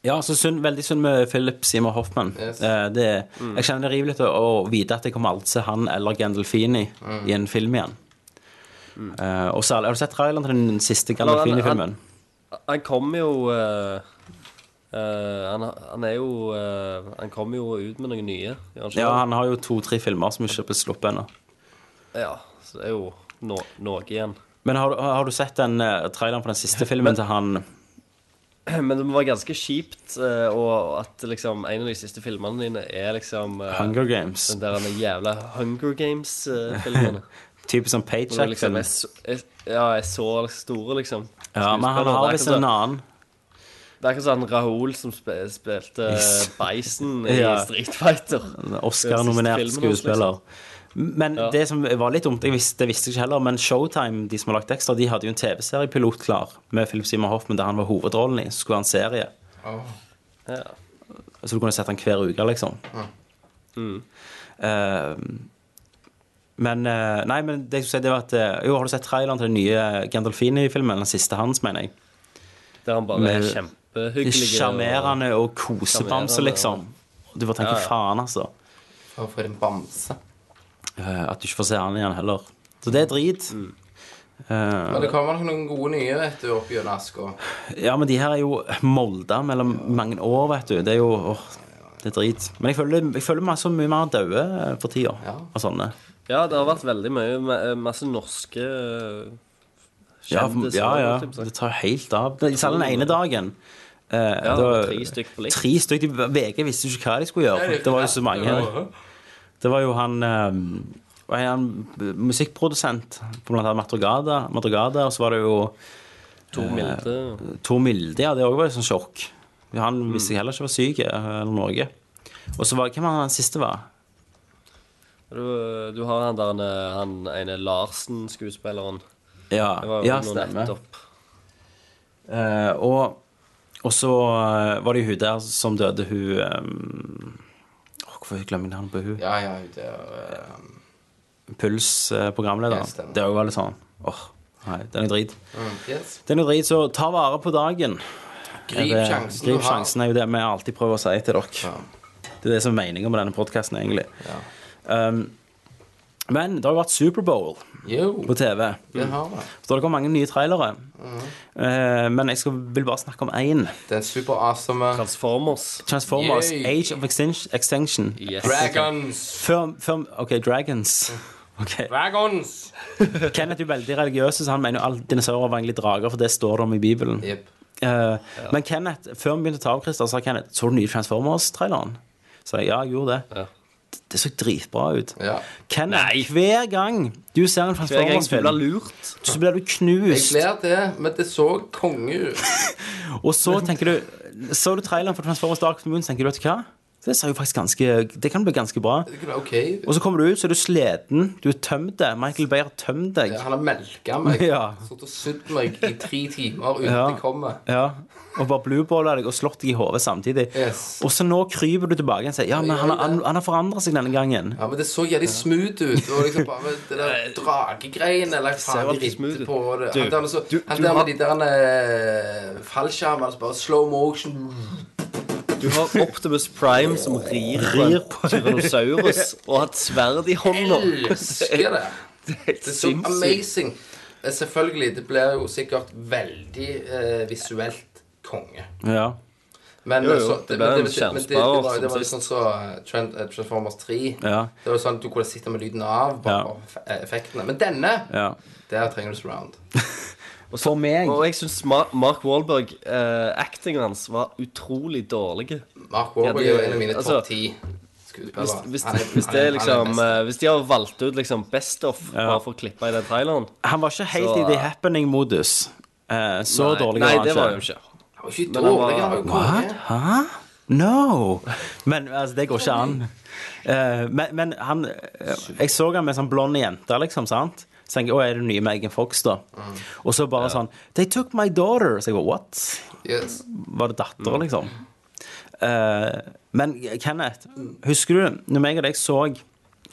Ja, så synd, Veldig synd med Philip Seymour Hoffman. Yes. Eh, det, Mm. Jeg kjenner det river litt å å vite at jeg kommer aldri til å se han eller Gandalfini Mm. i en film igjen. Eh, og særlig, Har du sett traileren til den siste han- Gandalfini-filmen? Han kommer jo eh, eh, han, han er jo eh, Han kommer jo ut med noen nye. Gjør han ikke Ja, det? Han har jo to-tre filmer som ikke er blitt sluppet ennå. ja, så det er jo no, noe igjen. [clears throat] Men har, du- har du sett den eh, traileren på den [laughs] siste filmen til han Men det må være ganske kjipt eh, og at liksom en av de siste filmene dine er liksom eh, Hunger Games? den der den jævla Hunger [laughs] Games-filmene. Typisk sånn Hvor det liksom paycheck-film. er, så- er, ja, er så store, liksom. Ja, men han skuespillere. har Det er visst en akkurat sånn- annen. Det er akkurat sånn Rahul som spe, spilte eh, Bison i [laughs] Ja. Street Fighter. Den Oscar-nominert siste filmen liksom. skuespiller. hans, Men det som var litt dumt, jeg visste, det visste jeg ikke heller, men Showtime, de som har lagt ekstra, de hadde jo en TV-seriepilot klar med Philip Seymour Hoffman, der han var hovedrollen i. Så skulle han en serie. Åh. Ja. Så du kunne sett han hver uke, liksom. Mm. Eh, men eh, Nei, men det jeg skulle si, det var at eh, Jo, har du sett traileren til den nye Gandolfini-filmen? Den siste hans, mener jeg. Der han bare Med- er kjempehyggelig. Sjarmerende og kosebamse, Sjarmerende, liksom. Du får tenke Ja, ja. faen, altså. Og for en bamse. Eh, at du ikke får se han igjen heller. Så det er Mm. drit. Eh, Men det kommer nok noen gode nye vet du, opp gjennom aska. ja, men de her er jo molda mellom mange år, vet du. Det er jo åh, det er drit. Men jeg føler, jeg føler meg så mye mer daue eh, for tida Ja. av sånne. Ja, det har vært veldig mye ma- masse norske eh, Ja, kjendiser. ja, ja. typ sagt. Det tar helt av. Det- Særlig den ene dagen. eh, Ja, det var- tre stykk på likt. Tre stykk. De- VG visste jo ikke hva de skulle gjøre. Det var jo så mange. Det var jo han eh, var han musikkprodusent på blant annet Madrugada, Madrugada og så var det jo eh, Tor Milde. Tor Milde, ja, det òg var et sånt sånn sjokk. Han visste jeg heller ikke var syk eh, eller noe. Og så var Hvem var han siste var? Du, du har han der eh, han ene Larsen-skuespilleren. Ja, Det var jo ja nå stemmer. nettopp. Eh, og, og så eh, var det jo hun der som døde, hun eh, åh, Hvorfor glemmer jeg navnet på hun? Ja, ja, det er eh, Puls-programlederen. Ja, stemmer. eh, det òg var litt sånn åh, nei, den er drit. mm, Yes. Den er drit, så ta vare på dagen. Grip Er det- sjansen du Grip har. sjansen er jo det vi alltid prøver å si til dere. Ja. Det er det som er meningen med denne podkasten, egentlig. Ja. Um, Men det har jo vært Superbowl Yo, på TV. det Mm. har vi. Så det kommer mange nye trailere. Eh, men jeg skal, vil bare snakke om én. Den superawesome Transformers. Transformers Yay. Age of Extin- Extinction. Yes. Dragons! Før, før, OK, [laughs] Dragons. Ok. Dragons! Kenneth er jo veldig religiøs, så han mener jo alle dinosaurer var egentlig drager, for det står det om i Bibelen. Jep. Eh, Men Kenneth, før vi begynte å ta av Christer, sa Kenneth så du den nye Transformers-traileren. Så jeg, ja, jeg gjorde det. Ja. Det så dritbra ut. Ja. Kenneth, hver gang du ser en Hver gang du blir Transformers-film, lurt. så blir du Jeg knust. gleder det, men det så konge ut. Og så tenker du Så du traileren for Transformers Dark Moon, så tenker du vet du hva? Det ser jo faktisk ganske Det kan bli ganske bra. Det kunne være OK. Og så kommer du ut, så er du sliten. Du er tømt. Michael Bay har tømt deg. Ja, Han har melka [laughs] meg. Ja. Stått og sydd meg i tre timer uten Ja. det kommer. Ja, og bare blueballa deg og slått deg i hodet samtidig. Yes. Og så nå kryper du tilbake igjen og sier ja, men han, har- han, han har forandra seg denne gangen. Ja, men det så jævlig smooth ut. Og liksom bare det der dragegreiene eller hva jo faen de alltid smooth ridde ut. på det. Du, Han der med, så, du- han du der har- med de der eh, fallskjermene som bare slow motion Du har Optimus Prime som rir på [laughs] en tyrannosaurus og har et sverd i hånda. Elsker [laughs] det. Helt Det er så sinnssykt. amazing. Eh, Selvfølgelig. Det blir jo sikkert veldig eh, visuelt konge. Ja. Men Jo, jo, så- det ble men det- men det- en det skjermsparer var- Det som var liksom så eh, Tran- eh, Transformers 3. Ja. Det var jo sånn Du kunne sitte med lyden av bare Ja. på f- eh, effektene. Men denne, ja. der trenger du surround. For meg Og jeg syns Mark Wahlberg, eh, actingen hans, var utrolig dårlig. Mark Warburg Ja, er det- jo en av mine altså, topp ti Hvis, skuespillere. hvis, Han er- hvis, han det er han er liksom, best. eh, hvis de har valgt ut liksom best of bare for å klippe i den traileren Han var ikke helt Så, i the happening-modus. Eh, så dårlig Nei, var han det ikke. var han jo ikke. Han var ikke eh, Men han var- dårlig, han var jo konge. Hæ? No! Men altså, det går ikke an. Eh, men, men han eh, Jeg så han med en sånn blond jente, liksom, sant? Så tenker jeg, å, er det den nye Megan Fox, da? Og så bare sånn They took my daughter! Så jeg bare, what? Yes. var det datter, Mm. liksom. Eh, men Kenneth, husker du når meg og deg så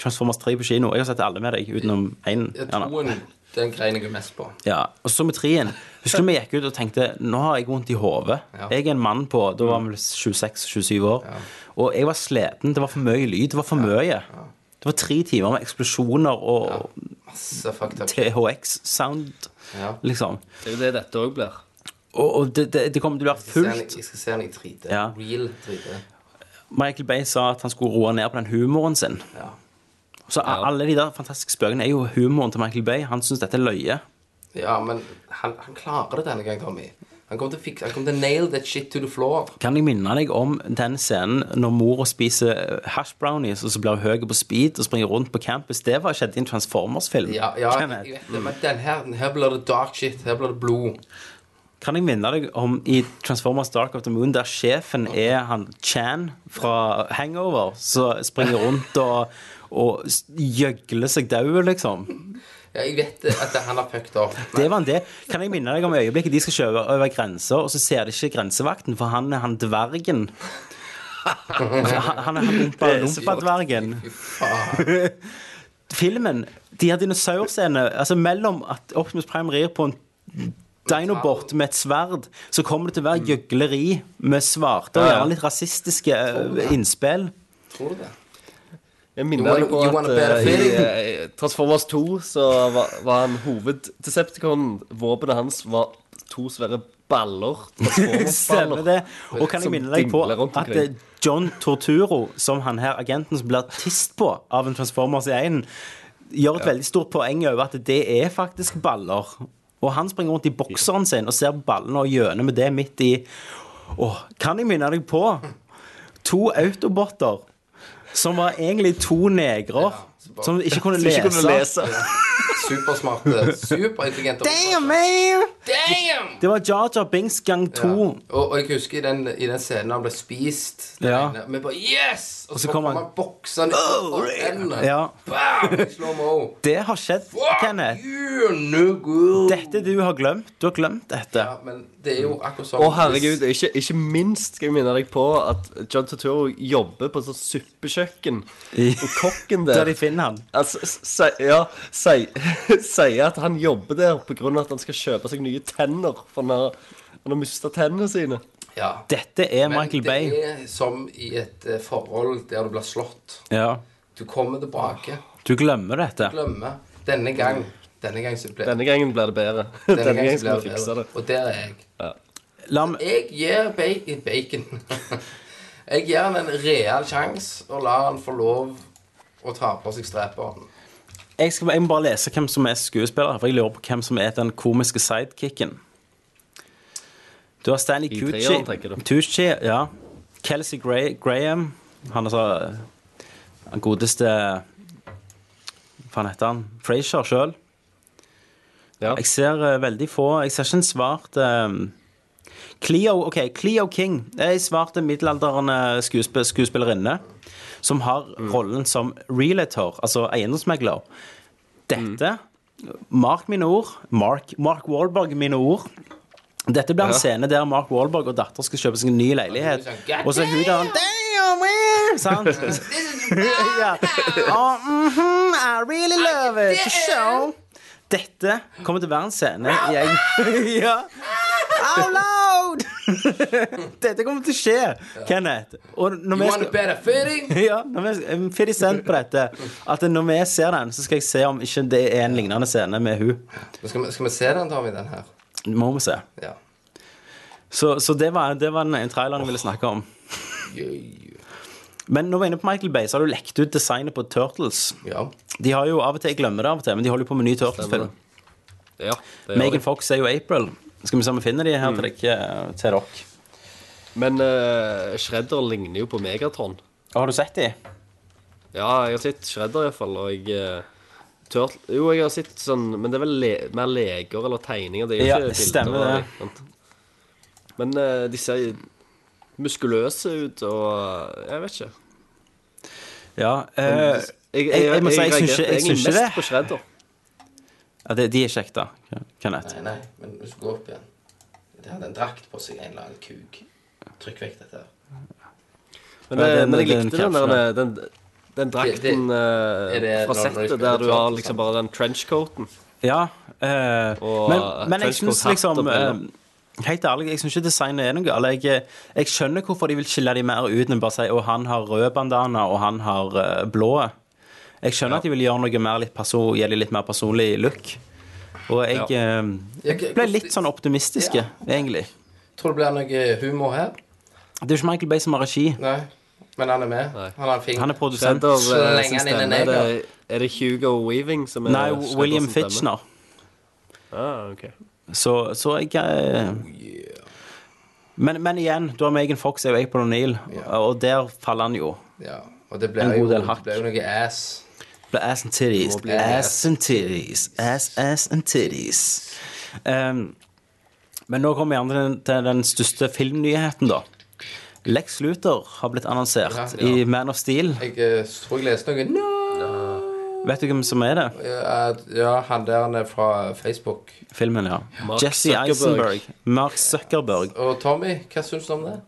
Transformers 3 på kino? Jeg har sett alle med deg, utenom én. Jeg gjerne. tror en- den greien jeg er mest på. Ja, og så med trien. Husker du vi gikk ut og tenkte nå har jeg vondt i hodet. Ja. Jeg er en mann på da var vi 26-27 år. Og jeg var sliten. Det var for mye lyd. Det var for mye. Det var tre timer med eksplosjoner og Masse fucked up. THX-sound, Ja. liksom. Det er jo det dette òg blir. Og, og det, det, det kommer til å være Jeg skal se han- fullt Jeg skal se han i 3D. Ja. Real 3D. Michael Bay sa at han skulle roe ned på den humoren sin. Ja. Så alle de der fantastiske spøkene er jo humoren til Michael Bay. Han syns dette er løye. Ja, men han, han klarer det denne gangen, Tommy. Han kommer til å fikse Han kommer til å nail that shit to the floor. Kan jeg minne deg om den scenen når mora spiser hash brownies, og så blir hun høy på speed og springer rundt på campus? Det var skjedde i en Transformers-film. Ja, ja jeg Kenneth. vet det, men den her, den her blir det dark shit. Her blir det blod. Kan jeg minne deg om i Transformers Dark of the Moon, der sjefen er han Chan fra Hangover, som springer rundt og, og s- gjøgler seg daud, liksom? Ja, jeg vet det, at det- han har fucked opp. men- Det var en det. Kan jeg minne deg om øyeblikket de skal kjøre over grenser, og så ser de ikke grensevakten, for han er han dvergen. Han, han er han lumpa-dvergen. Fy faen. Filmen, de her dinosaurscenene Altså mellom at Optimus Prime rir på en Dinobot med et sverd, så kommer det til å være gjøgleri med svarte og Ja, ja. gjerne litt rasistiske eh, innspill. Tror du det? Jeg You minner wanna- deg på you at wanna better eh, i feeling? eh, Transformers 2 så var, var han hoveddecepticonen. Våpenet hans var to svære [laughs] baller. Stemmer Transformers-baller. det. Og kan jeg Som minne deg på dingler rundt at omkring. eh, John Torturo, som han her agenten som blir tist på av en Transformers i einen, gjør et veldig stort poeng over at det er faktisk baller. Og han springer rundt i bokseren sin og ser ballene og gjøner med det midt i Åh, kan jeg minne deg på to autoboter som var egentlig to negrer så bare- som ikke kunne Som lese. ikke kunne lese. Supersmarte, superintelligente Damn, man! Damn! Det var Jar Jar Binks gang Ja. to. Og, og jeg husker i den, i den scenen han ble spist. det Ja. ene, Vi bare Yes! Og så så kom kommer han- han boksende Oh, opp hendene. Ja. Bam! I [laughs] slow-mo. Det har skjedd, Kenneth. Fuck you, no good. Dette du har glemt. Du har glemt dette. Ja, men det er jo akkurat sånn Å, herregud. Ikke, ikke minst skal jeg minne deg på at John Turturro jobber på et sånt suppekjøkken. Og kokken Der der de finner han. altså, s- si- ja, si- [laughs] sier at han jobber der pga. at han skal kjøpe seg nye tenner. For han har, han har mista tennene sine. Ja. Dette er Men Michael Bay. det er som i et eh, forhold der du blir slått. Ja. Du kommer tilbake. Du glemmer dette. Glemme. Denne gang. Denne gang så ble Denne gangen blir det bedre. [laughs] Denne, gangen skal vi ble fikse det. Og der er jeg. La meg Jeg gir bacon, bacon. [laughs] Jeg gir han en real sjanse og lar han få lov å ta på seg streperen. jeg, skal, jeg må bare lese hvem som er skuespiller, for jeg lurer på hvem som er den komiske sidekicken. Du har Stanley I Tucci, treeren, tenker du? Tucci ja. Kelsey Gra Graham. Han er så Han godeste Hva faen heter han? Frazier sjøl. Ja. Jeg ser eh, veldig få. Jeg ser ikke en svart eh, Cleo, ok, Cleo King er en svart middelalderende skuesp skuespillerinne som har rollen som realtor, altså eiendomsmegler. Dette Mark mine ord. Mark, Mark Wahlberg mine ord. Dette blir en scene der Mark Wahlberg og datter skal kjøpe seg en ny leilighet. Og så er hun der Damn, man! [laughs] Sant? [laughs] ja. oh, mhm, I really love it. So, dette kommer til å være en scene jeg [laughs] ja. Out loud! [laughs] dette kommer til å skje, Kenneth. Og når You vi want a skal better fitting? [laughs] ja, når vi, jeg er 50 cent på dette. At når vi ser den, så skal jeg se om ikke det er en lignende scene med hun. Men Skal vi, skal vi se den, tar vi den her? Må vi se. Ja. Så, så det var, det var den ene traileren jeg ville snakke om. Men når vi er inne på Michael Bay, så har du lekt ut designet på Turtles. ja. De har jo av og til, Jeg glemmer det av og til, men de holder jo på med ny Turtles-film. Ja, det gjør Megan det. Fox er jo April. Skal vi se om vi finner de her til dere eh, til dere. Men uh, Shredder ligner jo på Megatron. Har du sett de? Ja, jeg har sett Shredder iallfall, og jeg uh, tørt, Jo, jeg har sett sånn Men det er vel le, mer leger eller tegninger? Det er jo Ja, ikke bilder. stemmer eller det. noe sånt. Men eh, de ser muskuløse ut, og eh, jeg vet ikke. Ja. Eh, Jeg, jeg- jeg må si, jeg syns reagerte ikke- jeg egentlig syns ikke mest det. på Shredder. ja, de, de er kjekke, da. Kenneth. Nei, nei, men hvis du går opp igjen Det hadde en drakt på seg, en eller annen kuk. Trykk vekk dette. her. Men, Ja, det- den- men den jeg likte den, capsen der, den, den drakten eh, er det når- fra når de settet spiller der du har Turtles, liksom sant? bare den trenchcoaten. Ja. eh, Og men, men jeg trenchcoat, syns hatt liksom og briller. eh, Helt ærlig, jeg syns ikke designet er noe galt. Jeg, eh, jeg skjønner hvorfor de vil skille de mer ut enn bare si at han har rød bandana og han har eh, blå. Jeg skjønner at de vil gjøre noe mer litt perso gi de litt mer personlig look. Og jeg, eh, jeg ble litt sånn optimistiske, egentlig. Tror du det blir noe humor her? Det er jo ikke Michael Bay som har regi. Nei. Men han er med. Han har en finger. Han er produsent. Shredder eh, Slenger sin han inn en stemme, er det, neger. er det Hugo Weaving som er Nei, Shredder William sin stemme? Fitchner. Ah, ok. Så, så jeg eh, men, men igjen, du har Megan Fox er jo April O'Neill, og der faller han jo. Ja. Og det En blir jo, god del det hakk. blir jo noe ass. Ble ass and titties. Må bli Ass and titties. Ass, ass and titties. Ehm, men nå kommer vi gjerne til den, til den største filmnyheten, da. Lex Luthor har blitt annonsert Ja, ja. i Man of Steel. Jeg eh, tror jeg leste noe no! Vet du hvem som er det? Eh, Ja, han der han er fra Facebook. Filmen, ja. Mark Jesse Zuckerberg. Eisenberg. Mark Zuckerberg. Og Tommy, hva syns du om det?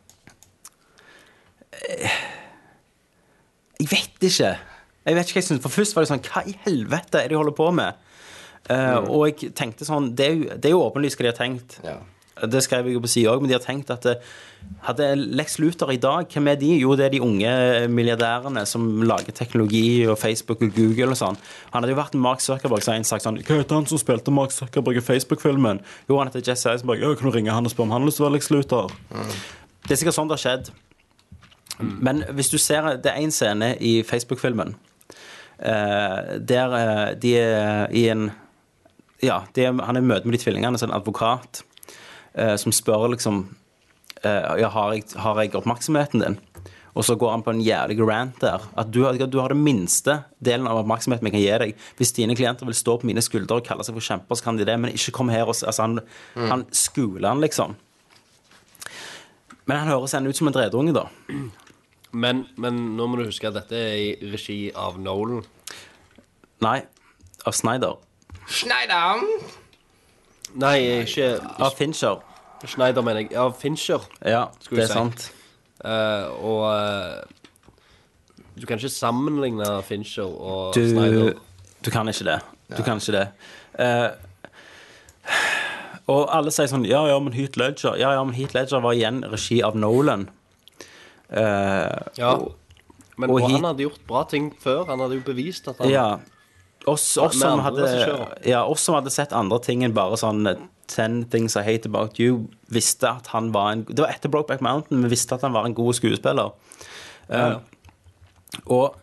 Jeg vet ikke. Jeg vet ikke hva jeg synes. For først var det sånn Hva i helvete er det de holder på med? Eh, Og jeg tenkte sånn Det er jo, det er jo åpenlyst hva de har tenkt. Ja. Det skrev jeg jo på sida òg, men de har tenkt at eh, hadde Lex Luthor i dag, hvem er de? Jo, det er de unge eh, milliardærene som lager teknologi og Facebook og Google og sånn. Han hadde jo vært en Mark Zuckerberg, så har en sagt sånn Hva heter han som spilte Mark Zuckerberg i Facebook-filmen? Jo, han heter Jesse Eisenberg. Ja, kan du ringe han og spørre om han har lyst til å være Lex Luthor? Det er sikkert sånn det har skjedd. Men hvis du ser Det er én scene i Facebook-filmen eh, der eh, de er i en Ja, de er, han er i møte med de tvillingene, så er det en advokat eh, som spør liksom eh, ja, har, jeg, har jeg oppmerksomheten din? Og så går han på en jævlig rant der. At du, har- du har det minste delen av oppmerksomheten jeg kan gi deg. Hvis dine klienter vil stå på mine skuldre og kalle seg for kjemper, så kan de det, men ikke kom her og s- altså, han, han skuler han, liksom. Men han høres ennå ut som en dredunge, da. Men, men nå må du huske at dette er i regi av Nolan. Nei, av Snyder. Schneider! Nei, ikke Av Fincher. Schneider, mener jeg. Av Fincher. Ja, det Skulle er si. sant. Eh, og eh, du kan ikke sammenligne Fincher og Du, Snyder. du kan ikke det. Du kan ikke det. Eh, og alle sier sånn Ja, ja, men Heat Ledger Ja, ja, men Heat Ledger var igjen regi av Nolan. Eh, Ja, Men Og og hit- han hadde gjort bra ting før. Han hadde jo bevist at han Ja. Oss, oss, Med som andre hadde, regissører. ja, oss som hadde sett andre ting enn bare sånn eh, 10 Things I Hate About You, visste at han var en Det var etter Brokeback Mountain, vi visste at han var en god skuespiller. Eh, Og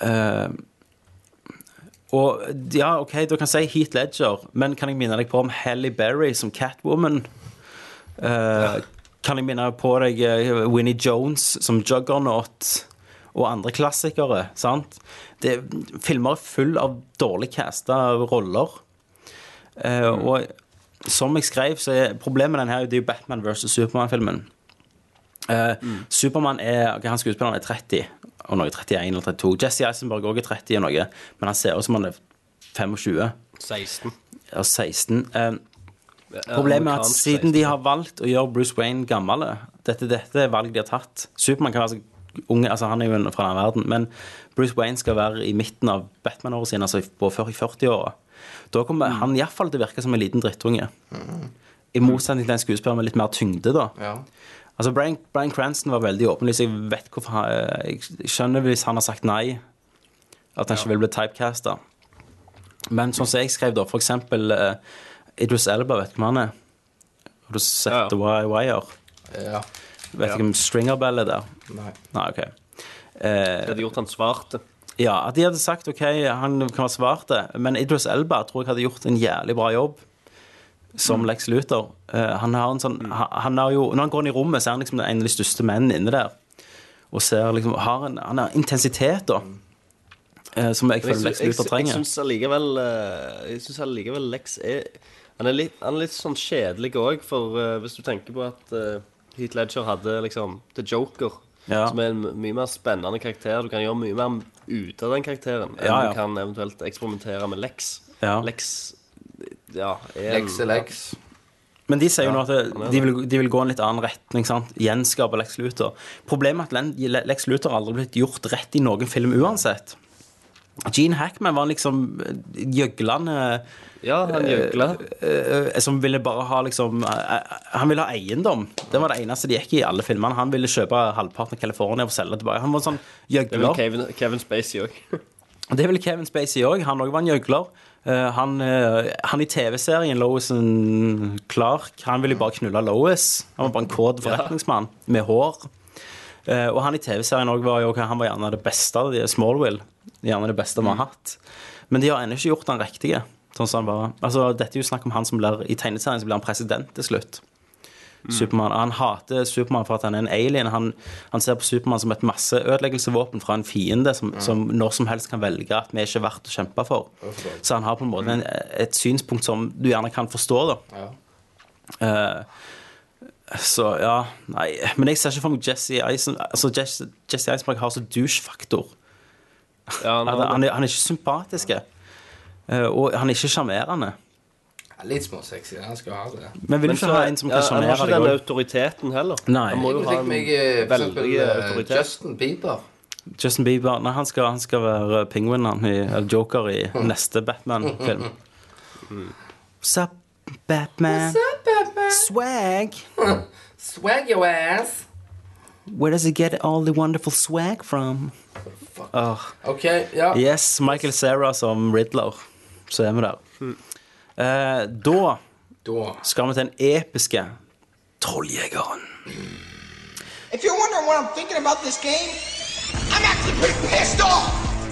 eh, Og ja, OK, du kan si Heat Ledger, men kan jeg minne deg på om Halle Berry som Catwoman? Eh, Kan jeg minne på deg eh, Winnie Jones som Juggernaut? og andre klassikere. sant? Det, filmer er full av dårlig casta roller. Eh, Og som jeg skrev, så er problemet med den her det er jo Batman versus Supermann-filmen. Eh, Supermann er ok, han skuespilleren er 30, og noe 31 eller 32. Jesse Eisenberg også er 30 og noe, men han ser ut som han er 25 16. eller 16. Eh, Problemet er at siden de har valgt å gjøre Bruce Wayne gammel Dette, dette er valg de har tatt. Supermann kan være så unge, altså han er jo en fra den verden, men Bruce Wayne skal være i midten av Batman-året sine, altså på 40-åra. Da kommer han han iallfall til å virke som en liten drittunge. I motsetning til en skuespiller med litt mer tyngde, da. Ja. Altså, Brian, Brian Cranston var veldig åpenlys. Jeg vet hvorfor han, eh, jeg skjønner hvis han har sagt nei, at han ikke vil bli typecasta. Men sånn som jeg skrev, da, for eksempel eh, Idris Elba, vet du hvem han er? Har du sett Ja, ja. The Wire? Wire? ja. Vet Ja. ikke om Stringer Bell er der? Nei. Nei, OK. Eh, De hadde gjort han svart. Ja, at de hadde sagt OK, han kan være svart, det, men Idris Elba tror jeg hadde gjort en jævlig bra jobb som Mm. Lex Luthor. Eh, han har en sånn han, han har jo, Når han går inn i rommet, så er han liksom en av de største mennene inne der. Og ser liksom har en, Han har intensitet, da. eh, som jeg Men føler Lex Mm. jeg, Luthor jeg, jeg trenger. syns allikevel eh, Jeg synes allikevel Lex er han er, litt, han er litt sånn kjedelig òg, for eh, hvis du tenker på at uh, Heat Ledger hadde liksom The Joker, Ja. som er en mye mer spennende karakter Du kan gjøre mye mer ut av den karakteren enn Ja, ja. du kan eventuelt eksperimentere med Lex. Ja. Lex ja, er en- Lex er Lex. Men de sier jo nå at han er det- de vil, de vil gå en litt annen retning. sant? Gjenskape Lex Luthor. Problemet er at Len- Lex Luthor har aldri blitt gjort rett i noen film uansett. Gene Hackman var liksom eh, gjøglende Ja, han gjøgla. eh, som ville bare ha liksom eh, Han ville ha eiendom. Det var det eneste de gikk i i alle filmene. Han ville kjøpe halvparten av California og selge det tilbake. Han var en sånn Det var gjøgler. Kevin, Kevin Spacey òg. Det er vel Kevin Spacey òg. Han òg var en gjøgler. Eh, han, eh, han i TV-serien Lois and Clark Han ville jo bare knulle Lois. Han var bare en kåt forretningsmann med hår. Eh, og han i TV-serien òg var jo Han var gjerne det beste av de Smallwill. Gjerne det beste vi har hatt. Men de har ennå ikke gjort han riktige. Sånn som han var. Altså, dette er jo snakk om han som blir I tegneserien så blir han president til slutt. Mm. Superman. Han hater Supermann for at han er en alien. Han, han ser på Supermann som et masseødeleggelsesvåpen fra en fiende som, som når som helst kan velge at vi er ikke verdt å kjempe for. Så han har på en måte en, et synspunkt som du gjerne kan forstå, da. Ja. Eh, så ja, nei Men jeg ser ikke for meg Jesse Eisen Altså Jesse, Jesse Eisenberg har så douche-faktor. [laughs] Ja, Han, han- han, er- han er ikke sympatisk. eh, og han er ikke sjarmerende. Ja, Litt småsexy. Han skal ha det. Men vil du så- ikke ha en som ja, kan sjarmere Han har deg ikke den òg? autoriteten heller. Nei. Han må jo Jeg ha fikk en meg eh, for eksempel veldig eh, autoritet. Justin Bieber. Justin Bieber Nei, han skal, han skal være penguin, han, i, eller joker, i neste Batman-film. Sup, Batman? Swag? Swag your ass. Where does he get all the wonderful swag from? Åh, OK, ja. yes, Michael Cera som Riddler. Så er vi der. Eh, da Da skal vi til den episke Trolljegeren. If you're wondering what I'm thinking about this game, I'm actually pretty pissed off.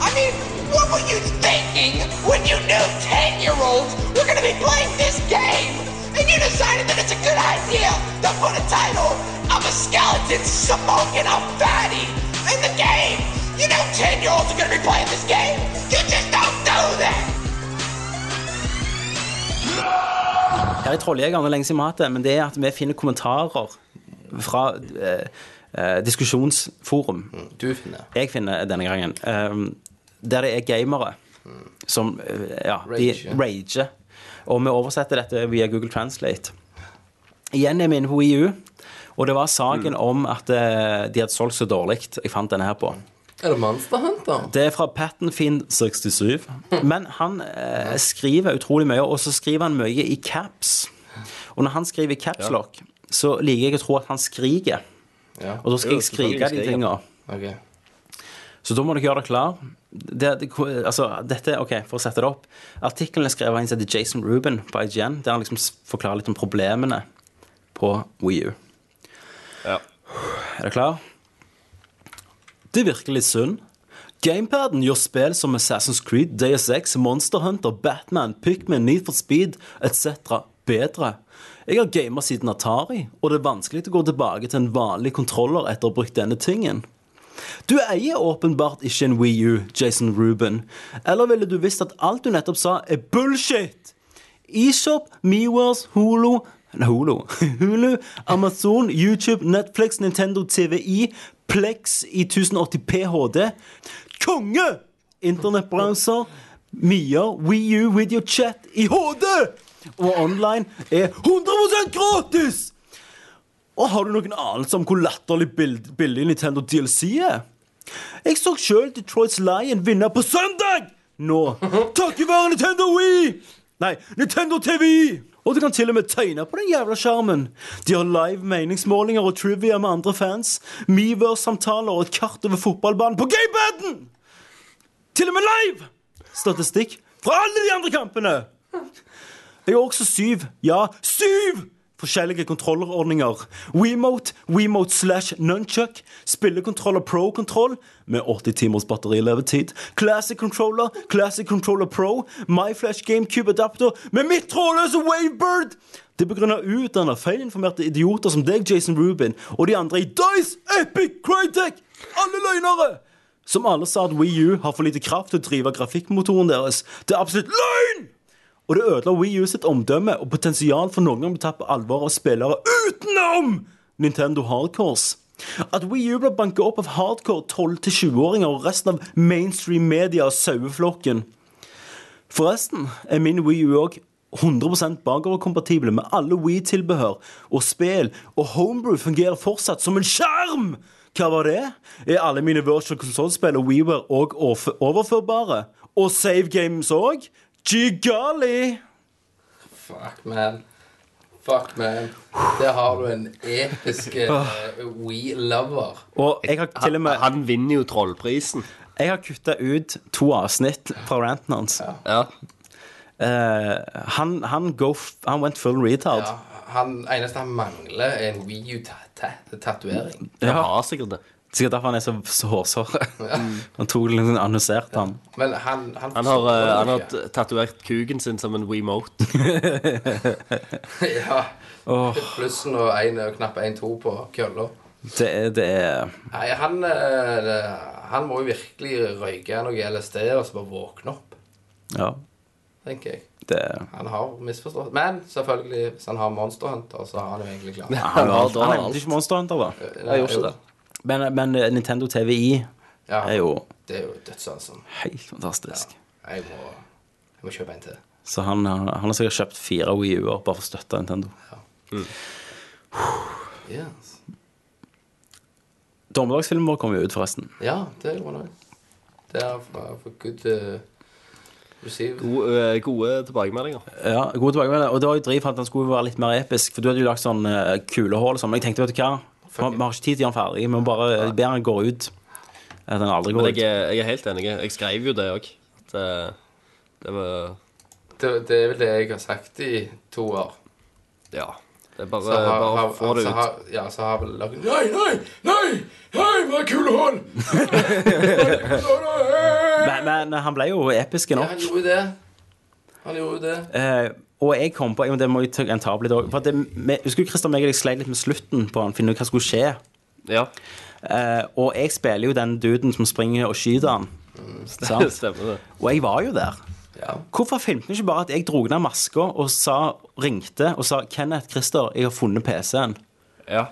I mean, what were you thinking when you knew 10 year olds were going to be playing this game? And you decided that it's a good idea to put a title of a skeleton smoking a fatty in the game. You know 10 year olds are going to be playing this game. You just don't do that. Her i Trolljegeren det er lenge siden vi har hatt det, men det er at vi finner kommentarer fra eh, eh, diskusjonsforum. du finner. jeg finner denne gangen, ehm, der det er gamere som eh, ja, Rage, ja. de rager. Og vi oversetter dette via Google Translate. Igjen er vi inne på WiiU, og det var saken om at eh, de hadde solgt så dårlig. Jeg fant denne her på. Er det Monster Hunter? Det er fra Pattenfin67. Men han eh, skriver utrolig mye, og så skriver han mye i caps. Og når han skriver i caps lock, så liker jeg å tro at han skriker. Ja. Og da skal Jo, jeg skrike de selvfølgelig skriker. tinga. OK. Så da må dere gjøre dere klar. Det, det, altså, dette, ok, For å sette det opp. Artikkelen er skrevet av en som heter Jason Rubin på IGN, der han liksom s- forklarer litt om problemene på Wii U. Ja. Er dere klar? Det virker litt synd. Gamepaden gjør spill som Assassin's Creed, Deus Ex, Monster Hunter, Batman, Pikmin, Need for Speed etc. bedre. Jeg har gamet siden Atari, og det er vanskelig å gå tilbake til en vanlig kontroller etter å ha brukt denne tingen. Du eier åpenbart ikke en Wii U, Jason Ruben. Eller ville du visst at alt du nettopp sa, er bullshit? eShop, MeWars, Holo Nei, Holo. Hulu, [laughs] Amazon, YouTube, Netflix, Nintendo TVI, Plex i 1080p HD. Konge! Internettbrowser, Mier, Wii U, Videochat i HD! Og online er 100 gratis! Og har du noen anelse om hvor latterlig bild- billig Nintendo DLC er? Jeg så sjøl Detroits Lion vinne på søndag! Nå. Takket være Nintendo Wii! Nei, Nintendo TV! Og du kan til og med tegne på den jævla skjermen. De har live meningsmålinger og trivia med andre fans. Meverse-samtaler og et kart over fotballbanen på gamepaden! Til og med live! Statistikk fra alle de andre kampene. Jeg har også syv, ja, syv forskjellige kontrollerordninger. Wiimote, Wiimote slash Nunchuck, spillekontroller Pro-kontroll med 80 timers batterilevetid, Classic Controller, Classic Controller Pro, MyFlash GameCube Adapter med mitt trådløse Wavebird! Det er pga. utdanna, feilinformerte idioter som deg, Jason Rubin, og de andre i Dice, Epic, Crytek, alle løgnere! Som alle sa at Wii U har for lite kraft til å drive grafikkmotoren deres. Det er absolutt løgn! Og det ødela Wii U sitt omdømme og potensial for noen å bli tatt på alvor av spillere utenom Nintendo Hardcores. At Wii U ble banket opp av hardcore 12-20-åringer og resten av mainstream media og saueflokken. Forresten er min Wii U òg 100 bakoverkompatibel med alle Wii-tilbehør og spill, og Homebrew fungerer fortsatt som en skjerm! Hva var det? Er alle mine virtual console-spill og WeWare òg overførbare? Og save games òg? Gigali! Fuck, man. Fuck, man. Der har du en episk eh, We-lover. Og jeg har til og med Han vinner jo Trollprisen. Jeg har kutta ut to avsnitt fra ranten hans. Ja. Eh, han, han, go f han went full retard. Ja, han eneste han mangler, er en Wii U-tatovering. Han har sikkert det. Sikkert derfor han er så så hårsår. Han tok det liksom annonsert, han. Men han Han, Han har, eh, han har ikke. t- tatovert kuken sin som en Wiimote. [laughs] Ja. Plussen og en, og knapp 1-2 på kølla. Det er, det er Nei, han, eh, det- han må jo virkelig røyke noe LSD og så bare våkne opp, Ja. tenker jeg. Det er Han har misforstått. Men selvfølgelig, hvis han har Monster Hunter, så har han jo egentlig klart Han har da Han nevnte alt. ikke Monster Hunter, da. Jeg gjorde ikke det. Men, men eh, Nintendo TVI Ja, er jo det er jo sånn. dødssansen. helt fantastisk. Jeg må, jeg må kjøpe en til. Så han, han har sikkert kjøpt fire Wii U-er bare for å støtte Nintendo. Yes. Dommedagsfilmen vår kommer jo ut, forresten. Ja, det var nice. Det er for, for good uh, receive. Gode, eh, gode tilbakemeldinger. Ja, god tilbakemelding. Og det var jo driv for at den skulle være litt mer episk. For du hadde jo lagt sånn eh, kulehull og sånn. Men jeg tenkte, vet du hva, vi vi har ikke tid til å gjøre den ferdig. Vi må bare eh, be den gå ut. At den aldri går Men jeg, ut. er- jeg er helt enig. Jeg skrev jo det òg. Det, det var Det, det er vel det jeg har sagt i to år. Ja. Det er bare, Så har, bare har, få altså det så ut. har, ja, så har vel laget Nei, nei, nei! Nei, hva kulehull! Men, men han ble jo episk Ja, han nok. gjorde jo det. Han gjorde jo det. Eh, og jeg kom på jo, Det må jeg ta en ta opp litt òg. Husker du Christer meg og jeg sleit litt med slutten på han, finne ut hva skulle skje? Ja, Eh, og jeg spiller jo den duden som springer og skyter han. det Sant? Mm, [laughs] stemmer det. Og jeg var jo der. Ja. Hvorfor filmte vi ikke bare at jeg dro ned maska og sa, ringte og sa 'Kenneth, Christer, jeg har funnet PC-en'? Ja.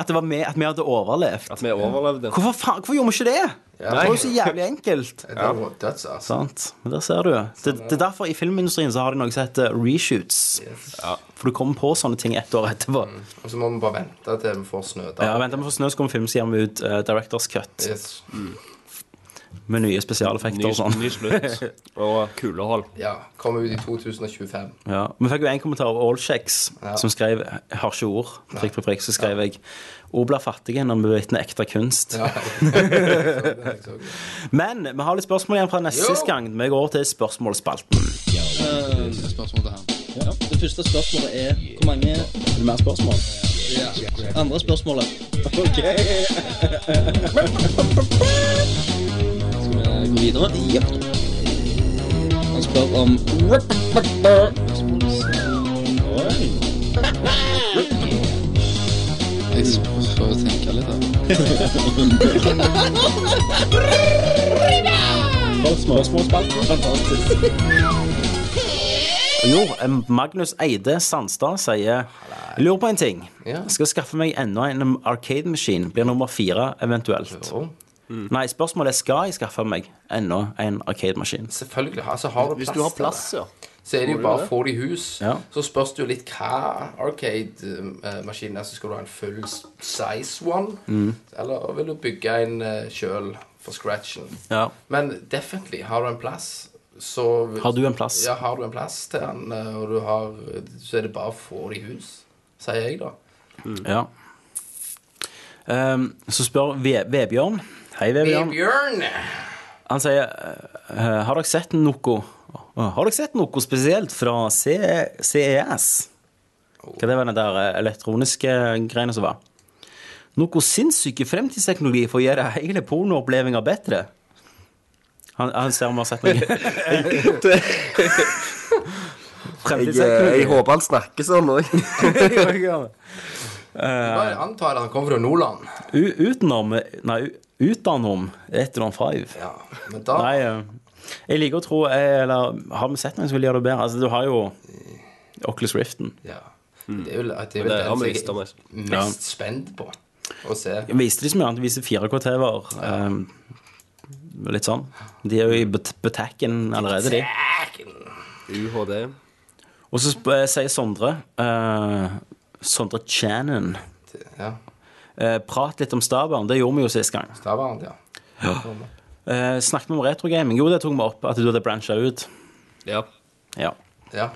At det var med, at vi hadde overlevd. At vi overlevde. Hvorfor, faen, hvorfor gjorde vi ikke det? Det var jo så jævlig enkelt. Det var døds, altså. Sant. Men der ser du. Det, det er derfor i filmindustrien så har de noe som heter reshoots. Yes. For du kommer på sånne ting ett år etterpå. Mm, Og så må vi bare vente til vi får snø. Ja, vent, vi får snø, så kommer filmen, så gir vi ut eh, Directors Cut. Yes. Med nye spesialeffekter Ny, og sånn. ny [laughs] slutt. Og kulehold. Ja, Kom ut i 2025. Ja. Vi fikk jo en kommentar av Allchecks, Ja. som skrev 'Har ikke ord'. Prikk, prikk, prikk, så skrev jeg 'Ord blir fattige når vi vitner ekte kunst'. Ja. Jeg så det. Men vi har litt spørsmål igjen fra neste Jo. siste gang. Vi går over til spørsmålsspalten. Det første spørsmålet er hvor mange Mer spørsmål? andre spørsmålet. Skal vi gå videre? Ja. Han spør om Jeg får tenke litt, da. Jo, em, Magnus Eide Sandstad sier Jeg lurer på en ting. Ja. Skal skaffe meg enda en arcade-maskin. Blir nummer fire eventuelt. Jo, Mm. Nei, spørsmålet er skal jeg skaffe meg enda en arcade-maskin. Selvfølgelig. Altså, har du plass, Hvis du har plass, til det, ja. så er det jo Må du bare å det? få det i hus. Ja. Så spørs det jo litt hva arcade-maskin er. Så skal du ha en full s- size one, Mm. eller vil du bygge en uh, sjøl for scratchen? Ja. Men definitely, har du en plass, så vil- Har du en plass? Ja, har du en plass til den, eh, og du har Så er det bare å få det i hus, sier jeg, da. Ja. Em, så spør Ve- Vebjørn. Hei, Hey, Vebjørn. Bjørn! Han sier eh, Har dere sett noe Har dere sett noe spesielt fra C CES? Hva det var den der eh, elektroniske greiene som var? Noe sinnssyke fremtidsteknologi for å gjøre hele pornoopplevelsen bedre. Han, han ser om han har sett noe. Fremtidsteknologi. eh, håper han snakker sånn [laughs] òg. Bare antar at han kommer fra Nordland. U- Utenom Nei, utenom Etelon 5. Ja, men da Nei, eh, jeg liker å tro eh, Eller har vi sett noen som vil gjøre det bedre? Altså, du har jo Oculus Riften. Ja. Det er vel, det er vel Hmm. Det den har som [laughs] vi jeg visst om. er oss. mest spent på å se. Jeg viste de så mye annet. De viser 4K-TV-er. eh, litt sånn. De er jo i bet- betakken allerede, de. UHD. Og så sp- eh, sier Sondre eh, Sondre Channon Ja, eh, Prat litt om Stabern. Det gjorde vi jo sist gang. Stavern, ja. Eh, snakket vi om retrogaming? Jo, det tok vi opp. At du hadde brancha ut. Ja. Ja. ja.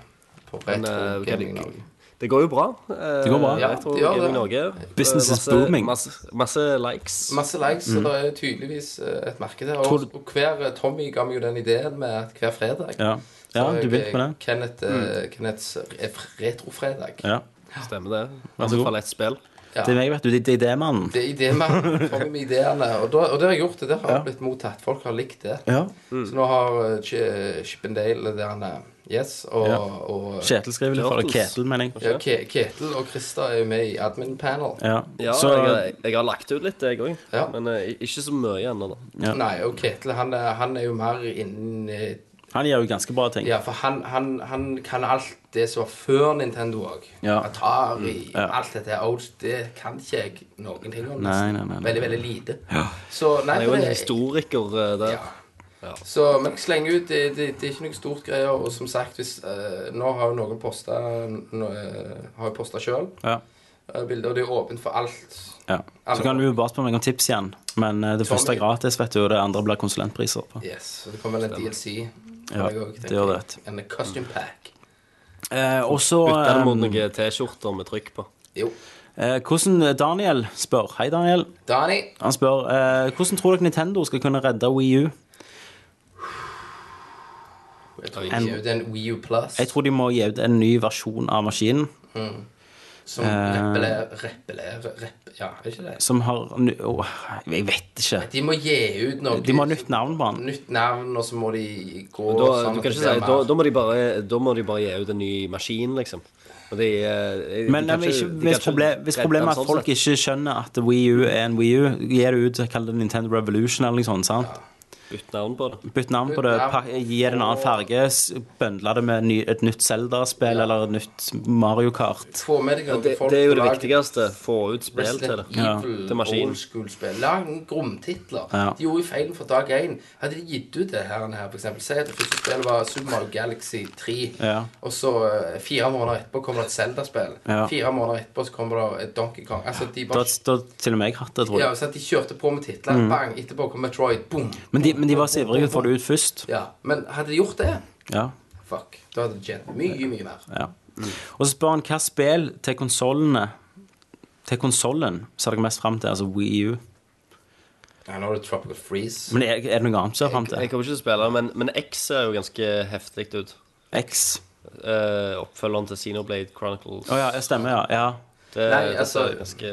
På Men, eh, retro gaming kan- Norge. Det går jo bra. Det går bra. Ja, jeg tror det gjør Gaming det. Norge. Business is Eh, masse- booming. Masse, masse likes. Masse likes, Mm. så det er tydeligvis eh, et marked her. Og, og hver eh, Tommy ga meg jo den ideen med at hver fredag Ja, så ja har du jeg, begynte på det? Kenneth, eh, Kenneths re- retrofredag. Ja. Stemmer det. Vær så god. Anbefaler et spill. Det er meg, vet du. Det det er det, mannen. Det er idémannen. Tommy med ideene. Og, da, og det har jeg gjort. Det der har blitt mottatt. Folk har likt det. Ja. Så nå har eh, Ch- Chippendale det han er. Yes. Og, Ja. og Kjetil skriver litt for deg. Turtles. Ketil, mener jeg. Ja, Ke Ketil og Krista er jo med i admin panel. Ja. Ja, så, jeg, jeg har lagt ut litt, jeg òg. Ja. Men eh, ikke så mye ennå, da. Ja. Nei, og Ketil han er, han er jo mer innen eh, han gjør jo ganske bra ting. Ja, for han, han, han kan alt det som var før Nintendo òg. Ja. Mm, Atari, Ja. alt dette old, det kan ikke jeg noen ting om. Nei, nesten. nei, nei, nei. Veldig, veldig lite. Så nei, Han er jo en det- historiker eh, der. Ja. Så men jeg slenger ut, det, det, det er ikke noe stort greier. Og som sagt, hvis eh, Nå har jo noen posta no, eh, Har jo posta sjøl Ja. bilder, og det er åpent for alt. Ja. Så kan du jo bare spørre meg om tips igjen. Men eh, det første er gratis, vet du, og det andre blir konsulentpriser. på. Yes, og det kommer vel en DLC. Ja, Jeg også, det tenker gjør jeg. det. En custom pack. Eh, og så Bytte den mot eh, noen T-skjorter med trykk på. Jo. eh, Hvordan Daniel spør Hei, Daniel. Dani, Han spør eh, hvordan tror dere Nintendo skal kunne redde Wii U? jeg tror ikke det er en Wii U Plus Jeg tror de må gi ut en ny versjon av maskinen som eh, repellerer Repellerer rep, Ja, er det ikke det? som har ny- Åh, Jeg vet ikke. De må gi ut noe. De må ha nytt navn på den. Nytt navn, og så må de gå Da, sånn at det du kan ikke blir si, da, mer- da, må de bare, da må de bare gi ut en ny maskin, liksom. Og de, eh, de Men kan eh, ikke, ikke- de kan hvis, ikke problem, hvis redde problemet er den sånn at folk sett. ikke skjønner at Wii U er en Wii U, gir det ut, kall det Nintendo Revolution eller noe sånt. sant? Bytte navn på det. Bytt navn på Bytt det, navn. pak- gi det en annen farge, s- bøndle det med ny, et nytt Zelda-spill eller et nytt Mario Kart. Få med deg noen det. folk Det er jo på det lag. viktigste. Få ut spill til Resident det. Evil, Til maskin. old school-spill. Lag noen gromtitler. Ja. De gjorde jo feilen fra dag én. Hadde de gitt ut det her, og her for eksempel, Si at det første spillet var Super Mario Galaxy 3, Ja. og så eh, fire måneder etterpå kommer det et Zelda-spill. Ja. Fire måneder etterpå så kommer det et Donkey Kong. Altså, de Da da bare til og med jeg hatt det, tror ja, jeg. Mm. sant? De kjørte på med titler. Bang! Etterpå kom Metroid. Boom! Men de, men de var så ivrige for å få det ut først. Ja, Men hadde de gjort det, Ja. fuck, da hadde det tjent mye, mye mer. ja. Og så spør han hva spill til konsollene Til konsollen ser dere mest fram til, altså Wii U. Ja, nå er det Tropical Freeze. Men er, er det noe annet som er fram Jeg til? kommer ikke til å spille, men, men X ser jo ganske heftig ut. X. Eh, oppfølgeren til Xenoblade Chronicles. Å ja, jeg stemmer, ja. ja. Det, Nei, det altså- ser ganske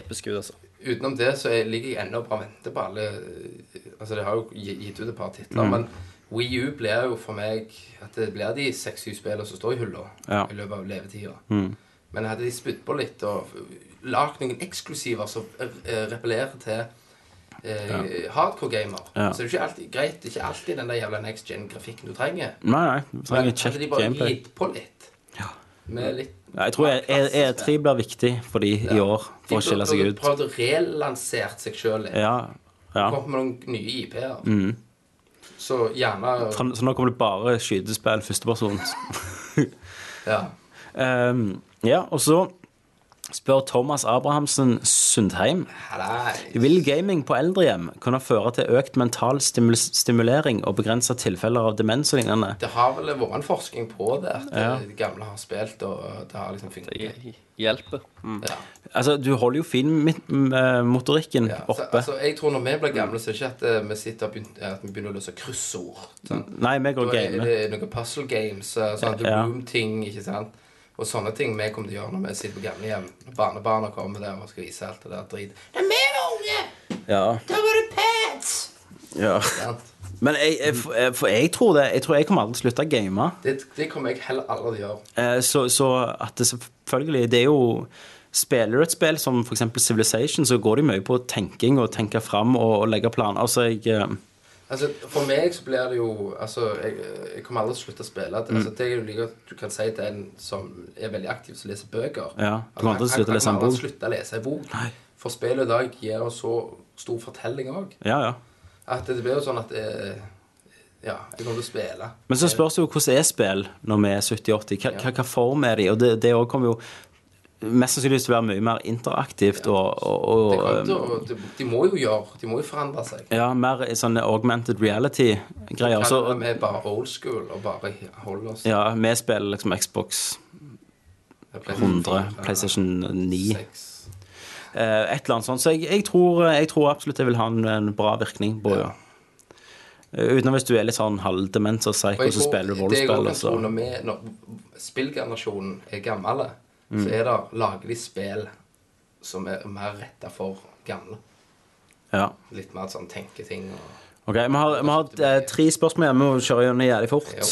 episk ut, altså. Utenom det så er- ligger jeg ennå og bare venter på alle eh, Altså, det har jo gi- gitt ut et par Mm. titler, men Wii U blir jo for meg At det blir de seks-syv spillene som står i hylla Ja. Mm. i løpet av levetida. Men hadde de spydd på litt og lagd noen eksklusiver som eh, repellerer til eh, hardcore-gamer, Ja. så er det jo ikke alltid greit. Det er ikke alltid den der jævla next gen-grafikken du trenger. Nei, nei. Vi trenger Men et kjekt hadde de bare gameplay. gitt på litt med litt Ja, jeg tror E- E- E3 blir viktig for de i år, for å skille seg De burde ut. prøvd å relansere seg sjøl litt. Ja, ja. Mm. Kommet med noen nye IP-er. Så gjerne Fram- Så nå kommer det bare skytespill, førstepersons. Ja. um, ja, og så spør Thomas Abrahamsen Sundheim Hallais. Vil gaming på eldrehjem kunne føre til økt mental stimul stimulering og begrense tilfeller av demens og lignende? Det har vel vært en forskning på det, at eh, de gamle har spilt, og det har liksom funket. Hjelper. Ja. Altså, du holder jo finmotorikken Ja. Så, eh, oppe. altså, jeg tror når vi blir gamle, så er det ikke at eh, vi sitter og begynt- at vi begynner å løse kryssord. sant? Nei, vi går Da Mm. og er gamer. det noen puzzle games, eh, sånn The Ja. Room-ting, ikke sant? Og sånne ting vi kommer til å gjøre når vi sitter på gamlehjem. Når barnebarna kommer der og skal vise alt det der drit. Det er vi unge! Ja. Da var det pads! ja. Sant? Men jeg, jeg, for- jeg, for jeg tror det. Jeg tror jeg kommer aldri til å slutte å game. Det, det kommer jeg heller aldri til å gjøre. Eh, Så, så at det selvfølgelig Det er jo Spiller du et spill som f.eks. Civilization, så går det jo mye på tenking og tenke fram og, og legge planer. Altså, jeg eh, Altså, for meg så blir det jo Altså, jeg, jeg kommer aldri til å slutte å spille. Mm. At- Altså, det er jo like at du kan si til en som er veldig aktiv, som leser bøker Ja, at du kommer aldri til å han- slutte å lese en han kommer aldri bok. til å slutte å lese en bok. Nei. For spillet i dag gir oss så stor fortelling òg. Ja, ja. At det blir jo sånn at eh, Ja, jeg kommer til å spille. Men så spørs det jo hvordan er spill når vi er 70-80. Hva, hva, hva form er de? Og det, det også kommer jo mest sannsynlig til å være mye mer interaktivt og, og, ehm, Det og kommer til å, de, de må jo gjøre De må jo forandre seg. eh, ja, mer i sånne augmented reality-greier. Kan Så, vi bare old school og bare holde oss ja, vi spiller liksom Xbox 100, PlayStation 9 6. Eh, et eller annet sånt. Så jeg, jeg, tror, jeg tror absolutt det vil ha en, en bra virkning på ja. Eh, Utenom hvis du er litt sånn halvdement og psycho, Og jeg så tror- spiller du altså. det jeg voldsspill. også kan og altså? så- tro Når, vi, når spillgenerasjonen er gammel, eh, Mm. så er det lager de spill som er mer retta for gamle. Ja. Litt mer sånn tenketing og Ok, vi har, vi har eh, tre spørsmål igjen. Vi må kjøre gjennom jævlig fort.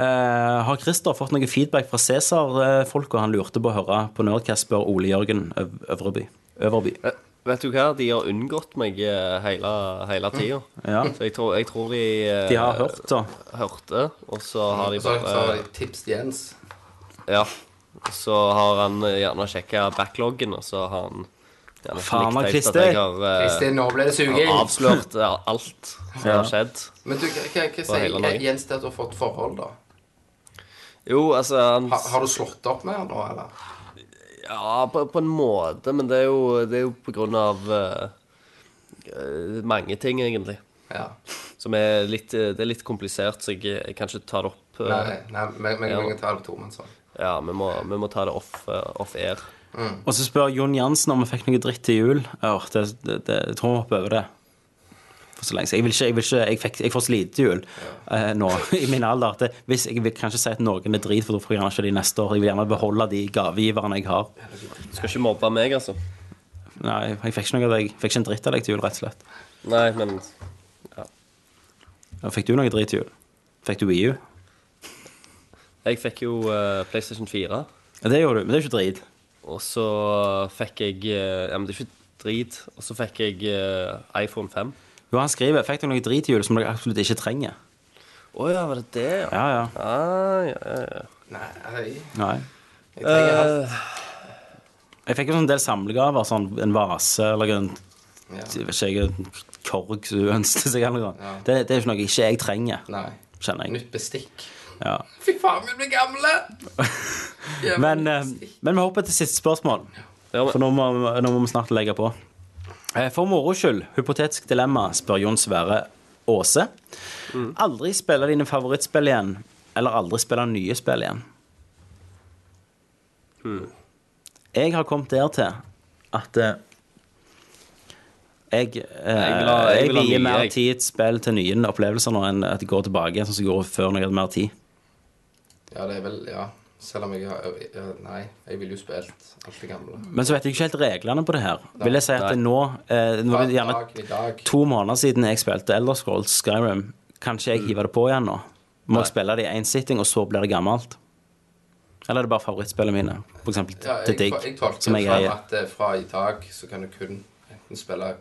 Eh, har Christer fått noe feedback fra Cæsar-folka han lurte på å høre på Nerdcast, spør Ole Jørgen Øv Øverby. Øverby. Eh, Vet du hva? De har unngått meg eh, hele, hele tida. Ja. Så jeg tror, jeg tror de eh, De har hørt, da. hørte, og så har de Så så har bare eh, de tips til Jens. Ja. Og så har han eh, gjerne sjekka backloggen, og så har han gjerne Faen, likt helt Christer. at jeg har eh, Kristin, nå ble det har suging. avslørt eh, alt som Ja. har skjedd. Men du, hva, hva, hva hele sier laget. Jens til at du har fått forhold, da? Jo, altså han, Ha, har du slått opp med han nå, eller? Ja, på, på en måte, men det er jo, det er jo på grunn av eh, eh, mange ting, egentlig. Ja. Som er litt, eh, det er litt komplisert, så jeg, jeg kan ikke ta det opp. eh, Nei, nei, men men Ja. jeg kan ta det på tomannshånd. Ja, vi må, vi må ta det off, eh, off air. Og så spør Jon Jansen om vi fikk noe dritt til jul. Åh, det, det, det, jeg tror vi hopper over det. For så lenge siden. Jeg, vil ikke, jeg, vil ikke, jeg, fikk, jeg får så lite til jul eh, nå [laughs] i min alder. At det, hvis, jeg vil kanskje si at noen er drit, for da får jeg gjerne ikke de neste år. Jeg vil gjerne beholde de gavegiverne jeg har. Du skal ikke mobbe meg, altså. Nei, jeg fikk ikke noe av deg. Jeg Fikk ikke en dritt av deg til jul, rett og slett. Nei, men Ja, Fikk du noe dritt til jul? Fikk du Wii U? jeg fikk jo eh, PlayStation 4, Ja, det gjorde du, men det er jo ikke drit. og så fikk jeg eh, Ja, men det er ikke drit. Og så fikk jeg eh, iPhone 5. Jo, han skriver fikk dere noe drit til jul som dere absolutt ikke trenger. Å ja, var det det, ja? Ja, ja. Ah, ja, ja, ja. Nei, Nei. jeg trenger Eh, alt. Jeg fikk jo en del samlegaver, sånn en vase eller en Ja. jeg vet ikke, jeg, en korg som hun ønsket seg. Eller noe. Det, det er jo ikke noe ikke jeg trenger, Nei. kjenner jeg. Nytt bestikk. Ja. Fy faen, vi blir gamle! Jævla Men, eh, bestikk. men vi hopper til siste spørsmål, Ja, men- for nå må, nå må vi snart legge på. Eh, For moro skyld, hypotetisk dilemma, spør Jon Sverre Aase. Aldri spille dine favorittspill igjen, eller aldri spille nye spill igjen. Jeg har kommet der til at eh, jeg, eh, vil ha- jeg jeg vil ha vier nye, mer jeg. tid spill til nye opplevelser nå enn at jeg går tilbake, sånn som jeg gjorde før når jeg hadde mer tid. Ja, det er vel Ja. Selv om jeg har ja, Nei, jeg ville jo spilt alt det gamle. Men så vet jeg ikke helt reglene på det her. Vil jeg si at det nå eh, Nå er det gjerne Dag i dag. to måneder siden jeg spilte Elder Scrolls Skyrim. Kanskje Mm. jeg hiver det på igjen nå? Må jeg spille det i én sitting, og så blir det gammelt? Eller er det bare favorittspillene mine? For eksempel Ja, The jeg, Dig, jeg som tolker som jeg fra eier. at eh, fra i dag så kan du kun enten spille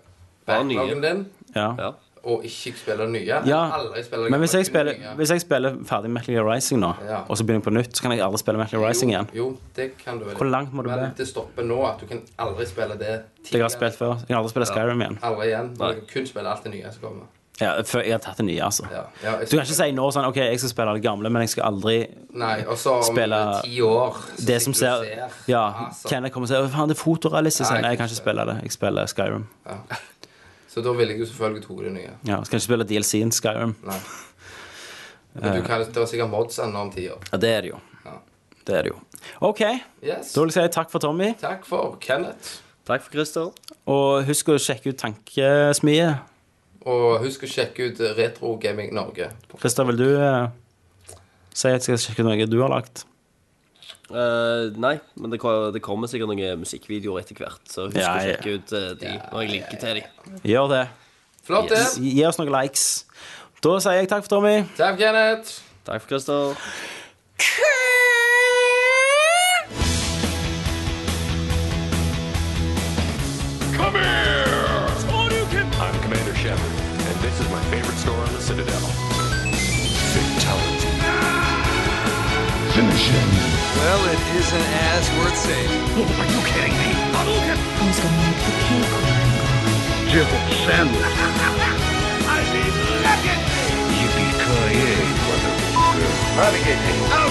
Bare nye. backlogen din Ja. og ikke spille nye. Ja, eller Aldri spille Men hvis gamle, jeg, kun spiller, nye. hvis jeg spiller ferdig Metal Gear Rising nå, Ja. og så begynner jeg på nytt, så kan jeg aldri spille Metal Gear Rising igjen. Jo, det kan du vel. Hvor langt må du Men bli? det stopper nå at du kan aldri spille det Det jeg har spilt før. Jeg kan aldri spille Skyrim igjen. Aldri igjen. Du kan kun spille alt det nye som kommer. Ja, før jeg har tatt det nye, altså. Ja, jeg- Du kan ikke si nå sånn OK, jeg skal spille det gamle, men jeg skal aldri Nei, og så om eh, Spille- ti år så det som sitter ser du og Ja, altså. Kenneth kommer og sier Faen, det er fotorealistisk. Nei, Nei, jeg kan ikke spille det. Jeg spiller Skyrim. Ja. Så da ville jeg jo selvfølgelig tatt det nye. Ja, Skal ikke spille DLC-en Skyrim. Nei. [laughs] Men du kan, det var sikkert mods ennå om ti år. Ja, det er det jo. Det er det jo. OK. Yes. Da vil jeg si takk for Tommy. Takk for Kenneth. Takk for Christer. Og husk å sjekke ut Tankesmie. Og husk å sjekke ut Retro Gaming Norge. Christer, vil du eh, si at jeg skal sjekke ut noe du har lagt? Eh, nei, men det, ko- det kommer sikkert noen musikkvideoer etter hvert, så husk Ja, å ja. sjekke ut eh, de når jeg linker til de. Gjør det. Flott, det. Gi gi oss noen likes. Da sier jeg takk for Tommy. Takk, Kenneth. Takk for Christer. Come here! I'm Commander Shepard, and this is my favorite store on the Citadel. Fatality. Finish him. Well, it isn't as worth saying. Are you kidding me? Who's gonna make the cake Jill Sandler. I mean, look at me! Yippee-ki-yay, motherfucker. Out